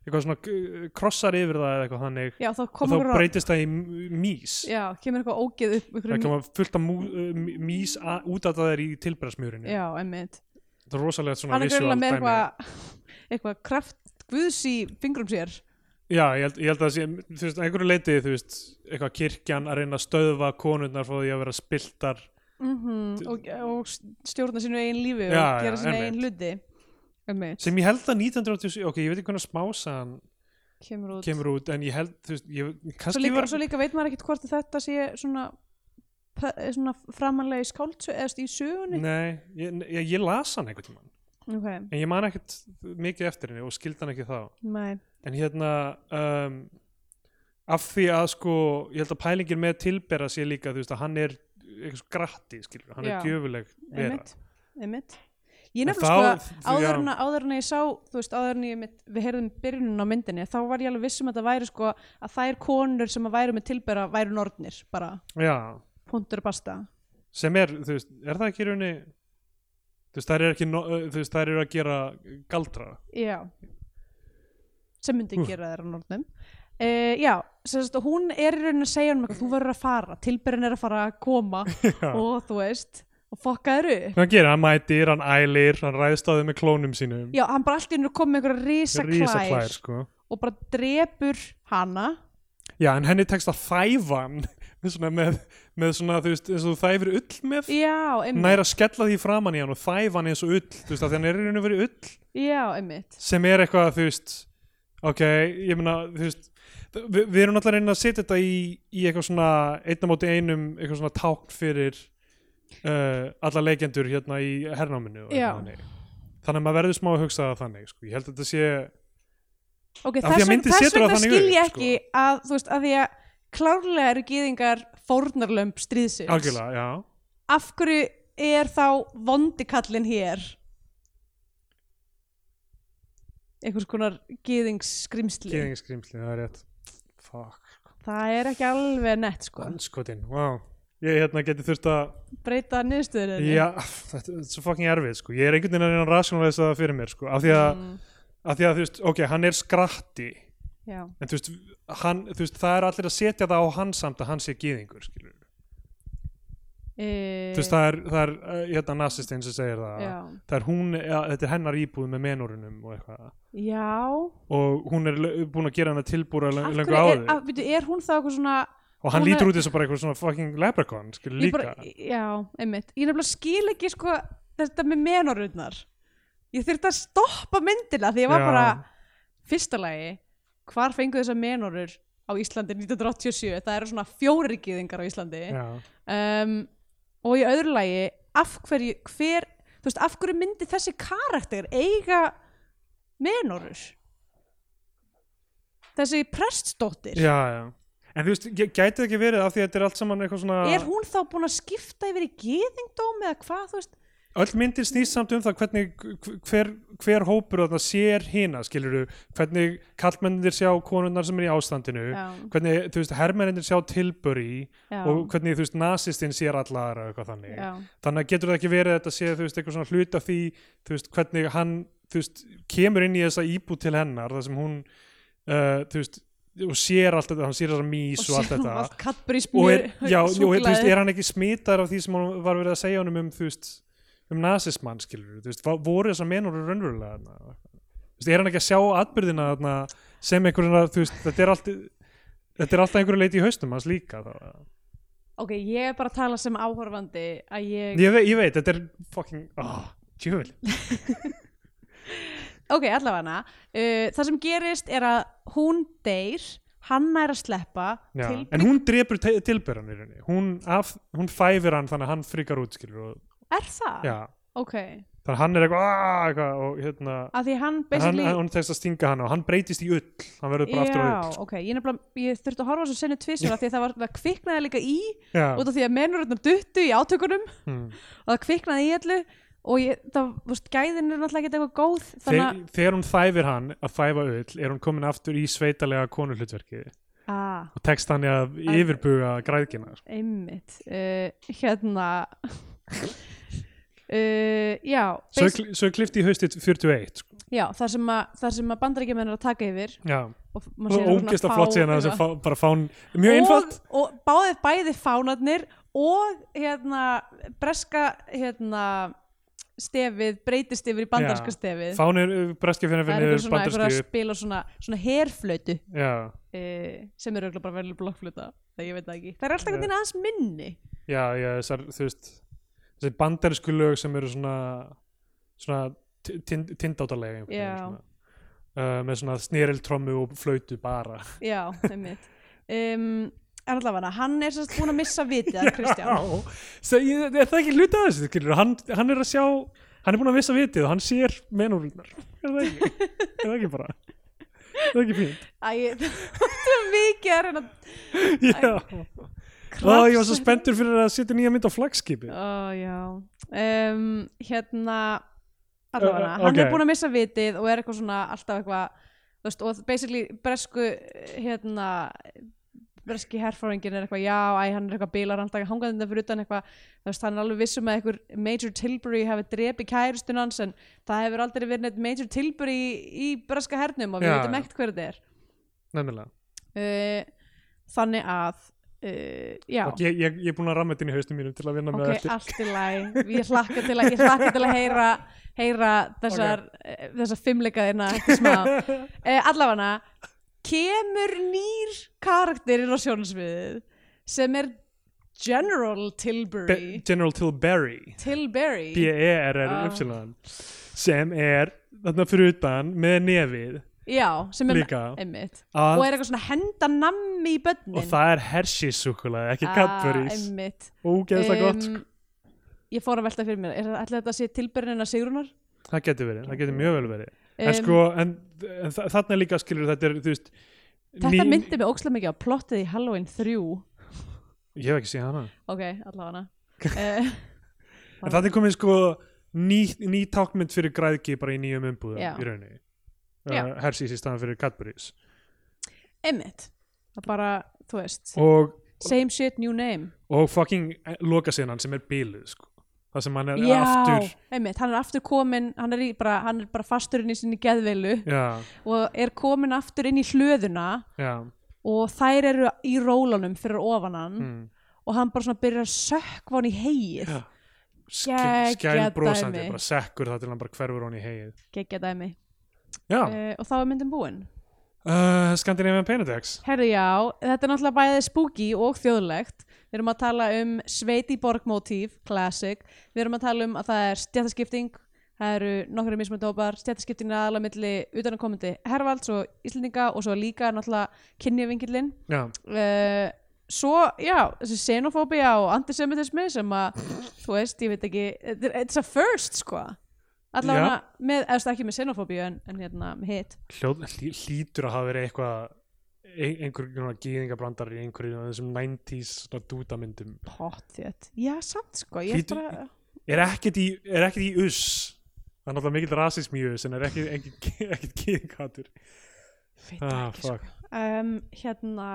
Speaker 1: eitthvað svona k- krossar yfir það eða eitthvað þannig
Speaker 2: já þá
Speaker 1: og
Speaker 2: kom
Speaker 1: þá
Speaker 2: einhver að-
Speaker 1: breytist það í m- mís
Speaker 2: já, kemur eitthvað ógeð upp
Speaker 1: það
Speaker 2: einhverjum,
Speaker 1: koma fullt af mú- uh, m- mís a- út af það er í tilbæðasmjörinu
Speaker 2: já, emmitt
Speaker 1: það er rosalega svona
Speaker 2: hann er
Speaker 1: visual
Speaker 2: greinlega með
Speaker 1: dæmi
Speaker 2: eitthvað eitthvað kraft Guðs í fingrum sér
Speaker 1: já, ég held, ég held að það sé, þú veist, að einhverju leiti þú veist, eitthvað kirkjan að reyna að stöðva konurnar frá því að vera spiltar
Speaker 2: Mhm, og, og stjórna sínu eigin lífi og
Speaker 1: Já,
Speaker 2: gera
Speaker 1: já,
Speaker 2: sínu
Speaker 1: einmitt.
Speaker 2: eigin hluti einmitt,
Speaker 1: sem ég held að 1987, ok, ég veit ekki hvernig smásaðan
Speaker 2: kemur út
Speaker 1: kemur út, en ég held, þú veist, ég,
Speaker 2: svo
Speaker 1: kannski
Speaker 2: líka,
Speaker 1: var
Speaker 2: svo líka veit maður ekkert hvort að þetta sé svona, p- svona framanlega í skáldsö eða st- í sögunni
Speaker 1: nei, ég, ég, ég las hann einhvern tímann,
Speaker 2: okay.
Speaker 1: en ég man ekkert mikið eftir henni og skildi hann ekki þá
Speaker 2: Nei.
Speaker 1: en hérna um, af því að sko ég held að pælingin með tilbera sé líka þú veist að hann er eitthvað svo gratti skilur, hann
Speaker 2: Já.
Speaker 1: er djöfuleg vera
Speaker 2: einmitt, einmitt ég
Speaker 1: En
Speaker 2: nefnilega
Speaker 1: þá-
Speaker 2: sko
Speaker 1: þú- já.
Speaker 2: áður en, að- áður en að ég sá þú veist áður en ég mitt, við heyrðum byrjunin á myndinni þá var ég alveg viss um að það væri sko að þær konur sem að væru með tilbera væru nornir bara,
Speaker 1: já,
Speaker 2: punktur og basta
Speaker 1: sem er, þú veist, er það ekki í rauninni þú veist, þær eru ekki no, uh, þú veist, þær eru að gera galdra
Speaker 2: Já sem myndi
Speaker 1: Úff.
Speaker 2: gera þeirra nornum uh, Já, sem sagt, og hún er í rauninni að segja um eitthvað, þú verður að fara, tilbyrðin er að fara að koma og þú veist og fokka þér upp
Speaker 1: hvað gerir, hann mætir, hann ælir hann ræðst á þau með klónum sínum
Speaker 2: Já, hann bara allt í hennu kom með einhverja
Speaker 1: Rísa
Speaker 2: risaklær
Speaker 1: klær, sko.
Speaker 2: og bara drepur hana
Speaker 1: já, en henni tekst að þæfa hann með svona, með, með svona þú veist, eins og þú þæfir ull með
Speaker 2: Já,
Speaker 1: nær
Speaker 2: einmitt,
Speaker 1: að skella því framan í hann og þæfa hann eins og ull, þú veist, að hann er í rauninni verið ull
Speaker 2: já, einmitt.
Speaker 1: sem er eitthvað þú veist ok, ég meina þú veist við, við erum alltaf að reyna að setja þetta í, í eitthvað svona einna móti einum eitthvað svona tákn fyrir uh, alla leikendur hérna í hernáminu og eitthvað
Speaker 2: Já.
Speaker 1: þannig. þannig að maður verður smá að hugsa það þannig sko. ég held að þetta sé Af
Speaker 2: Ok,
Speaker 1: því að
Speaker 2: þess, vegna-
Speaker 1: myndin
Speaker 2: þess
Speaker 1: setur það
Speaker 2: vegna
Speaker 1: þannig
Speaker 2: skil
Speaker 1: upp,
Speaker 2: ég
Speaker 1: sko.
Speaker 2: ekki að, þú veist, að því að klárlega eru gýðingar fórnarlömb stríðsins
Speaker 1: algjörlega, já
Speaker 2: af hverju er þá vondikallin hér einhvers konar gýðingskrimsli
Speaker 1: Gýðingskrimsli, það er rétt Fuck,
Speaker 2: það er ekki alveg nett sko
Speaker 1: anskotin, wow Ég hérna geti þurft að
Speaker 2: breyta niðurstöður
Speaker 1: Já, þetta þetta er svo fucking erfið sko. Ég er einhvern veginn að reyna að rationalisa það fyrir mér sko. af, því að,
Speaker 2: mm,
Speaker 1: af því að þú veist, ok, hann er skratti
Speaker 2: já.
Speaker 1: en þú veist, hann, þú veist, það er allir að setja það á hann samt að hann sé gýðingur skilur.
Speaker 2: E,
Speaker 1: þú veist, það er, það er uh, hérna nasistinn sem segir það
Speaker 2: Eh, já.
Speaker 1: það er hún, ja, þetta er hennar íbúð með menurunum og eitthvað
Speaker 2: já
Speaker 1: og hún er lö- búin að gera hana tilbúra
Speaker 2: Af
Speaker 1: lengur
Speaker 2: hverju
Speaker 1: áður
Speaker 2: er, að, byrju, er hún þá eitthvað svona
Speaker 1: og hann
Speaker 2: hún er-
Speaker 1: lítur út eins og bara eitthvað svona fucking leprechaun skilur
Speaker 2: Ég
Speaker 1: líka
Speaker 2: bara, já, einmitt ég nefnilega skil ekki sko þetta með menorurnar ég þurfti að stoppa myndina því ég var
Speaker 1: Já.
Speaker 2: bara fyrsta lagi, hvar fengu þessar menorur á Íslandi 1987 það eru svona fjórir gýðingar á Íslandi
Speaker 1: Já,
Speaker 2: um, og í öðru lagi af hverju, hver þú veist, af hverju myndi þessi karakter eiga menorur þessi prestsdóttir
Speaker 1: já, já En þú veist, gæ- gæti það ekki verið af því að þetta er allt saman eitthvað svona
Speaker 2: er hún þá búin að skipta yfir í gýðingdóm eða hvað, þú veist
Speaker 1: öll myndin snýst samt um það hvernig hver, hver hópur þarna sér hina skiluru, hvernig kallmennir sjá konunnar sem er í ástandinu
Speaker 2: Já.
Speaker 1: hvernig, þú veist, hermennir sjá tilburi
Speaker 2: Já.
Speaker 1: og hvernig, þú veist, nasistinn sér allar og eitthvað þannig,
Speaker 2: Já.
Speaker 1: þannig að getur það ekki verið að þetta sé, þú veist, eitthvað svona hluta því þú veist, hvernig hann, þú veist kemur inn í þessa íbú til hennar þar sem hún, uh, þú veist og sér allt þetta, hann sér þessa mís og, allt þetta
Speaker 2: allt kattbur í
Speaker 1: og
Speaker 2: smjör
Speaker 1: er, já, og, þú veist, er hann ekki smitar af því sem hann var verið að segja honum um þú veist, um nasismann skilur þú veist, va- voru þessar menur raunverulega þarna? Þú veist, er hann ekki að sjá atbyrðina þarna, sem einhverjuna þú veist, þetta er allt þetta er alltaf einhverju leiti í haustum hans líka þá.
Speaker 2: ok, ég er bara að tala sem áhorfandi að ég,
Speaker 1: ég, ve ég veit, þetta er fucking oh, tjöfell
Speaker 2: ok, allavega uh, það sem gerist er að hún deyr hann er að sleppa
Speaker 1: Já,
Speaker 2: til-
Speaker 1: en hún drepur te- tilberan í rauninni hún, af, hún fæfir hann þannig að hann frikar út skilur og,
Speaker 2: er það?
Speaker 1: já,
Speaker 2: ok,
Speaker 1: þannig að hann er eitthvað, "Ah," eitthvað og hérna
Speaker 2: að því
Speaker 1: en
Speaker 2: hann
Speaker 1: hann,
Speaker 2: basically
Speaker 1: hann tekst að stinga hann og hann breytist í ull hann verður bara aftur á ull
Speaker 2: já, ok, ég, nefnilega, ég þurfti að horfa á þessu senu tvisvar af því að það var það kviknaði líka í
Speaker 1: Já,
Speaker 2: út af því að menurutnar duttu í átökunum
Speaker 1: mm.
Speaker 2: og það kviknaði í allu og ég, það, þú veist, gæðin er náttúrulega ekki eitthvað góð þannig
Speaker 1: Þeg, þegar hún þæfir hann að þæfa öll er hún komin aftur í sveitalega konuhlutverki og
Speaker 2: að ah.
Speaker 1: tekst hann í að yfirbuga græðkina sko.
Speaker 2: einmitt uh, hérna uh, já,
Speaker 1: svo,
Speaker 2: basi-
Speaker 1: kl- svo klifti í haustið 41 sko.
Speaker 2: já þar sem að, þar sem að bandaríkjumenn er að taka yfir
Speaker 1: já,
Speaker 2: og f- maður sér svona
Speaker 1: ógæsta
Speaker 2: fá-
Speaker 1: flott síðan að þessi
Speaker 2: eitthvað.
Speaker 1: fá, bara fán mjög
Speaker 2: og,
Speaker 1: einfalt
Speaker 2: og báði bæði fánarnir og hérna breska hérna stefið breytist yfir í bandarska
Speaker 1: Já,
Speaker 2: stefið
Speaker 1: fán er breski fyrir
Speaker 2: það er
Speaker 1: fyrir
Speaker 2: eitthvað svona, eitthvað að
Speaker 1: bandarski
Speaker 2: spila svona, svona herflötu
Speaker 1: já,
Speaker 2: uh, sem er auðvitað bara verið blokkflöta það ég veit það ekki, það er alltaf einhvern veginn aðeins minni
Speaker 1: já, já þessar, þú veist þessi bandarsku lög sem eru svona svona ti- tind- tindáttalega einhvern veginn,
Speaker 2: Já.
Speaker 1: svona. Uh, með svona sneriltrommu og flautu bara
Speaker 2: Já, einmitt um, En allavega, hann er sérst búin að missa vitið að Kristján
Speaker 1: Svo, ég, er það ekki hluti af þessu skilur? Hann, hann er að sjá hann er búin að vissa vitið og hann sér menúrunar er það ekki, er það ekki bara er það ekki fínt
Speaker 2: Æ, ég- þetta er mikið að reyna
Speaker 1: Já. Ó, ég var svo spenntur fyrir að setja nýja mynd á flagskipi
Speaker 2: Ó, já um, Hérna
Speaker 1: Ö, ö,
Speaker 2: allavega, hann
Speaker 1: ok.
Speaker 2: er búin að missa vitið og er eitthvað svona alltaf eitthvað þú veist, og basically bresku hérna breski herfóringin er eitthvað já, æ, hann er eitthvað bílar, hann taka hangaðin fyrir utan eitthvað, þú veist, hann er alveg vissum að einhver Major Tilbury hefði drepi kæristun hans en það hefur aldrei verið neitt Major Tilbury í, í breska hernum og við
Speaker 1: Já,
Speaker 2: veitum
Speaker 1: já.
Speaker 2: ekkert hver þetta er
Speaker 1: nefnilega
Speaker 2: uh, þannig að uh, já,
Speaker 1: Og ég, ég, ég er búin að ramma þetta inn í haustum mínum til að vinna með
Speaker 2: ok,
Speaker 1: eftir
Speaker 2: allt í læg ég hlakka til að, ég hlakka til að heyra, heyra þessar, okay. þessar fimmleikaðina eftir smá uh, allafana kemur nýr karakter inn á sjónsviðið sem er General
Speaker 1: Be
Speaker 2: Tilbury
Speaker 1: General Tilbury E
Speaker 2: Tilbury
Speaker 1: B-E-R-R-Y
Speaker 2: Ah.
Speaker 1: sem er þarna fyrir utan með nefið
Speaker 2: já, sem er
Speaker 1: Líka.
Speaker 2: einmitt
Speaker 1: að,
Speaker 2: og er eitthvað svona að henda nammi í bönnin
Speaker 1: og það er Hershey's súkulega ekki Cadbury's
Speaker 2: einmitt
Speaker 1: ógeðslega gott sko.
Speaker 2: Ah, Em, ég fór að velta fyrir mér, er ætli þetta að sé tilbyrjunina Sigrunar?
Speaker 1: það getur verið, það getur mjög vel verið en
Speaker 2: Em,
Speaker 1: sko, en, en þa- þarna er líka skilur þetta er, þú veist
Speaker 2: Þetta myndi mig ókslega mikið á plottið í Halloween 3
Speaker 1: ég hef ekki séð hana
Speaker 2: Eh, Ok, allavega hana
Speaker 1: en það er komið sko ný, ný tákmynd fyrir græðki bara í nýjum umbúðum
Speaker 2: Já.
Speaker 1: í rauninni
Speaker 2: Já.
Speaker 1: uh, Hersís í staðan fyrir Cadbury's
Speaker 2: Emmitt Það er bara, þú veist
Speaker 1: og,
Speaker 2: Same shit, new name
Speaker 1: og fucking lokasinnan sem er bíluð sko. það sem hann er
Speaker 2: Já,
Speaker 1: aftur
Speaker 2: einmitt, hann er aftur komin hann er, í bara, hann er bara fasturinn í sinni geðveilu
Speaker 1: já,
Speaker 2: og er komin aftur inn í hlöðuna
Speaker 1: já,
Speaker 2: og þær eru í rólunum fyrir ofan hann
Speaker 1: mm.
Speaker 2: og hann bara svona byrjar að sökva hann í heið
Speaker 1: Já.
Speaker 2: Geggjað
Speaker 1: skæl brosandi
Speaker 2: dæmi.
Speaker 1: bara sekkur það til hann bara hverfur hann í heið
Speaker 2: geggja dæmi
Speaker 1: já, uh,
Speaker 2: uh, og þá er myndin búin
Speaker 1: Scandinavian Penedex
Speaker 2: herri já, þetta er náttúrulega bæðið spooky og þjóðlegt við erum að tala um sveiti borgmótíf, classic við erum að tala um að það er stjættaskipting það eru nokkru mismundópar stjættaskipting er aðalega milli utanakomandi hervalds og Íslendinga og svo líka náttúrulega kynjavingillin
Speaker 1: já,
Speaker 2: uh, svo, já, þessi xenofóbía og antisemitismi sem að þú veist, ég veit ekki, þetta er- it's a first sko, allavega með, eða þú veist, ekki með xenofóbíu en, en hérna með hitt,
Speaker 1: hljóð, hlý, hlýtur að hafa verið eitthvað ein- einhver svona gýðingabrandar í einhverju af þessum 90s svona dútamyndum
Speaker 2: pott þétt já, samt sko, ég
Speaker 1: Hlýtur-
Speaker 2: Lítur... bara
Speaker 1: er ekkert í, er ekkert í uss það er náttúrulega mikill rasism í uss en er ekkert, ekkert, ekkert gýðingatur
Speaker 2: veit það
Speaker 1: ah,
Speaker 2: ekki sko.
Speaker 1: fuck
Speaker 2: um, hérna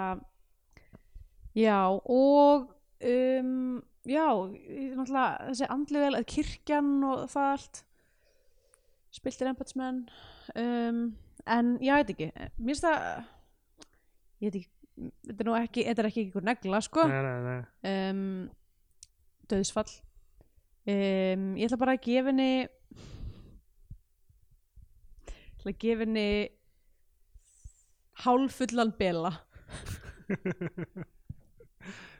Speaker 2: já, og um, já, ég- náttúrulega þessi andlivel, kirkjan og það allt spiltir embætsmenn um, en já, ég veit ekki mér finnst það ég veit ekki, þetta er nú ekki þetta er ekki einhver negla, sko
Speaker 1: nei, nei, nei.
Speaker 2: um, döðsfall um, ég ætla bara að gefa henni ég ætla að gefa henni hálfullan bela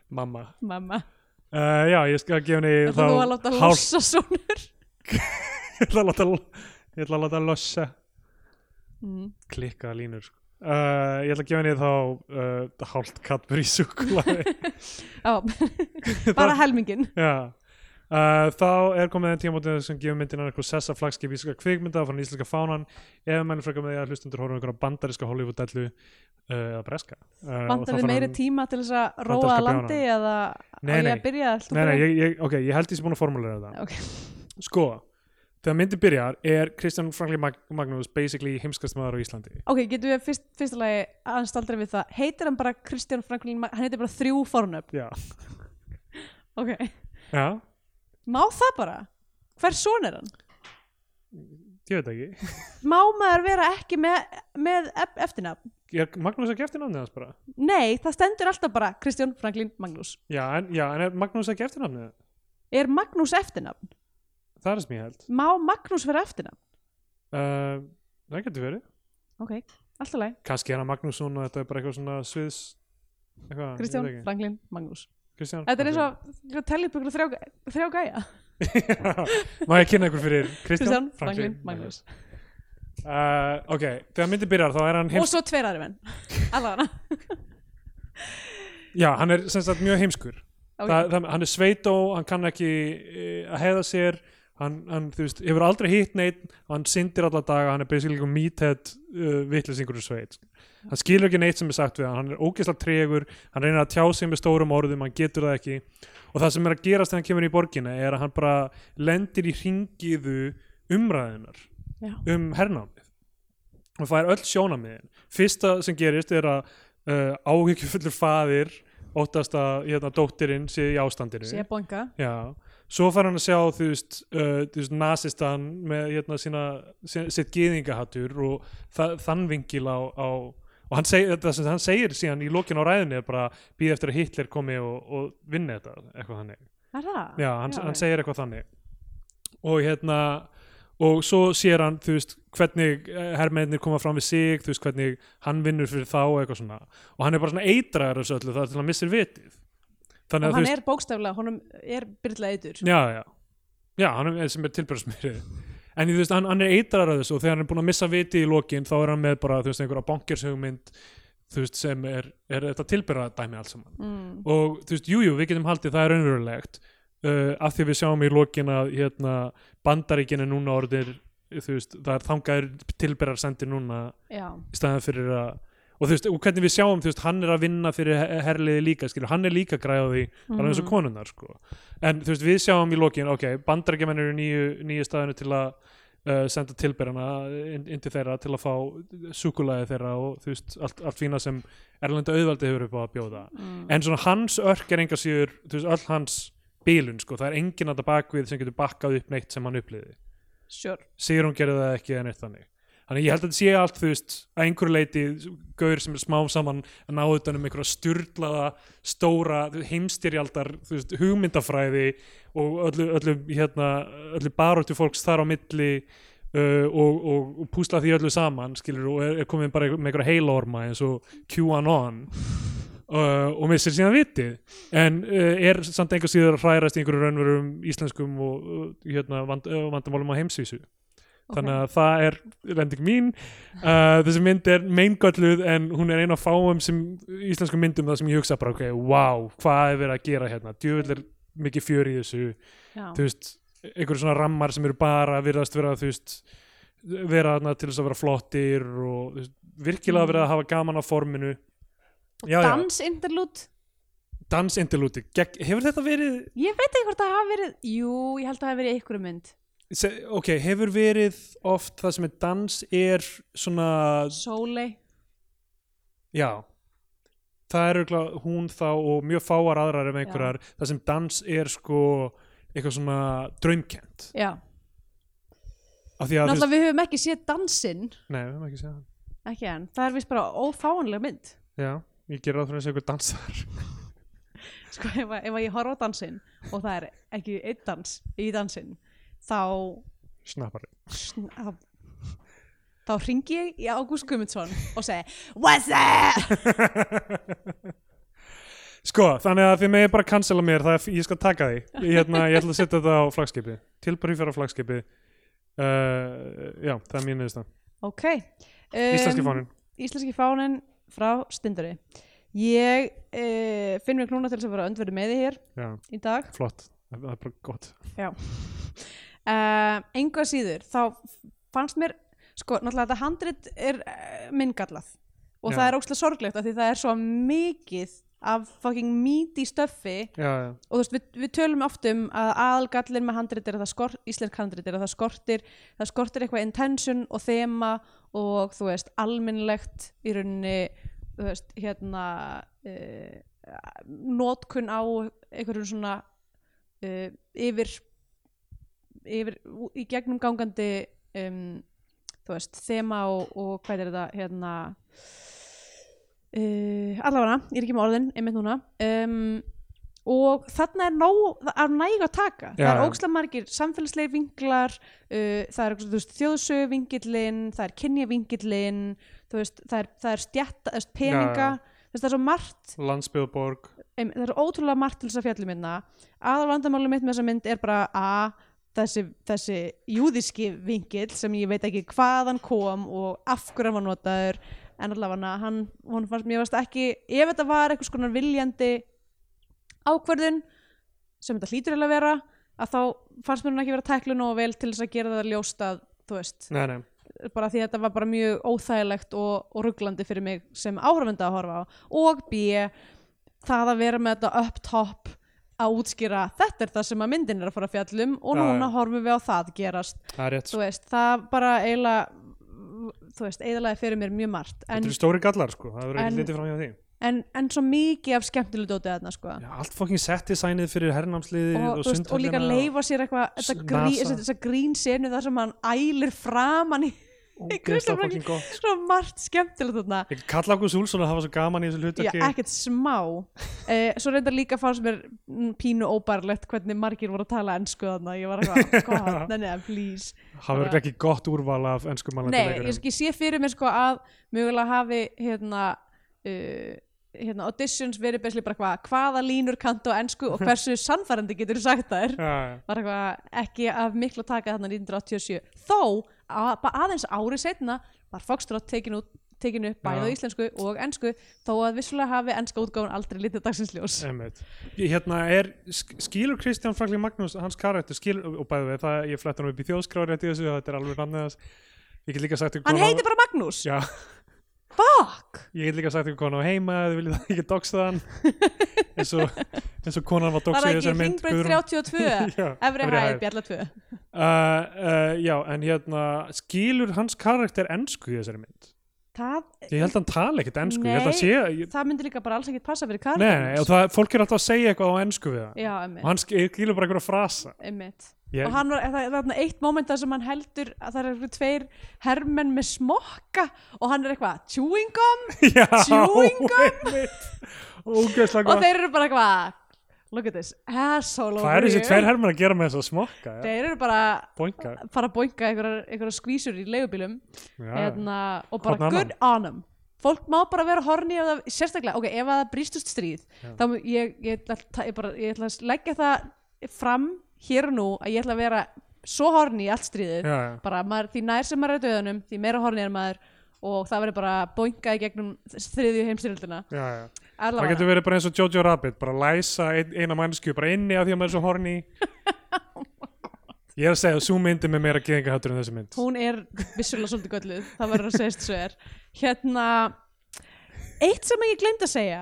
Speaker 1: mamma
Speaker 2: mamma,
Speaker 1: uh, já, ég skal gefa henni
Speaker 2: ætla þú að láta
Speaker 1: hálf-
Speaker 2: lossa sonur
Speaker 1: ég ætla að láta ég ætla að láta lossa
Speaker 2: mm.
Speaker 1: klikkaða línur sko. uh, ég ætla að gefa henni þá uh, hálft kattbur í súkulaði
Speaker 2: á, bara helmingin
Speaker 1: Já, uh, þá er komið enn tímabótið sem gefur myndin eitthvað sessa flagskip íslenska kvikmynda frá íslenska fánan ef mælum frekar með því að hlustundur horfum einhverja bandaríska Hollywood-dellu uh, eða breska uh, og þá
Speaker 2: vantar við
Speaker 1: fara
Speaker 2: meiri
Speaker 1: hann-
Speaker 2: tíma til þess að
Speaker 1: Vantar
Speaker 2: róa
Speaker 1: skal
Speaker 2: að landi
Speaker 1: bjána.
Speaker 2: eða
Speaker 1: Nei,
Speaker 2: á ég
Speaker 1: nei.
Speaker 2: að byrja Ætlar þú
Speaker 1: Nei, nei,
Speaker 2: byrja?
Speaker 1: ég, ég, ok, ég held ég sé búin að formúlera þetta
Speaker 2: Ok.
Speaker 1: Sko, þegar myndin byrjar er Kristján Franklin Mag Magnús basically heimskast maður á Íslandi
Speaker 2: ok, getum við fyrst, fyrsta lagi aðeins staldra við það heitir hann bara Kristján Franklin Ma- hann heitir bara þrjú fornöfn
Speaker 1: Já,
Speaker 2: ok,
Speaker 1: Já
Speaker 2: má það bara hver son er hann?
Speaker 1: ég veit ekki
Speaker 2: má maður vera ekki með, með ef- eftirnafn?
Speaker 1: Er Magnús ekki eftir nafnið hans bara?
Speaker 2: Nei, það stendur alltaf bara Kristján Franklín Magnús.
Speaker 1: Já, en, já, en er Magnús ekki eftir nafnið?
Speaker 2: Er Magnús eftirnafn?
Speaker 1: Það er það sem ég held
Speaker 2: Má Magnús vera eftirnafn?
Speaker 1: uh, Það getur verið
Speaker 2: Ok, alltaf leið.
Speaker 1: kannski hérna Magnússon og þetta er bara eitthvað svona sviðs eitthvað, ég
Speaker 2: Kristján
Speaker 1: veit ekki.
Speaker 2: Franklín Magnús.
Speaker 1: Kristján
Speaker 2: Þetta er eins og að tellja upp ykkur þrjá, þrjá gæja.
Speaker 1: og Má ég kynna ykkur fyrir Kristján,
Speaker 2: Kristján Franklín Magnús.
Speaker 1: uh, Ok, þegar myndi byrjar þá er hann
Speaker 2: Og
Speaker 1: heims...
Speaker 2: svo tveir aðri menn. Allavega.
Speaker 1: Já, hann er sem sagt mjög heimskur
Speaker 2: Ok.
Speaker 1: Þa, það, hann er sveitó, hann kann ekki e, að heiða sér hann, hann þú veist, hefur aldrei hitt neitt hann syndir alla daga, hann er basically eitthvað meathead uh, vittlisingur úr sveit hann skilur ekki neitt sem er sagt við hann hann er ógeðslega tregur, hann reynir að tjá sig með stórum orðum, hann getur það ekki og það sem er að gerast þegar hann kemur í borginna er að hann bara lendir í hringiðu umræðunar
Speaker 2: Já.
Speaker 1: um hernámið og fær öll sjónamiðin fyrsta sem gerist er að uh, áhyggjufullur faðir óttast að hérna, dóttirinn sé í ástandinu
Speaker 2: Sér bonga.
Speaker 1: Já, svo fær hann að sjá þú veist, uh, þú veist nasistan með hérna sína, sína sitt gyðingahattur og þa þann vingil á, á og hann segir, það sem hann segir síðan í lokin á ræðinni er bara býð eftir að Hitler komi og, og vinni þetta, eitthvað þannig
Speaker 2: Er það?
Speaker 1: Já, hann, hann
Speaker 2: ok.
Speaker 1: segir eitthvað þannig og hérna og svo sér hann, þú veist, hvernig herrmennir koma fram við sig, þú veist, hvernig hann vinnur fyrir þá og eitthvað svona og hann er bara svona eitraður þessu öllu þar til hann missir vitið þannig
Speaker 2: Og
Speaker 1: að þú
Speaker 2: hann
Speaker 1: veist,
Speaker 2: er bókstaflega, honum er byrla eitur.
Speaker 1: já, já já, hann er sem er tilbjörnsmyrið en þú veist, hann, hann er eitraður þessu og þegar hann er búin að missa vitið í lokin, þá er hann með bara, þú veist, einhverja bankershugmynd, þú veist, sem er, er þetta tilbyrða dæmi alls saman
Speaker 2: Mm.
Speaker 1: og þú veist, jújú, jú, við getum haldið það er raunverulegt uh, af því við sjáum í lokin að hérna, bandaríkin er núna orðir þú veist, það er þangaður tilberar sendir núna
Speaker 2: Já,
Speaker 1: í staðan fyrir að og og þú veist, og hvernig við sjáum, þú veist, hann er að vinna fyrir her- herliði líka, skilur, hann er líka græði mm. alveg eins og konunnar, sko en þú veist, við sjáum í lokin, ok, bandarækjumenn eru nýju, nýju staðinu til að uh, senda tilberana inn, inn til þeirra til að fá súkulaði þeirra og þú veist, allt, allt fína sem erlenda auðvaldi hefur upp á að bjóða
Speaker 2: Mm.
Speaker 1: en svona hans örk er enga síður, þú veist, öll hans bílun, sko, það er enginn að það bakvið sem getur bakkað upp neitt sem hann upplýði
Speaker 2: sure.
Speaker 1: segir hún gerði það ekki en eitt þannig þannig ég held að þetta sé allt þú veist að einhverju leiti gaur sem er smám saman að ná utan um einhverja styrlaða stóra þú veist, heimstyrjaldar þú veist, hugmyndafræði og öllu, öllu, hérna, öllu baróttu fólks þar á milli uh, og, og, og púsla því öllu saman skilur og er, er komin bara með einhverja heilorma eins og QAnon Uh, og með sér síðan vitið en uh, er samt einhver síður að hrærast í einhverjum raunverum íslenskum og uh, hérna, vand, uh, vandamálum á heimsvísu þannig að það er rending mín uh, þessi mynd er meingölluð en hún er ein af fáum sem íslensku myndum það sem ég hugsa bara ok, wow, hvað er verið að gera hérna djöfull er mikið fjör í þessu
Speaker 2: Já.
Speaker 1: þú veist, einhverjum svona rammar sem eru bara að virðast vera þú veist vera þarna til þess að vera flottir og þú veist, virkilega verið að hafa gaman á forminu já, já.
Speaker 2: dansinterlút
Speaker 1: dansinterlúti Gegn- hefur þetta verið
Speaker 2: ég veit ekki hvort það hafi verið jú, ég held að það hafi verið einhverju mynd
Speaker 1: se- ok, hefur verið oft það sem er dans er svona
Speaker 2: Sólei
Speaker 1: Já Það er örugglega hún þá og mjög fáar aðrar ef einhverjar, það sem dans er sko eitthvað svona draumkent
Speaker 2: já.
Speaker 1: af því að þú
Speaker 2: náttúrulega við höfum ekki séð dansinn
Speaker 1: veist- Nei, við höfum ekki séð það
Speaker 2: ekki enn, það er vist bara ófáanlega mynd
Speaker 1: Já, ég gerir ráð fyrir að sé eitthvað dansar
Speaker 2: sko, ef, að- ef að ég horfa á dansinn og það er ekki einn dans í dansinn þá
Speaker 1: Snappari
Speaker 2: sna- þá ringi ég í Ágúst Guðmundsson og segi What's up?
Speaker 1: Sko, þannig að þið megið bara cancela mér það, er- ég skal taka því ég, hérna, ég ætla að setja þetta á flagskipi tilbæri fyrir á flagskipi uh, Já, það er mín neðist
Speaker 2: ok um,
Speaker 1: Íslenski fáninn
Speaker 2: Íslenski fáninn frá Stindari ég uh, finn mér klúna til þess að vera öndverði með þið hér
Speaker 1: Já,
Speaker 2: í dag
Speaker 1: flott, það er bara gott
Speaker 2: uh, enga síður þá fannst mér sko, náttúrulega þetta handrit er uh, minngallað og
Speaker 1: Já.
Speaker 2: það er ókslega sorglegt af því það er svo mikið af fucking meaty stöffi
Speaker 1: Já, já,
Speaker 2: og þú veist, við, við tölum oft um að aðalgallin með handrit er að það skort, íslensk handrit er að það skortir það skortir eitthvað intention og þema og þú veist, almennlegt í rauninni, þú veist, hérna uh, notkun á einhverjum svona uh, yfir yfir, í gegnum gangandi um, þú veist, þema og, og hvað er þetta, hérna uh, allavega, ég er ekki með orðin einmitt núna um, og þarna er nóg að næg að taka það
Speaker 1: Já,
Speaker 2: er
Speaker 1: já.
Speaker 2: ókslega margir samfélagsleir vinglar uh, það er þú veist, þjóðsöguvingillin það er kynjavingillin þú veist, það er, það er stjætt þú veist, peninga,
Speaker 1: Já, já.
Speaker 2: þú veist, það er svo margt
Speaker 1: landsbyðborg
Speaker 2: um, það er ótrúlega margt til þess að fjallum minna aðal vandamáli mitt með þessa mynd er bara a þessi, þessi júðiski vingill sem ég veit ekki hvaðan kom og af hverju hann var notaður en allavega hann, hún fannst mér varst ekki ef þetta var eitthvað skonar viljandi ákvörðun sem þetta hlýtur eiginlega að vera að þá fannst mér hún ekki vera tæklu nógu vel til þess að gera það ljóst að þú veist
Speaker 1: Nei, nei,
Speaker 2: bara því að þetta var bara mjög óþægilegt og, og rugglandi fyrir mig sem áhrifenda að horfa á og B það að vera með þetta up top að útskýra þetta er það sem að myndin er að fara að fjallum og
Speaker 1: Já,
Speaker 2: núna
Speaker 1: já.
Speaker 2: horfum við á það gerast
Speaker 1: það er rétt sko.
Speaker 2: þú veist, það bara eiginlega þú veist, eiginlega fyrir mér mjög margt en,
Speaker 1: Þetta eru stóri gallar sko, það verður
Speaker 2: en-
Speaker 1: ekki litið fram hjá því
Speaker 2: en, en svo mikið af skemmtileg dótið þarna sko
Speaker 1: Já, Allt fokkin set designið fyrir hernámsliðið
Speaker 2: og,
Speaker 1: og,
Speaker 2: og, veist, og líka
Speaker 1: sundhöllina
Speaker 2: leifa sér eitthvað þetta
Speaker 1: S-
Speaker 2: grí-
Speaker 1: NASA.
Speaker 2: þessa þessa grín senu þar sem hann ælir framan í
Speaker 1: og ógeðslega
Speaker 2: Kristján Raggi.
Speaker 1: fokkin gott
Speaker 2: svo margt skemmtilegt þarna
Speaker 1: Ég kalla okkur Súlsson að hafa svo gaman í þessu
Speaker 2: Já,
Speaker 1: hlutverki
Speaker 2: ekkert smá uh, Svo reyndar líka fannst mér mm, pínu óbærlegt hvernig margir voru að tala ennsku þarna Ég var eitthvað, god, neina, please
Speaker 1: Hafa verður ekki gott úrval af ennskum
Speaker 2: Nei,
Speaker 1: mannandi
Speaker 2: ég, ég sé fyrir mér sko að mögulega hafi hérna, uh, hérna auditions verið besli bara hvað, hvaða línur kantu á ennsku og hversu sannfærandi getur þú sagt þær var eitthvað ekki af miklu að taka þarna 1987 þó að, bara aðeins ári setna var Foxtrot tekin, út, tekin upp bæði á
Speaker 1: Já.
Speaker 2: íslensku og ensku þó að vissulega hafi enska útgáfun aldrei litið dagsins ljós
Speaker 1: Eh, Ég, hérna er, sk- skilur Kristján Franklin Magnús hans karakter, skilur, og bæði við það ég fletta hann upp í þjóðskrá rétt í þessu, þetta er alveg rann eðast, ég get líka sagt ykkur
Speaker 2: hann
Speaker 1: hvað-
Speaker 2: heitir bara Magnús
Speaker 1: Já,
Speaker 2: fuck dog
Speaker 1: Ég get líka sagt ykkur konan á heima ef þið viljið það ekki doxa hann eins og, eins og konan var
Speaker 2: Var
Speaker 1: doxið
Speaker 2: það ekki Ringbrönd 32
Speaker 1: Já,
Speaker 2: Efri hæð, Bjalla 2
Speaker 1: Uh, uh, já, en hérna skilur hans karakter ensku í þessari mynd
Speaker 2: það,
Speaker 1: Ég held að hann tala ekkert ensku Ég held að
Speaker 2: Nei.
Speaker 1: hann sé ég,
Speaker 2: það myndi líka bara alls ekkert passa fyrir
Speaker 1: Nei,
Speaker 2: karakter
Speaker 1: nei, og það, fólk er alltaf að segja eitthvað á ensku við hann
Speaker 2: Já,
Speaker 1: og
Speaker 2: emmitt,
Speaker 1: hann sk- skilur bara einhverja frasa
Speaker 2: emmitt.
Speaker 1: ég,
Speaker 2: og hann var, það það er þarna eitt moment þar sem hann heldur að það eru einhver tveir hermenn með smokka og hann er eitthvað chewing gum
Speaker 1: já,
Speaker 2: chewing
Speaker 1: Ógeðslega
Speaker 2: og
Speaker 1: gott
Speaker 2: þeir eru bara eitthvað look at this, asshole
Speaker 1: Hvað
Speaker 2: over
Speaker 1: er þessi
Speaker 2: you."
Speaker 1: tveir hermenn að gera með þessa smokka? Ja?
Speaker 2: þeir eru bara
Speaker 1: Boinga
Speaker 2: að fara að boinga einhverjar einhverjar skvísur í leigubílum
Speaker 1: já.
Speaker 2: hérna, og bara
Speaker 1: Hvorn
Speaker 2: good on them fólk má bara vera horni ef það, sérstaklega, ok, ef að það brýstust stríð
Speaker 1: Já.
Speaker 2: þá mun- ég, ég, ætla að ta- ég, bara, ég ætla að leggja það fram hér og nú að ég ætla að vera svo horni í allt stríðið
Speaker 1: Já, já.
Speaker 2: bara maður, því nær sem maður er döðunum því meira horni er maður og það verður bara boingað í gegnum þriðju heimstyrjöldina
Speaker 1: Já, já. Það getur verið bara eins og Jojo Rabbit bara læsa ein, eina mannsku bara inni af því að maður er svo horny Ég er að segja að svo myndi með meira geðingahattur en þessi mynd
Speaker 2: hún er vissulega svolítið gölluð það verður að segjast svo er hérna eitt sem ég glemt að segja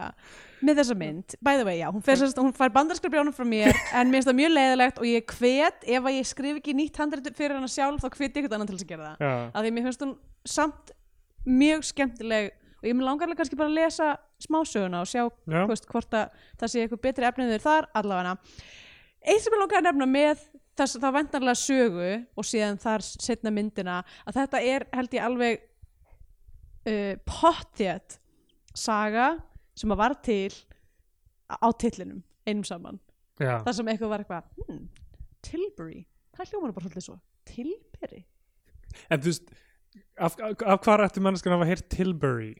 Speaker 2: með þessa mynd, by the way, já hún, fer, sérst, hún fær bandarskrift brjánum frá mér en mér finnst það mjög leiðilegt og ég hvet ef að ég skrif ekki nýtt handrit fyrir hana sjálf þá hvet ég eitthvað annan til þess að gera það
Speaker 1: Já,
Speaker 2: af því mér finnst hún samt mjög skemmtileg og ég mér langarlega kannski bara að lesa smásöguna og sjá
Speaker 1: já,
Speaker 2: Þú veist, hvort að það sé eitthvað betri efnið þér þar allavega eitt sem ég langar að nefna með þess, það vendarlega sögu og síðan þar setna myndina að þetta er held ég alveg uh, pottjætt saga sem að var til á tillinum einum saman
Speaker 1: já
Speaker 2: þar sem eitthvað var eitthvað hmm, Tilbury, það hljómar nú bara svolítið svo Tilbury,
Speaker 1: En þú veist, af, af, af hvað ættu menneskan að hafa heyrt Tilbury?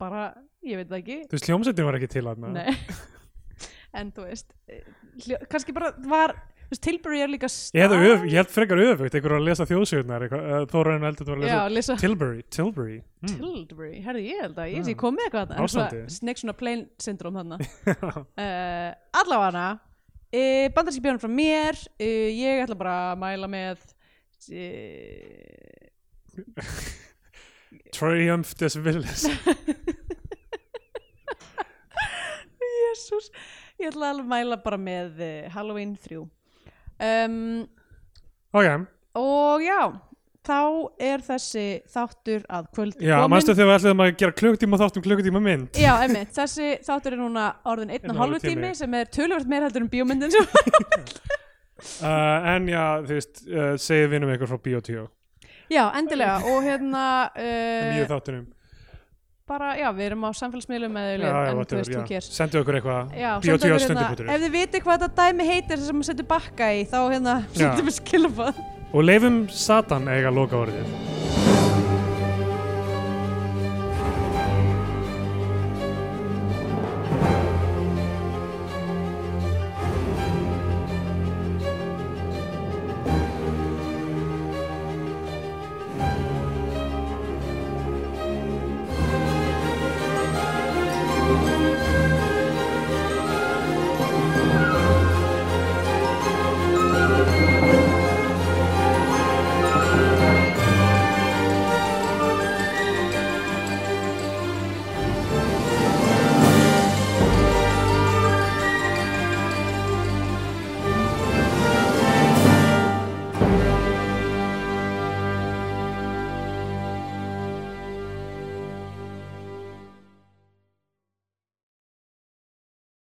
Speaker 2: bara ég veit það ekki
Speaker 1: Þú veist, hljómsveitin var ekki til hann
Speaker 2: Nei. en þú veist eh, hljó, kannski bara var þú veist, Tilbury er líka
Speaker 1: Ég held,
Speaker 2: staður-
Speaker 1: öf, ég held frekar öfugt, einhver var að lesa þjóðsögurnar Þóraðin heldur þú var að lesa
Speaker 2: Já, lesa
Speaker 1: Tilbury, Tilbury mm.
Speaker 2: Tilbury, herði ég held að ég
Speaker 1: Já.
Speaker 2: sé komið eitthvað þarna.
Speaker 1: Ástandi.
Speaker 2: Eitthvað Snakes svona plain syndrom þarna uh, Allavega uh, bandarski björnum frá mér uh, ég ætla bara að mæla með uh,
Speaker 1: Triumph des Villis
Speaker 2: Jesus ég ætla alveg að mæla bara með uh, Halloween 3 um,
Speaker 1: Ok,
Speaker 2: og já þá er þessi þáttur að kvöldi
Speaker 1: já,
Speaker 2: kominn.
Speaker 1: manstu þegar við ætlum að gera klukkutíma þátt um klukkutíma mynd
Speaker 2: Já, einmitt, þessi þáttur er núna orðin einn og
Speaker 1: Einn og
Speaker 2: hálfu
Speaker 1: hálfur tími.
Speaker 2: tími sem er töluvert meira heldur um bíómyndin sem
Speaker 1: uh, En já, þú veist, uh, segið vinum ykkur frá Biotio
Speaker 2: Já, endilega og hérna
Speaker 1: Mjög
Speaker 2: uh,
Speaker 1: þáttunum
Speaker 2: bara, já, við erum á samfélagsmiðlum með
Speaker 1: Já, já,
Speaker 2: en þú
Speaker 1: whatever,
Speaker 2: veist, þú
Speaker 1: já.
Speaker 2: ger
Speaker 1: Sendu okkur eitthvað
Speaker 2: Já, sendu
Speaker 1: Biotio
Speaker 2: okkur hérna,
Speaker 1: stunduputur
Speaker 2: ef þið vitið hvað þetta dæmi heitir sem maður setur bakka í, þá hérna
Speaker 1: Já.
Speaker 2: setur við skilabóð
Speaker 1: Og leifum Satan eiga loka orðið